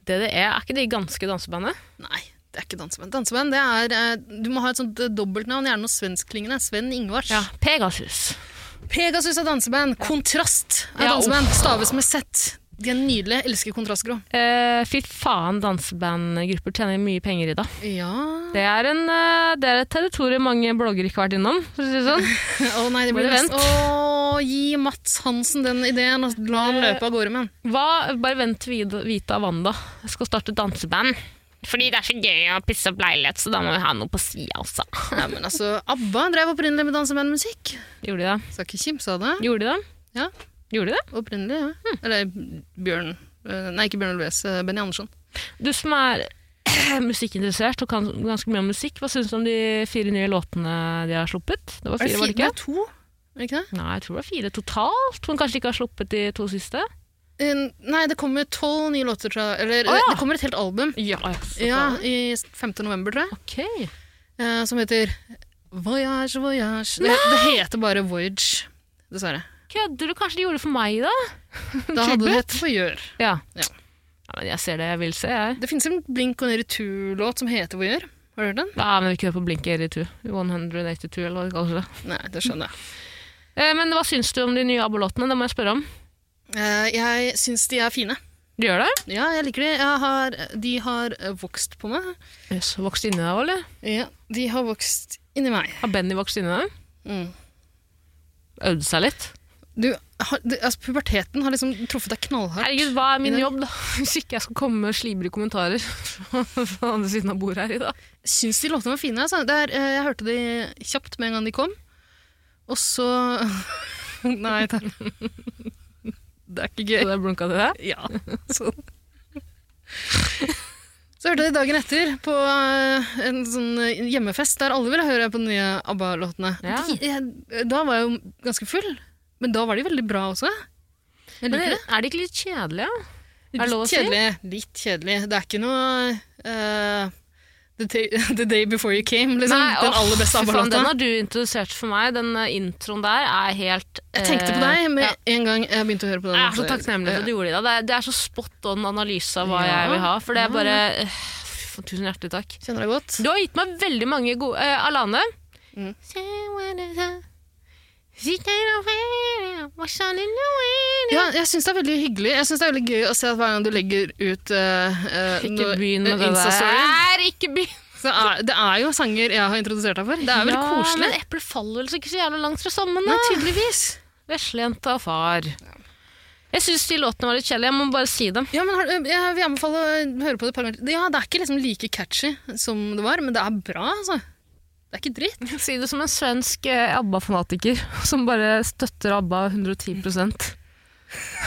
DDE, er ikke de ganske dansebandet? Nei, det er ikke danseband. Danseband, det er eh, Du må ha et sånt eh, dobbeltnavn, gjerne noe svenskklingende. Sven Ingvars. Pegasus. Pegasus er danseband. Kontrast er Ja, danseband. Staves med Z. De er nydelige. Elsker kontrastgrå. Eh, fy faen, dansebandgrupper tjener mye penger i dag. Ja Det er, en, eh, det er et territorium mange bloggere ikke har vært innom. For å si det sånn. Å nei, det Blir blir det vent. Å, gi Mats Hansen den ideen, og la han løpe av gårde med den. Hva, bare vent vid- vite av Wanda. Jeg skal starte danseband. Fordi det er så gøy å pisse opp leilighet, så da må vi ha noe på sida også. Nei, men altså, ABBA drev opprinnelig med dansebandmusikk. Gjorde de det? Skal ikke kimse av det. Gjorde de det? Ja. Gjorde de det? Opprinnelig, ja. Hm. Eller Bjørn eh, Nei, ikke Bjørn Ulves. Benny Andersson. Du som er musikkinteressert og kan ganske mye om musikk, hva syns du om de fire nye låtene de har sluppet? Det var fire, var det ikke? Det er to, er det ikke det? Nei, jeg tror det var fire totalt, men kanskje de ikke har sluppet de to siste? Eh, nei, det kommer tolv nye låter, tror jeg. Eller Å, ja. det kommer et helt album. Ja, Ja, i 5. november, tror jeg. Ok. eh, som heter Voyage, Voyage. Det, det heter bare Voyage, dessverre. Kødder du? Kanskje de gjorde det for meg, da? Da hadde det hett forgjør. Ja. Ja. Ja, men jeg ser det jeg vil se, jeg. Det finnes en blink og en retur-låt som heter Voyeur. Har du hørt den? Ja, men vi kunne høre på Blink 82. 182, eller hva det kalles. det. Nei, det skjønner jeg. Eh, men hva syns du om de nye abolåtene? Det må jeg spørre om. Eh, jeg syns de er fine. Du gjør det? Ja, jeg liker de. Jeg har, de har eh, vokst på meg. Yes, vokst inni deg òg, eller? Ja, de har vokst inni meg. Har Benny vokst inni deg? Mm. Øvd seg litt? Du, har, du, altså, puberteten har liksom truffet deg knallhardt. Herregud, hva er min jobb, da? Hvis ikke jeg skal komme med slibrige kommentarer fra fra andre siden av bordet her i dag. syns de låtene var fine. Altså. Det er, eh, jeg hørte de kjapt med en gang de kom. Og så Nei, det er, det er ikke Så gøy. det er blunka til deg? Ja, sånn. Så hørte jeg det dagen etter på eh, en sånn eh, hjemmefest der alle ville høre på de nye ABBA-låtene. Ja. De- jeg- Da var jeg jo ganske full, men da var de veldig bra også. Jeg Men liker er det. de ikke litt kjedelige? er det lov å Litt si? kjedelig. Litt kjedelig. Det er ikke noe eh, the, day, the Day Before You Came, liksom. den åh, aller beste fy faen, Den ABBA-låta. har du introdusert for meg. Den eh, introen der er helt Jeg tenkte på eh, deg med ja. en gang jeg begynte å høre på den. Jeg er så låta. takknemlig for at du gjorde det. Ida. Det er, det er så spot on analyse av hva Ja. jeg vil ha. For det er bare eh, fy faen, Tusen hjertelig takk. Kjenner deg godt. Du har gitt meg veldig mange gode eh, Alane. Mm. Ja, jeg syns det er veldig hyggelig. Jeg synes det er veldig gøy å se at hver gang du legger ut eh, eh, Ikke noe- begynn med eh, det Insta-story, der. Ikke begynn. så er, det er jo sanger jeg har introdusert deg for. Det er veldig Ja, koselig. Men eplet faller vel så ikke så jævla langt fra sammen, da. Nei, tydeligvis. Veslejenta og far. Jeg syns de låtene var litt kjedelige. Jeg må bare si dem. Ja, men har, jeg vil anbefale å høre på det et par ganger. til. Ja, det er ikke liksom like catchy som det var, men det er bra, altså. Det er ikke dritt. Si det som en svensk eh, ABBA-fanatiker som bare støtter ABBA 110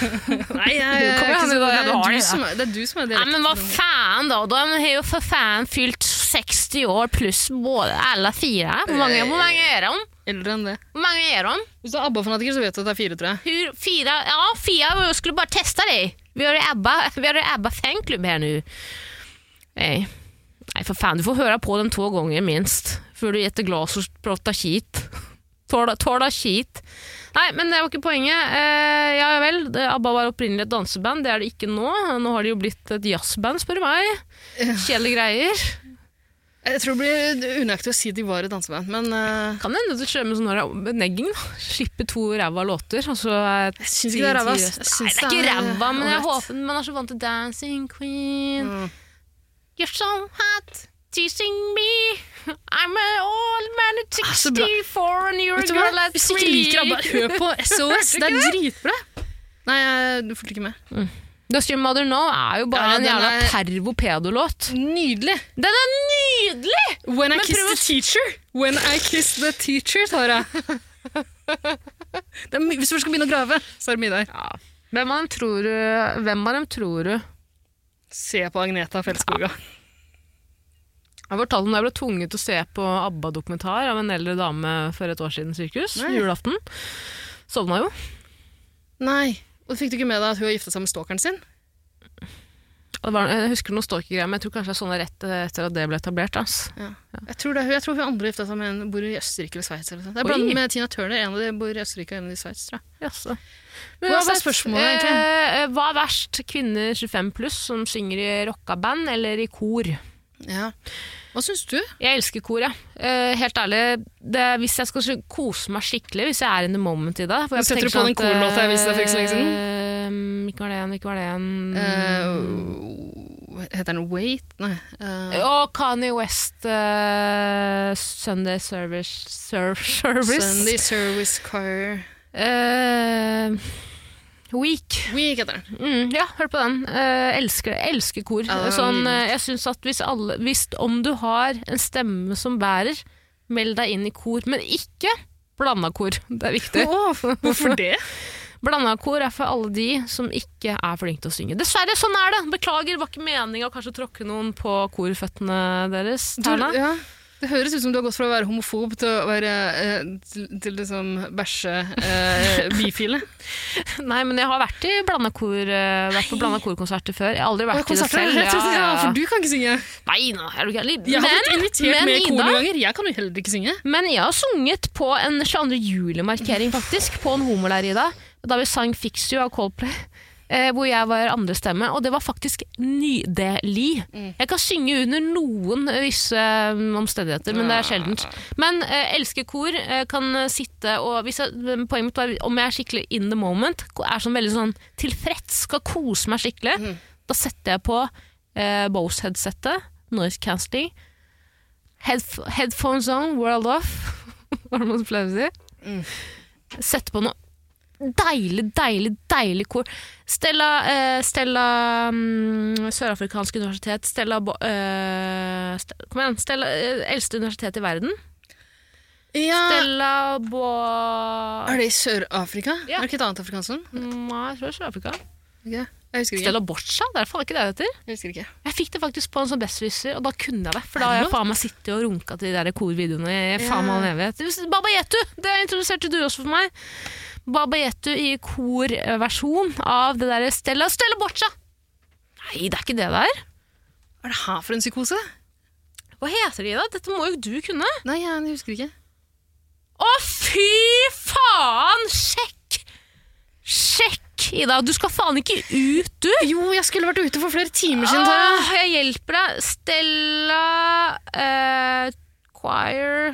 Nei, Nei, jeg, Kom er igjen, ikke så- du- det, du har er det, du som, er- det er du som er men hva faen, da? De har jo for faen fylt 60 år pluss både alle fire. Hvor mange, hvor mange er de? eldre enn det. Hvor mange er de? Hvis du er ABBA-fanatiker, så vet du at det er fire, tror jeg. Hur, fira, ja, Fia skulle bara testa dig. Vi har ju ABBA, vi har ju ABBA fanklubb här nu. Nej. Nej, för fan. Du får höra på den två gånger minst. För du är jätteglad så pratar skit. Tala- Tala skit. Nei, men det var ikke poenget. Eh, ja ja vel, det, ABBA var opprinnelig et danseband. Det er det ikke nå. Nå har det jo blitt et jazzband, spør du meg. Kjedelige greier. Jeg tror det blir unøyaktig å si de var et danseband, men eh, Kan hende du kjører med sånn her neggen. Slipper to ræva låter, og så er jeg syns ikke det er ræva. ass. Jeg Nei, syns det er ikke ræva, men jeg ålreit. håper man er så vant til Dancing Queen. Mm. You're so hot, teasing me. I'm an old man at Ah, så bra. 64 and you're a Vet du hva? girl at Hvis du ikke liker ABBA, hør på SOS. Det er dritbra. Nei, jeg- du fulgte ikke med. Does Your Mother Know er jo bare Ja, en den jævla er- pervo-pedo-låt. Nydelig! Den er nydelig! When I Men kiss prøv the teacher. When I kiss the teacher, Tara. Det er my Hvis du skal begynne å grave, så er det mye der. Hvem av dem tror du, hvem av dem tror du? Se på Agneta Fjeldskoga. Jeg fortalte om da jeg ble tvunget til å se på ABBA-dokumentar av en eldre dame for et år siden sirkus, Nei. julaften. Sovna jo. Nei. Og Fikk du ikke med deg at hun har gifta seg med stalkeren sin? Og Det var, jeg husker noen stalkergreier, men jeg tror kanskje jeg så det rett eh, etter at det ble etablert. ass. Jeg tror, det er hun, jeg tror hun andre gifta seg med en bor i Østerrike eller Sveits. eller noe sånt. Det er Oi. blandet med Tina Turner. En av de bor i Østerrike og en av de i Sveits. tror jeg. Jaså. Hva var spørsmålet, egentlig? Eh, eh, hva er verst? Kvinner 25 pluss som synger i rockaband eller i kor? Ja. Hva syns du? Jeg elsker kor, jeg. Eh, helt ærlig, det, hvis jeg skal sy- kose meg skikkelig, hvis jeg er in the moment i det for jeg Setter tenker du på sånn den at, korlåta jeg viste deg for ikke så lenge eh, ikke var det en, ikke var det en Eh, heter den Wait? Nei. eh, Og Kanye West, eh, Sunday Service, Serv- Service. Sunday Service Car Eh, week. Week heter den. Mm, ja, hør på den. Eh, elsker det. Elsker kor. Ja, sånn, mm. eh, jeg synes at hvis, alle, hvis om du har en stemme som bærer, meld deg inn i kor, men ikke blanda kor. Det er viktig. Å, hvorfor det? Blanda kor er for alle de som ikke er flinke til å synge. Dessverre, sånn er det! Beklager, det var ikke meninga å kanskje tråkke noen på korføttene deres. Du, eh, Terna. ja. Det høres ut som du har gått fra å være homofob til å være eh, til, til liksom eh, bæsje-bifile. Nei, men jeg har vært, i blanda kor, eh, vært på blanda korkonserter før. Jeg har aldri vært i det selv. ja, Ja, ja, ja. for du kan ikke synge. Nei, nå er du gæren. Jeg har blitt Men, invitert men med i kor Ida- noen ganger. Jeg kan jo heller ikke synge. men jeg har sunget på en 22. juli-markering, faktisk, på en homoleir, Ida. Da vi sang 'Fix You' av Coldplay. Eh, hvor jeg var andre stemme, og det var faktisk nydelig. Jeg kan synge under noen visse um, omstendigheter, men det er sjeldent. Men eh, elsker kor, eh, kan eh, sitte og hvis jeg, Poenget mitt var om jeg er skikkelig in the moment, er sånn veldig sånn tilfreds, skal kose meg skikkelig, da setter jeg på eh, Bose-headsetet, noise cancelling, headf headphones on, world off, var det man pleier å si. Sette på noe deilig, deilig, deilig kor. Stella, eh, Stella mm, Sørafrikansk universitet, Stella Bo- eh, Ste- Kom igjen, Stella, eh, eldste universitet i verden. Ja. Stella Bo... Er det i Sør-Afrika? Ja. Er det ikke et annet afrikansk land? Nei, jeg tror det er Sør-Afrika. Ok, Jeg husker ikke. Stella Boccia, det er faen ikke det det heter. Jeg husker ikke. Jeg fikk det faktisk på en sånn bestviser, og da kunne jeg det. For da har jeg faen meg sittet og runka til de der korvideoene i faen meg all evighet. Baba Yetu! Det introduserte du også for meg. Baba Yetu i korversjon av det derre Stella Stella Boccia! Nei, det er ikke det der. Hva er det her for en psykose? Hva heter de da? Dette må jo du kunne. Nei, jeg husker ikke. Å, fy faen! Sjekk! Sjekk, Ida. Du skal faen ikke ut, du. Jo, jeg skulle vært ute for flere timer siden, Tara. Åh, jeg hjelper deg. Stella eh, Choir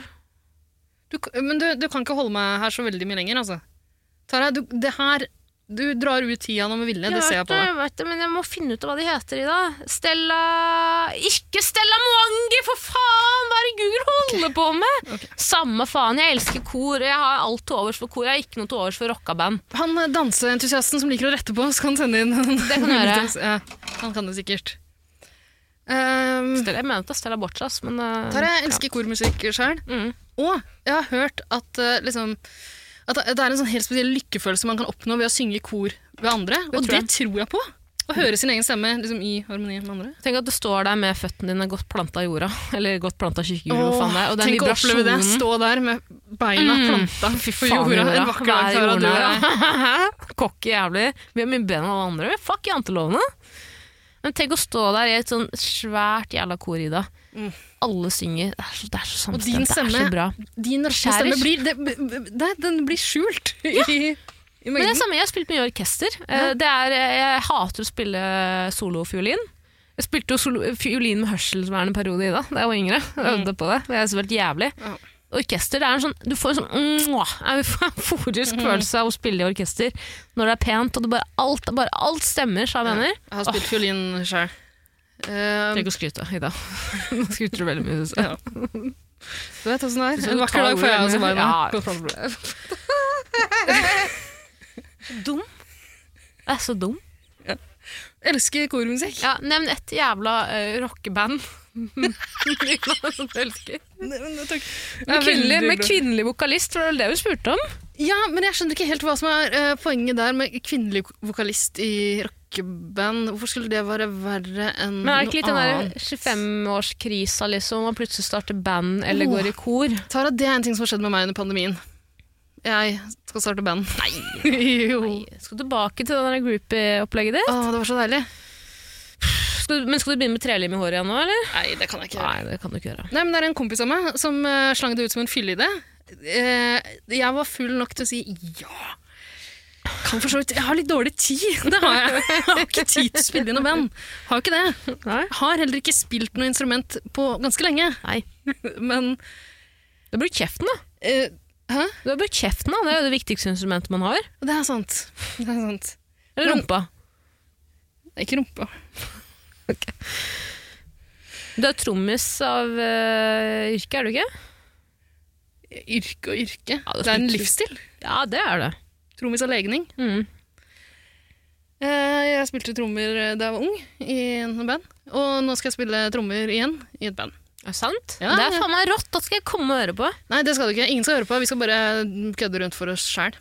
Du, men du, du kan ikke holde meg her så veldig mye lenger, altså. Tara, du, det her Du drar ut tida nå med vilje, det ser jeg på deg. Jeg eh, vet det, men jeg må finne ut hva de heter, Ida. Stella Ikke Stella Mwangi, for faen! Hva er det Google holder på med? Ok. Samme faen. Jeg elsker kor. Jeg har alt til overs for kor. Jeg har ikke noe til overs for rockaband. Han eh, danseentusiasten som liker å rette på, så kan han sende inn Det kan jeg gjøre. Ja, han kan det sikkert. Um, Stella, jeg mener at det er Stella Borchas, men eh, Tara, jeg elsker kormusikk sjøl. ja. mm. Og jeg har hørt at, eh, liksom, at det er en sånn helt spesiell lykkefølelse man kan oppnå ved å synge i kor ved andre. Det og tror det tror jeg på. Å høre sin egen stemme liksom, i harmoni med andre. Tenk at du står der med føttene dine godt planta i jorda. Eller godt planta i kirkejorda, hva faen det er. Og den tenk å oppleve det. vibrasjonen Stå der med beina Mm. planta på Faen, jorda jorda. en vakker dag. Hva er Tara, du jorda? er- Kokke jævlig. Vi har mye ben alle andre. Fuck jantelovene. Men tenk å stå der i et sånn svært jævla kor, Ida. Mm. Alle synger. Det er så, det er så Og samstemt. din Det er stemme- så bra. Din raske Skjærer. stemme blir, det, det, den blir skjult i, Men altså- i det er mengden. samme, jeg har spilt mye i orkester. Eh, Det er, eh, jeg hater å spille solofiolin. Jeg spilte jo solo, fiolin med hørselsvern en periode i da, da jeg var yngre. Jeg øvde på det. Det er så veldig jævlig. Mm. Ja. Orkester, det er en sånn, du får en sånn mwah, euforisk Mm. følelse av å spille i orkester. Når det er pent, og det bare, alt, bare alt stemmer, sa jeg mener. Jeg har spilt fiolin Eh, sjøl. um. Trenger ikke å skryte, Ida. Nå skryter du veldig mye, synes jeg. Ja. du vet åssen det er. Så En du vakker tar dag får jeg ordet også med- beina. Ja. på fronten. Dum. Jeg er så dum. Elsker kormusikk. Ja, nevn ett jævla eh, rockeband. Nina, som du elsker. Nei, men takk. Med Det er kvinnelig, veldig med bra. kvinnelig vokalist, for det var vel det hun spurte om? Ja, men jeg skjønner ikke helt hva som er eh, poenget der med kvinnelig vokalist i rockeband. Hvorfor skulle det være verre enn Men er det ikke litt noe den annet? der 25-årskrisa, liksom, og plutselig starter band eller Åh. går i kor? Tara, det er en ting som har skjedd med meg under pandemien. Jeg skal starte band. Nei! jo. Skal du tilbake til det der groupie-opplegget ditt? Åh, det var så deilig. Skal du, men skal du begynne med trelim i håret igjen nå, eller? Nei, det kan jeg ikke. Nei, det kan du ikke gjøre. Nei, men det er en kompis av meg som eh, slang det ut som en fylleidé. Eh, jeg var full nok til å si ja. Kan for så vidt Jeg har litt dårlig tid. Det har jeg. Jeg har ikke tid til å spille i noe band. Har jo ikke det. Nei. Har heller ikke spilt noe instrument på ganske lenge. Nei. Men Du har brukt kjeften, da. eh, Hæ? Du har brukt kjeften, da. Det er jo det viktigste instrumentet man har. Det er sant. Det er sant. Eller Men- rumpa. Det er ikke rumpa. Du er trommis av eh, yrke, er du ikke? Yrke og yrke. Ja, det det, er en smitter. livsstil. Ja, det er det. Trommis av legning. Mm. Eh, jeg spilte trommer eh, da jeg var ung, i en band. Og nå skal jeg spille trommer igjen, i et band. Er det sant? Ja, det er ja. faen meg rått. Da skal jeg komme og høre på. Nei, det skal du ikke. Ingen skal høre på. Vi skal bare kødde rundt for oss sjæl.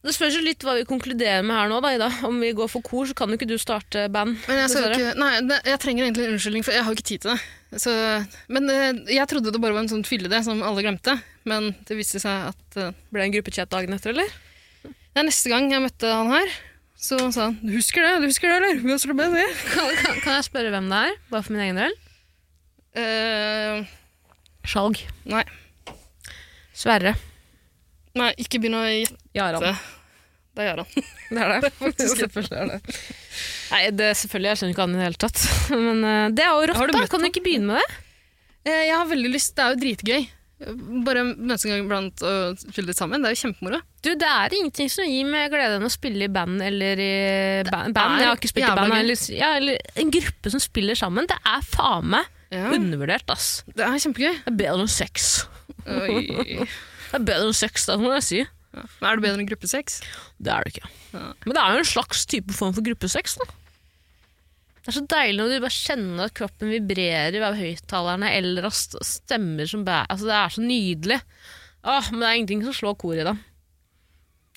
Det spørs jo litt hva vi konkluderer med her nå, da, Ida. Om vi går for kor, så kan jo ikke du starte band. Men jeg, skal dessverre. ikke, nei, det, jeg trenger egentlig en unnskyldning, for jeg har jo ikke tid til det. Så, men eh, jeg trodde det bare var en sånn fylleidé som alle glemte. Men det viste seg at eh, Ble det en gruppechat dagen etter, eller? det er neste gang jeg møtte han her, så sa han Du husker det, du husker det, eller? Vi har slått med det. Kan, kan, kan jeg spørre hvem det er? Bare for min egen del. Eh, Skjalg. nei, Sverre. nei, ikke begynn å gjette. Jarand. Det gjør han. Det er det. Selvfølgelig er det. Nei, det, selvfølgelig, jeg skjønner ikke han i det hele tatt. Men eh, det er jo Har rått, du da. møtt Kan du ikke begynne med det? Eh, jeg har veldig lyst, det er jo dritgøy. Bare møtes en gang iblant og spille litt sammen. Det er jo kjempemoro. Du, Det er ingenting som gir meg glede enn å spille i band eller i ba band. er Jeg har ikke spilt i jævla band. gøy. Eller, ja, eller en gruppe som spiller sammen. Det er faen meg Ja, undervurdert, ass. det er kjempegøy. Det er bedre enn sex. Oi. Det er bedre enn sex, da, må jeg si. Ja. Er det bedre enn gruppesex? Det er det ikke. Ja. Men det er jo en slags type form for gruppesex, da. Det er så deilig når du bare kjenner at kroppen vibrerer av høyttalerne, eller av st- stemmer som bærer Altså, det er så nydelig. Åh, men det er ingenting som slår koret i det.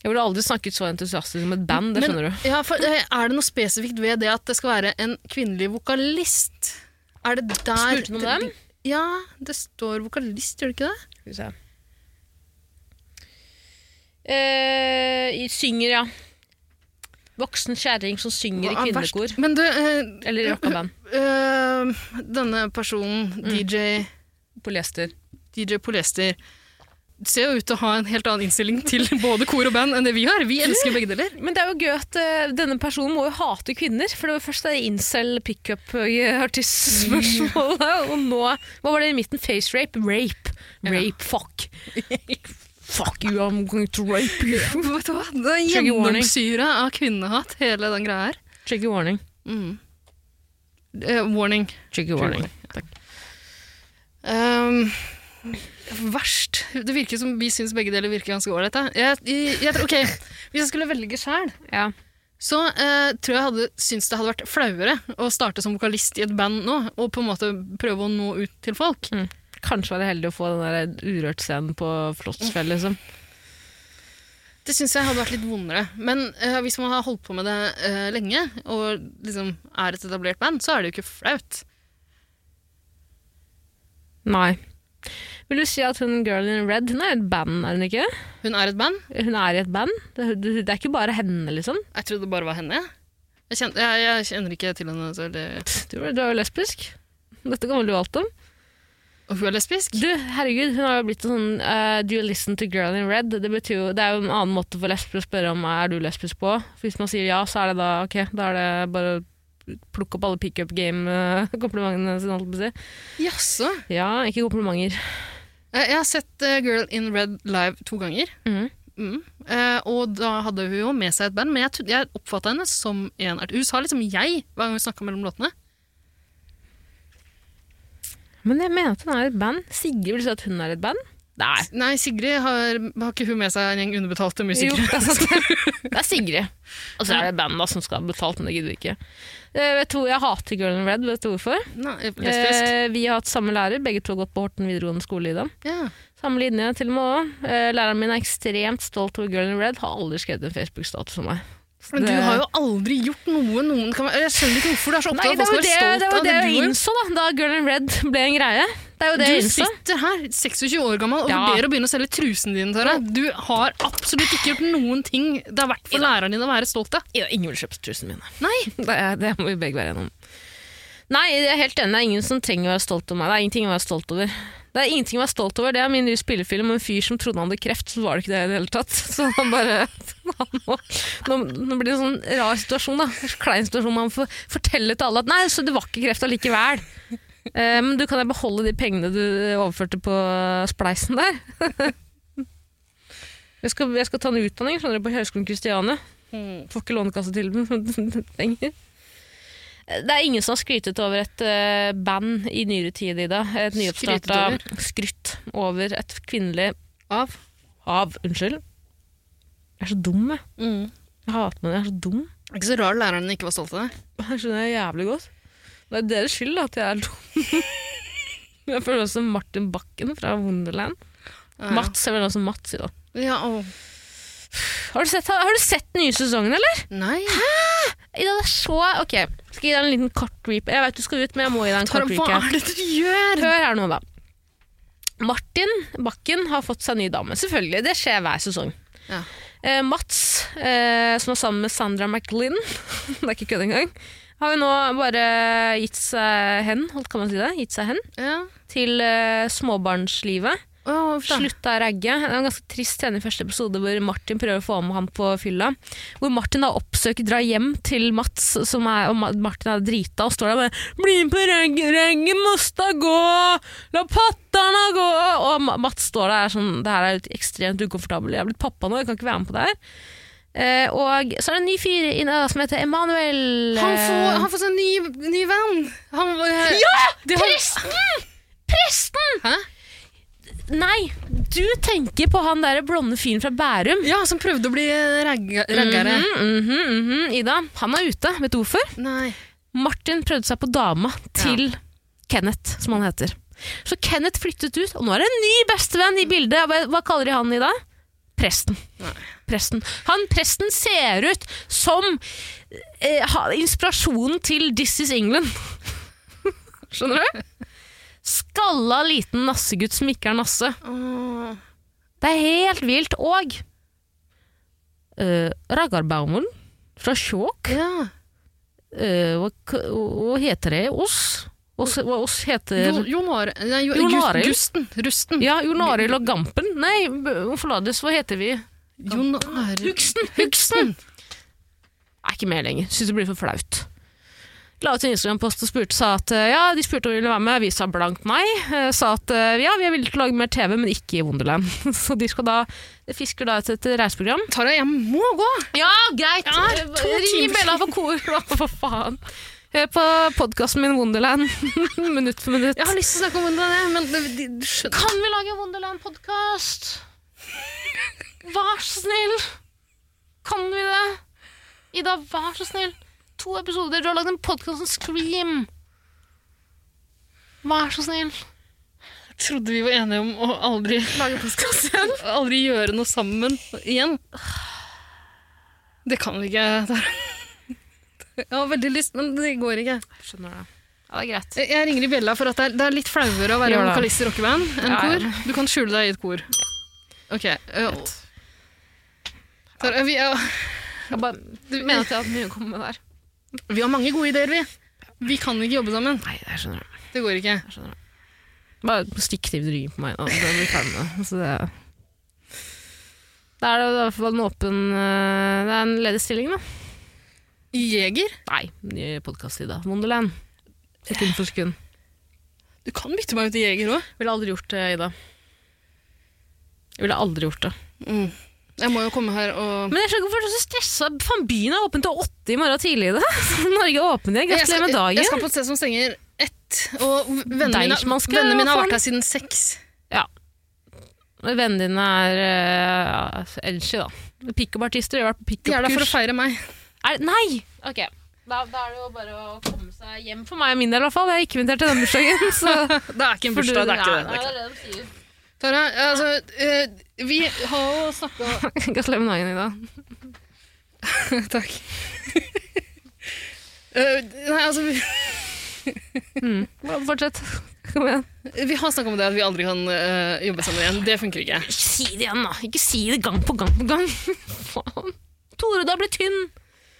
Jeg ville aldri snakket så entusiastisk om et band, det Men- skjønner du. Ja, for, eh, er det noe spesifikt ved det at det skal være en kvinnelig vokalist? Er det der Spurte du om dem? Ja, det står vokalist, gjør det ikke det? Skal vi se. Eh, i- synger, ja. Voksen kjerring som synger i Hva er verst? kvinnekor. Men du, eh, Eller i rockaband. eh, denne personen, Mm. DJ, Polyester. DJ Polyester, ser jo ut til å ha en helt annen innstilling til både kor og band enn det vi har. Vi elsker begge deler. Men det er jo gøy at eh, denne personen må jo hate kvinner. For det var først det incel pickup-artistspørsmålet, og nå Hva var det i midten? Face rape? Rape. Rape. Fuck. Fuck you, I'm going to rape you. Vet du hva? Det er Trigger warning. gjennomsyra av kvinnehat, hele den greia her. Trigger warning. Mm. Eh, warning. Trigger warning. warning. Ehm, verst. Det virker som vi syns begge deler virker ganske ålreit. da. Jeg, jeg, jeg, tror- ok, Hvis jeg skulle velge sjæl, Ja. så eh, tror jeg jeg hadde syntes det hadde vært flauere å starte som vokalist i et band nå, og på en måte prøve å nå ut til folk. Kanskje var det heldig å få den der Urørt-scenen på Flåttsfjell, liksom. Det syns jeg hadde vært litt vondere. Men eh, hvis man har holdt på med det eh, lenge, og liksom er et etablert band, så er det jo ikke flaut. Nei. Vil du si at hun girl in red hun er et band, er hun ikke? Hun er et band. Hun er i et band. Det, det, det er ikke bare henne, liksom. Jeg trodde det bare var henne. jeg. Jeg kjenner, jeg, jeg kjenner ikke til henne. Så det, Du, du er jo lesbisk. Dette kan vel du alt om? og hun er lesbisk. Du, herregud, hun har jo blitt en sånn eh, Do you listen to girl in red? Det, betyr jo, det er jo en annen måte for lesber å spørre om er du lesbisk på. For hvis man sier ja, så er det da ok, da er det bare å plukke opp alle pick-up game-komplimentene sine, holdt jeg på å si. Jaså. Ja, ikke komplimenter. Eh, Jeg har sett eh, Girl in Red live to ganger. Mhm. Mm. Eh, og da hadde hun jo med seg et band, men jeg, trodde- jeg oppfatta henne som en art. Hun sa liksom jeg hver gang vi snakka mellom låtene. Men jeg mener at hun er et band. Sigrid vil si at hun er et band. Nei. Nei, Sigrid har, har ikke hun med seg en gjeng underbetalte Jo, musikere? det er sant. Det er Sigrid. Og så er det bandet som skal ha betalt, men det gidder vi ikke. Eh, vet du hvor jeg hater Girl in Red? Vet du hvorfor? Nei, lesbisk. Eh, vi har hatt samme lærer, begge to har gått på Horten videregående skole i dag. Ja. Samme linje til og med også. Eh, Læreren min er ekstremt stolt over Girl in Red. Har aldri skrevet en Facebook-status om meg. Så Men du det- har jo aldri gjort noe noen kan være Jeg skjønner ikke hvorfor du er så opptatt Nei, av det at folk var skal jo være det, det, var det stolt av det jeg du gjorde. innså da, da Girl in Red ble en greie. Det er jo det jeg Du innså. sitter her, 26 år gammel, og Ja. vurderer å begynne å selge trusene dine. Tara. Du har absolutt ikke gjort noen ting det er verdt for læreren din å være stolt av. Ja, ingen vil kjøpe trusene mine. Nei. Det, er- det må vi begge være enige om. Nei, jeg er helt enig. Det er ingen som trenger å være stolt over meg. Det er ingenting å være stolt over. Det er ingenting å være stolt over. Det er min nye spillefilm om en fyr som trodde han hadde kreft, så var det ikke det i det hele tatt. Så han bare han må, nå, nå blir det en sånn rar situasjon, da. En klein situasjon. Man får fortelle til alle at nei, så det var ikke kreft allikevel. Eh, men du kan jo beholde de pengene du overførte på eh, spleisen der. Jeg skal, jeg skal ta en utdanning skjønner du, på Høgskolen Kristiania. Mm. Får ikke lånekassetilbud, men penger. Det er ingen som har skrytet over et eh, band i nyere tid, Ida. Et Skrytet nyoppstarta skrytt over et kvinnelig Av? Av, unnskyld. Jeg er så dum, jeg. Mm. Jeg hater meg, jeg er så dum. Det er ikke så rar læreren ikke var stolt av deg. Jeg skjønner jeg jævlig godt. Det er deres skyld da, at jeg er dum. Jeg føler meg som Martin Bakken fra Wonderland. Mats, jeg føler meg som Mats i dag. Ja, å. Har du sett, har du sett den nye sesongen, eller? Nei. Ida, det er så Ok, skal jeg gi deg en liten kort reap. Jeg vet du skal ut, men jeg må gi deg en Tara, kort hva recap. er det du gjør? Hør her nå, da. Martin Bakken har fått seg ny dame. Selvfølgelig, det skjer hver sesong. Ja. Eh, Mats, eh, som er sammen med Sandra McLinn, det er ikke kødd engang, har jo nå bare gitt seg hen, holdt kan man si det, gitt seg hen, Ja. til eh, småbarnslivet. Å, hvorfor da? Slutta å ragge. Det er en ganske trist scene i første episode hvor Martin prøver å få med ham på fylla. Hvor Martin da oppsøker, drar hjem til Mats, som er, og Ma- Martin er drita og står der og bare 'Bli med på raggen, raggen måste gå! La pattarna gå!' Og Ma- Mats står der og er sånn 'Det her er jo ekstremt ukomfortabelt. Jeg er blitt pappa nå, jeg kan ikke være med på det her'. Eh, og så er det en ny fyr inne da, som heter eh, Emanuel. Han får, han får seg en ny, ny venn. Han, ja! Det har, Presten! Presten! hæ? Nei, du tenker på han derre blonde fyren fra Bærum. Ja, som prøvde å bli ragga- raggere. Mhm, mhm, mhm. Ida, han er ute. Vet du hvorfor? Nei. Martin prøvde seg på dama til Kenneth, som han heter. Så Kenneth flyttet ut, og nå er det en ny bestevenn i bildet. Hva, hva kaller de han i dag? Presten. Presten. Han presten ser ut som eh, ha- inspirasjonen til This is England. Skjønner du? Skalla liten nassegutt som ikke er nasse. Åh. Det er helt vilt. Og uh, Ragnar Baumann fra Skjåk Ja. Eh, hva, k- hva heter det? Oss? Oss, hva oss heter Jo- Jon Are... Nei, jo, Jon Gus- Arild. Gusten. Rusten. Ja, Jon Arild og Gampen? Nei, b- forlades, hva heter vi? Jon Arild. Hugsten! Hugsten! Er ikke med lenger. Syns det blir for flaut. La ut en Instagram-post og spurte, sa at eh, ja, de spurte om vi ville være med, vi sa blankt nei. Eh, Sa at eh, ja, vi er villige til å lage mer TV, men ikke i Wonderland. Så de skal da, fisker da ut et reiseprogram. Tara, jeg må gå! Ja, greit. Ja, to Ring timer. Bella for kor, da, for faen. Hør på podkasten min Wonderland minutt for minutt. Jeg har lyst til å snakke om hvordan det er, men det, de, du skjønner Kan vi lage en Wonderland-podkast? Vær så snill! Kan vi det? Ida, vær så snill. To episoder. Du har lagd en podkast om Scream. Vær så snill. Jeg trodde vi var enige om å aldri lage podkast igjen. Aldri gjøre noe sammen igjen. Det kan vi ikke. Tara. Jeg har veldig lyst, men det går ikke. Skjønner det. Ja, det er greit. Jeg- Jeg ringer i bjella for at det er, det er litt flauere å være Gjør det. vokalist i rockeband Ja, enn ja. kor. Du kan skjule deg i et kor. Ok. øh, Tara, vi, er- Jeg bare mener at jeg har hatt mye å komme med der. vi har mange gode ideer, vi. Vi kan ikke jobbe sammen. Nei, det skjønner jeg. Det går ikke. Jeg skjønner det. Bare stikk kniv i ryggen på meg. Da. Det blir ferdig med det. Så det. Da er det i hvert fall en åpen eh, Det er en ledig stilling, da. Jeger? Nei, ny podkast i dag. Wonderland. Sekund for sekund. Du kan bytte meg ut i jeger òg. Ville aldri gjort det, Ida. Jeg ville aldri gjort det. Mm. Jeg må jo komme her og Men jeg skjønner ikke hvorfor du er så stressa. Faen, byen er åpen til åtte i morgen tidlig. i dag. Norge er åpen igjen. Jeg Gratulerer skal- med Jeg dagen. skal på et sted som stenger ett. Og vennene mine, Deichman skal- vennene mine har faen. vært her siden seks. Vennene dine er uh, edgy, da. Pickup-artister. De har vært på De er der for å pickup-kurs. feire meg. Er, nei! Ok, da, da er det jo bare å komme seg hjem for meg og min del i hvert fall. Jeg er ikke invitert til den bursdagen. Så Det er ikke en bursdag. det er ikke det, det. er ikke det. Tara, altså, eh, vi har jo snakka Gratulerer med dagen, Ida. Takk. Eh, nei, altså, vi, Bare Fortsett. Kom igjen. vi har snakka om det at vi aldri kan eh, jobbe sammen igjen. Det funker ikke. Ikke si det igjen, da. Ikke si det gang på gang på gang. Faen. Torud har blitt tynn.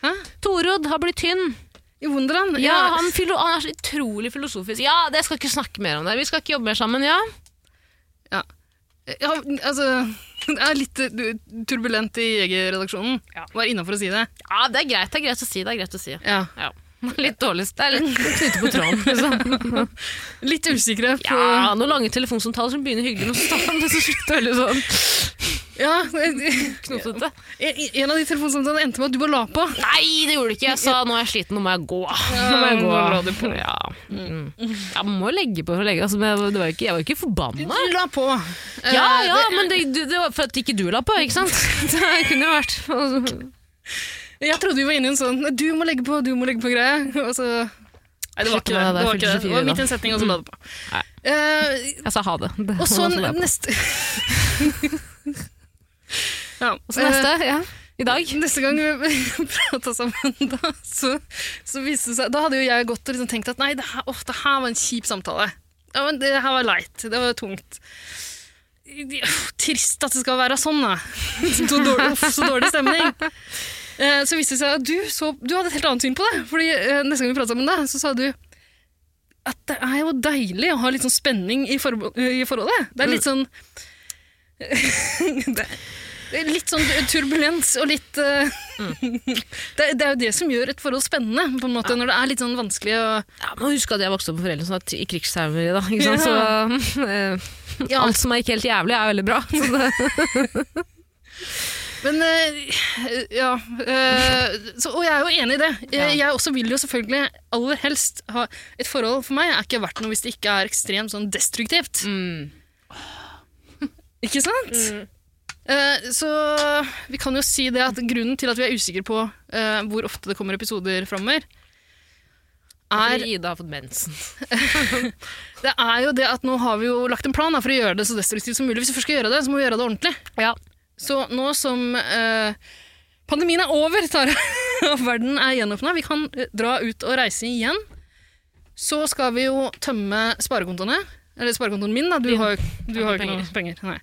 Hæ? Torud har blitt tynn. I Wonderland? Ja, han, filo han er så utrolig filosofisk. Ja, det skal ikke snakke mer om det. Vi skal ikke jobbe mer sammen, ja. ja, altså, det er litt eh, du- turbulent i Jegerredaksjonen. Ja. Var innafor å si det. Ja, det er greit. Det er greit å si. Det er greit å si. Ja. Ja. Litt dårlig. Det er litt knyttet på tråden, liksom. Litt usikre på Ja, noen lange telefonsamtaler som begynner hyggelig, men så starter det så slutter veldig sånn Ja, en knotete. en av de telefonsamtalene endte med at du bare la på. Nei, det gjorde det ikke. Jeg sa nå er jeg sliten, nå må jeg gå. Nå må jeg nå gå. la du på. Ja. Mm. Jeg må jo legge på for å legge altså, men jeg, var- det var jo ikke, jeg var jo ikke forbanna. Du la på. Ja, Eh, ja, men det, du- det var for at ikke du la på, ikke sant? Det kunne jo vært altså, Jeg trodde vi var inne i en sånn Du må legge på, du må legge på greie. Og så Nei, det var Slutt ikke det. med det Det der var, ikke det. Det var filosofien, midt i en setning, og så la det på. Nei. Eh, Jeg sa ha det. det og så var sånn det var. neste ja, Og så neste. Ja. eh, i dag. Neste gang vi prata sammen, da, så, så viste det seg Da hadde jo jeg gått og liksom tenkt at nei, det her, åh, det her var en kjip samtale. Ja, men det her var leit. Det var tungt. Åh, Trist at det skal være sånn, da. Så dårlig, uff, så dårlig stemning. Eh, Så viste det seg at du, så, du hadde et helt annet syn på det. Fordi eh, neste gang vi pratet sammen, da, så sa du at det er jo deilig å ha litt sånn spenning i, forbo- i forholdet. Det er litt sånn det, det er Litt sånn turbulens og litt eh, det, det er jo det som gjør et forhold spennende, på en måte, når det er litt sånn vanskelig å Ja, men husk at jeg vokste opp med foreldre som var i krigstraumer i dag. Ikke sant? Så eh, Ja. alt som er ikke helt jævlig, er veldig bra. Så det, Men eh, ja eh, så, Og jeg er jo enig i det. Jeg, jeg også vil jo selvfølgelig aller helst ha Et forhold for meg er ikke verdt noe hvis det ikke er ekstremt sånn destruktivt. Mm. Ikke sant? Eh, så vi kan jo si det at grunnen til at vi er usikre på eh, hvor ofte det kommer episoder framover, er Ida har fått mensen. Det er jo det at nå har vi jo lagt en plan da, for å gjøre det så destruktivt som mulig. Hvis vi først skal gjøre det, så må vi gjøre det ordentlig. Ja. Så nå som eh, pandemien er over, Tara, og verden er gjenåpna, vi kan eh, dra ut og reise igjen, så skal vi jo tømme sparekontoene. Eller sparekontoen min, da. Du har jo du har jo ikke noe penger. Nei.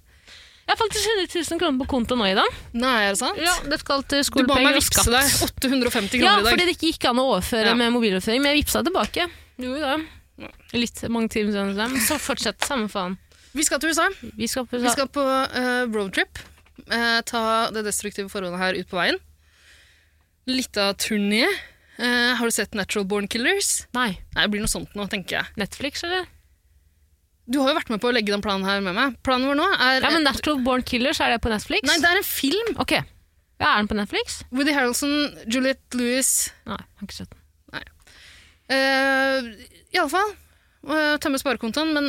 Jeg har faktisk 100 000 kroner på konto nå, Ida. Nei, er det sant? Ja, det skal til Du ba meg skolepenger og vippse skatt. deg 850 Ja, kroner i fordi dag. det ikke gikk an å overføre Ja. med mobiloverføring, men jeg vippsa tilbake. Jo, ja. Litt mange timer siden, men så fortsett, samme faen. Vi skal til USA. Vi skal på Vi skal på eh, roadtrip. Eh, ta det destruktive forholdet her ut på veien. Litt av turné. Eh, har du sett Natural Born Killers? Nei, Nei, det blir noe sånt nå, tenker jeg. Netflix, eller? Du har jo vært med på å legge den planen her med meg. Planen vår nå er Ja, men Natural Born Killers, er det på Netflix? Nei, det er en film. Ok. Ja, er den på Netflix? Woody Harrelson, Juliette Lewis Nei, jeg har ikke sett den. uh, Iallfall. Uh, tømme sparekontoen, men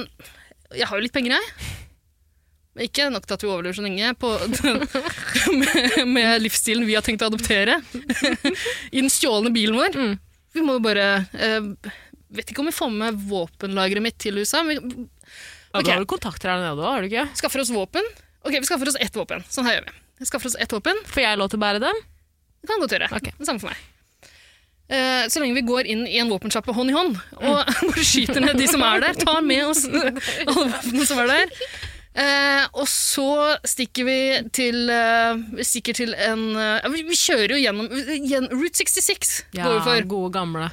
jeg har jo litt penger, jeg. Men Ikke nok til at vi overlever så lenge på den, med, med livsstilen vi har tenkt å adoptere i den stjålne bilen vår. Mm. Vi må jo bare eh, Vet ikke om vi får med våpenlageret mitt til USA. Men vi Ja, Ok. Da har du kontakter her nede også, har du ikke? skaffer oss våpen. Ok, vi skaffer oss ett våpen. Sånn her gjør vi. Vi skaffer oss ett våpen. Får jeg lov til å bære dem? Det kan godt gjøre. Ok. Det samme for meg. Eh, så lenge vi går inn i en våpensjappe hånd i hånd og bare skyter ned de som er der, tar med oss alle våpnene som er der. Eh, og så stikker vi til, eh, vi stikker til en eh, ja, vi, vi kjører jo gjennom gjen, Route 66 går vi for. gode gamle.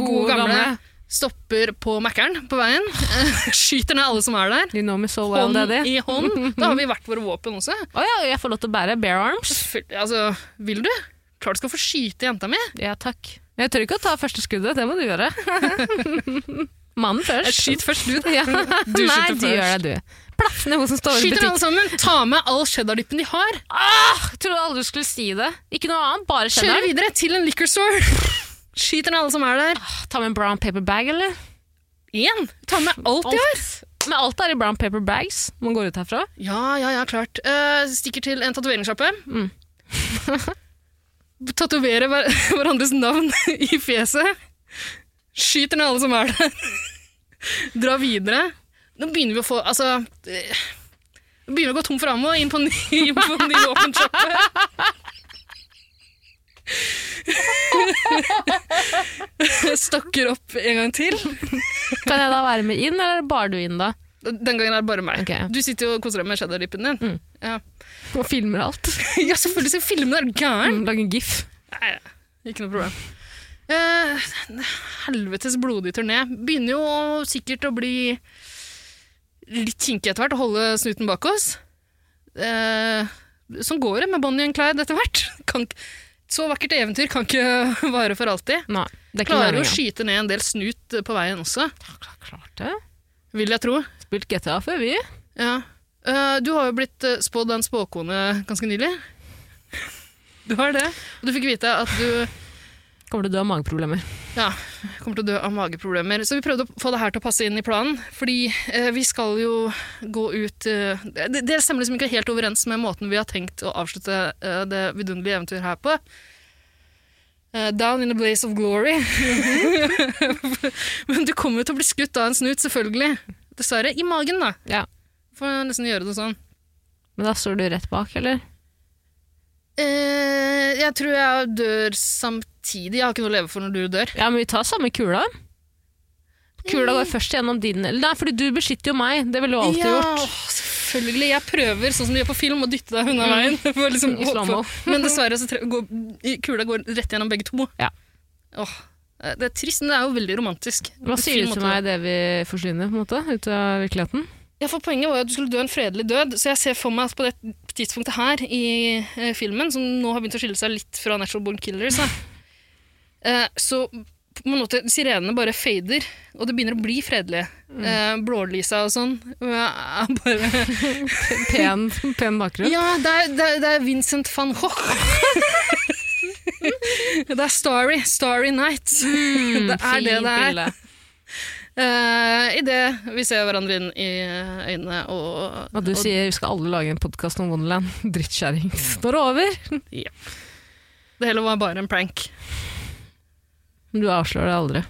Gode, gamle. Stopper på Mækkern på veien. eh, skyter ned alle som er der. You know me so well, Hånd daddy. i hånd. Da har vi hvert våre våpen også. Å ja, jeg får lov til å bære bare arms? Selvfølgelig- Altså, vil du? Klart du skal få skyte jenta mi. Ja, takk. Jeg tør ikke å ta første skuddet, det må du gjøre. Mannen først. Skyt først du, da. Ja. Du Nei, skyter du gjør det, du. Plaff ned hun som står i Skyter alle butikk. sammen, ta med all cheddardippen de har. Tror du aldri du skulle si det? Ikke noe annet, bare Kjører cheddar. videre til en liquor store. Skyter ned alle som er der. Ta med en brown paper bag, eller? Én. Ta med alt de har. Men alt er i brown paper bags når man går ut herfra. Ja, ja, ja, klart. Eh, stikker til en tatoveringssjappe. Mm. Tatoverer hver hverandres navn i fjeset. Skyter ned alle som er der. Dra videre. Nå begynner vi å få Altså eh, Nå begynner vi å gå tom for ammo inn på ny, inn på ny våpensjappe. Stokker opp en gang til. Kan jeg da være med inn, eller bar du inn da? Den gangen er det bare meg. Ok. Du sitter jo og koser deg med cheddardippen din. Ja. Og filmer alt. ja, selvfølgelig skal filmen være gæren. Lage en gif. Nei, ikke noe problem. Eh, helvetes blodig turné. Begynner jo sikkert å bli litt kinkig etter hvert, å holde snuten bak oss. Eh, sånn går det med Bonnie and Clyde etter hvert. Kan, ikke- så vakkert eventyr kan ikke vare for alltid. Nei, det er ikke Klarer jo å meningen. skyte ned en del snut på veien også, Klart det. vil jeg tro. Spilt GTA før, vi. Ja. Eh, du har jo blitt eh, spådd av en spåkone ganske nylig. Du har det. Og du fikk vite at du Kommer til å dø av mageproblemer. Ja, kommer til å dø av mageproblemer. Så vi prøvde å få det her til å passe inn i planen, fordi eh, vi skal jo gå ut eh, det, det stemmer liksom ikke helt overens med måten vi har tenkt å avslutte eh, det vidunderlige eventyret her på. Eh, down in a blaze of glory. Men du kommer jo til å bli skutt av en snut, selvfølgelig. Dessverre. I magen, da. Ja. Får nesten gjøre det sånn. Men da står du rett bak, eller? Eh, jeg tror jeg dør samtidig. Jeg har ikke noe å leve for når du dør. Ja, men vi tar samme kula. Kula går først gjennom din eller- Nei, fordi du beskytter jo meg. Det ville du alltid ja, gjort. åh, selvfølgelig. Jeg prøver, sånn som du gjør på film, å dytte deg unna veien. For liksom, Mm. I slow-mo. håpe- Men dessverre så tre går, kula går rett gjennom begge to. Ja. Åh, eh, det er trist, men det er jo veldig romantisk. Hva På sier fin du til måte. meg det vi forsvinner på en måte, ut av virkeligheten? Ja, for Poenget var jo at du skulle dø en fredelig død, så jeg ser for meg at på det tidspunktet her i eh, filmen, som nå har begynt å skille seg litt fra Natural Born Killers, da, eh, så på en måte sirenene bare fader, og det begynner å bli fredelig. Mm. Eh, Blålysa og sånn. Og jeg er bare... Pen, pen bakgrunn. Ja, det er, det, er, det er Vincent van Gogh. det er Starry. Starry Night. det er det det er. Uh, Idet vi ser hverandre inn i øynene og Og du og sier vi skal alle lage en podkast om Wonderland. Drittkjerring. Nå er det over! Det hele var bare en prank. Men du avslører det aldri.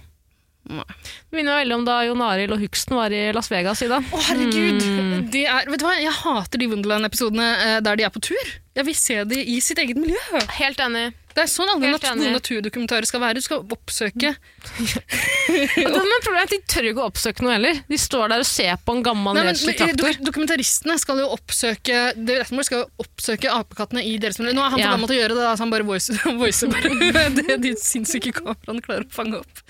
Nei. Det minner meg veldig om da Jon Arild og Hugsten var i Las Vegas i dag. Å, herregud! Det Mm. er, vet du hva, Jeg hater de Wonderland-episodene eh, der de er på tur. Jeg vil se de i sitt eget miljø. Helt enig. Det er sånn alle Helt nat enig. gode naturdokumentarer skal være. Du skal oppsøke Og det, men problemet er at De tør ikke å oppsøke noe heller. De står der og ser på en gammel, Nei, men, nedslitt men, eh, traktor. dok- dokumentaristene skal jo oppsøke David Attenborough skal jo oppsøke apekattene i deres miljø. Nå er han Ja. for gammel til å gjøre det, da, så han bare voicer voice bare det de sinnssyke kameraene klarer å fange opp.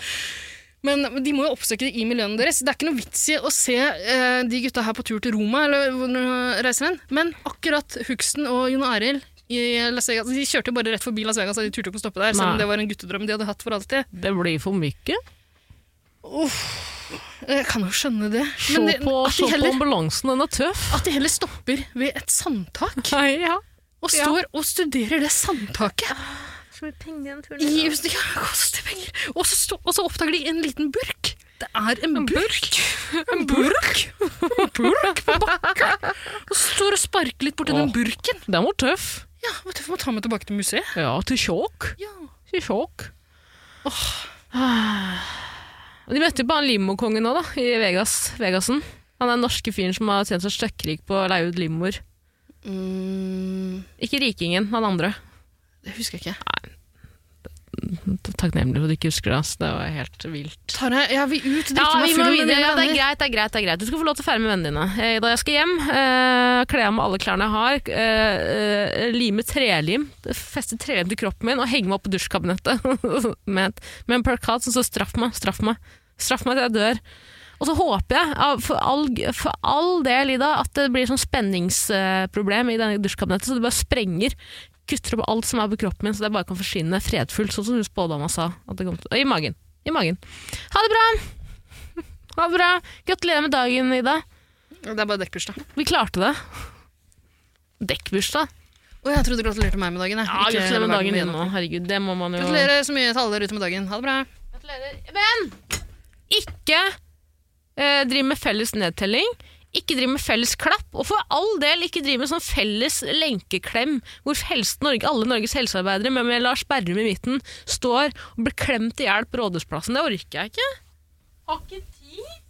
Men de må jo oppsøke det i miljøene deres. Det er ikke noe vits i å se eh, de gutta her på tur til Roma, eller hvor de reiser hen. Men akkurat Hugsten og Jon Arild i Las Vegas, de kjørte jo bare rett forbi Las Vegas, og de turte jo ikke å stoppe der, selv Nei. om det var en guttedrøm de hadde hatt for alltid. Det blir for mye. Jeg Eh, kan jo skjønne det. Se Men det, på, at, se de på heller, ambulansen, den er tøff. at de heller stopper ved et sandtak. Nei, ja. og Ja. står og studerer det sandtaket. I huset, ja, koster penger. Og så, stå, og så oppdager de en liten burk. Det er en, burk. En burk? En burk på bakka. Og så står og sparker litt borti den Åh. burken. Den var tøff. Ja, vet du, får man ta med tilbake til museet. Ja, til sjokk. Ja. Til sjokk. Og De møtte jo bare han limokongen nå, da, i Vegas. Vegasen. Han er den norske fyren som har tjent seg støkkrik på å leie ut limoer. Mm, Ikke rikingen, han andre. det husker jeg ikke. Takknemlig for at du ikke husker det. ass. Det var helt vilt. Tara, jeg vil ut. Ja, drikke meg vi full må med videre. mine Ja, det er venner. greit, det er greit. det er greit. Du skal få lov til å feire med vennene dine. Eh, Da jeg skal hjem, eh, kle av meg alle klærne jeg har, eh, eh, lime trelim, feste trelim til kroppen min og henge meg opp på dusjkabinettet med, et- med en plakat som står 'straff meg, straff meg'. Straff meg til jeg dør. Og så håper jeg av- for all, for all del, Ida, at det blir sånn spenningsproblem i denne dusjkabinettet, så det bare sprenger. Kutter opp alt som er på kroppen min, så det bare kan forsvinne fredfullt, sånn som hun spådama sa. At det kom til. I magen. I magen. Ha det bra! Ha det bra. Gratulerer med dagen, Ida. Det er bare dekkbursdag. Vi klarte det. Dekkbursdag. Å, jeg trodde du gratulerte meg med dagen. jeg. Ja, gratulerer Ikke med hele verden dagen min. din nå. Herregud, det må man jo Gratulerer så mye til alle der ute med dagen. Ha det bra. Men ikke eh, driv med felles nedtelling. Ikke driv med felles klapp, og for all del ikke driv med sånn felles lenkeklem hvor helse, Norge, alle Norges helsearbeidere med, med Lars Berrum i midten står og blir klemt i hjel på Rådhusplassen. Det orker jeg ikke. Har ikke tid.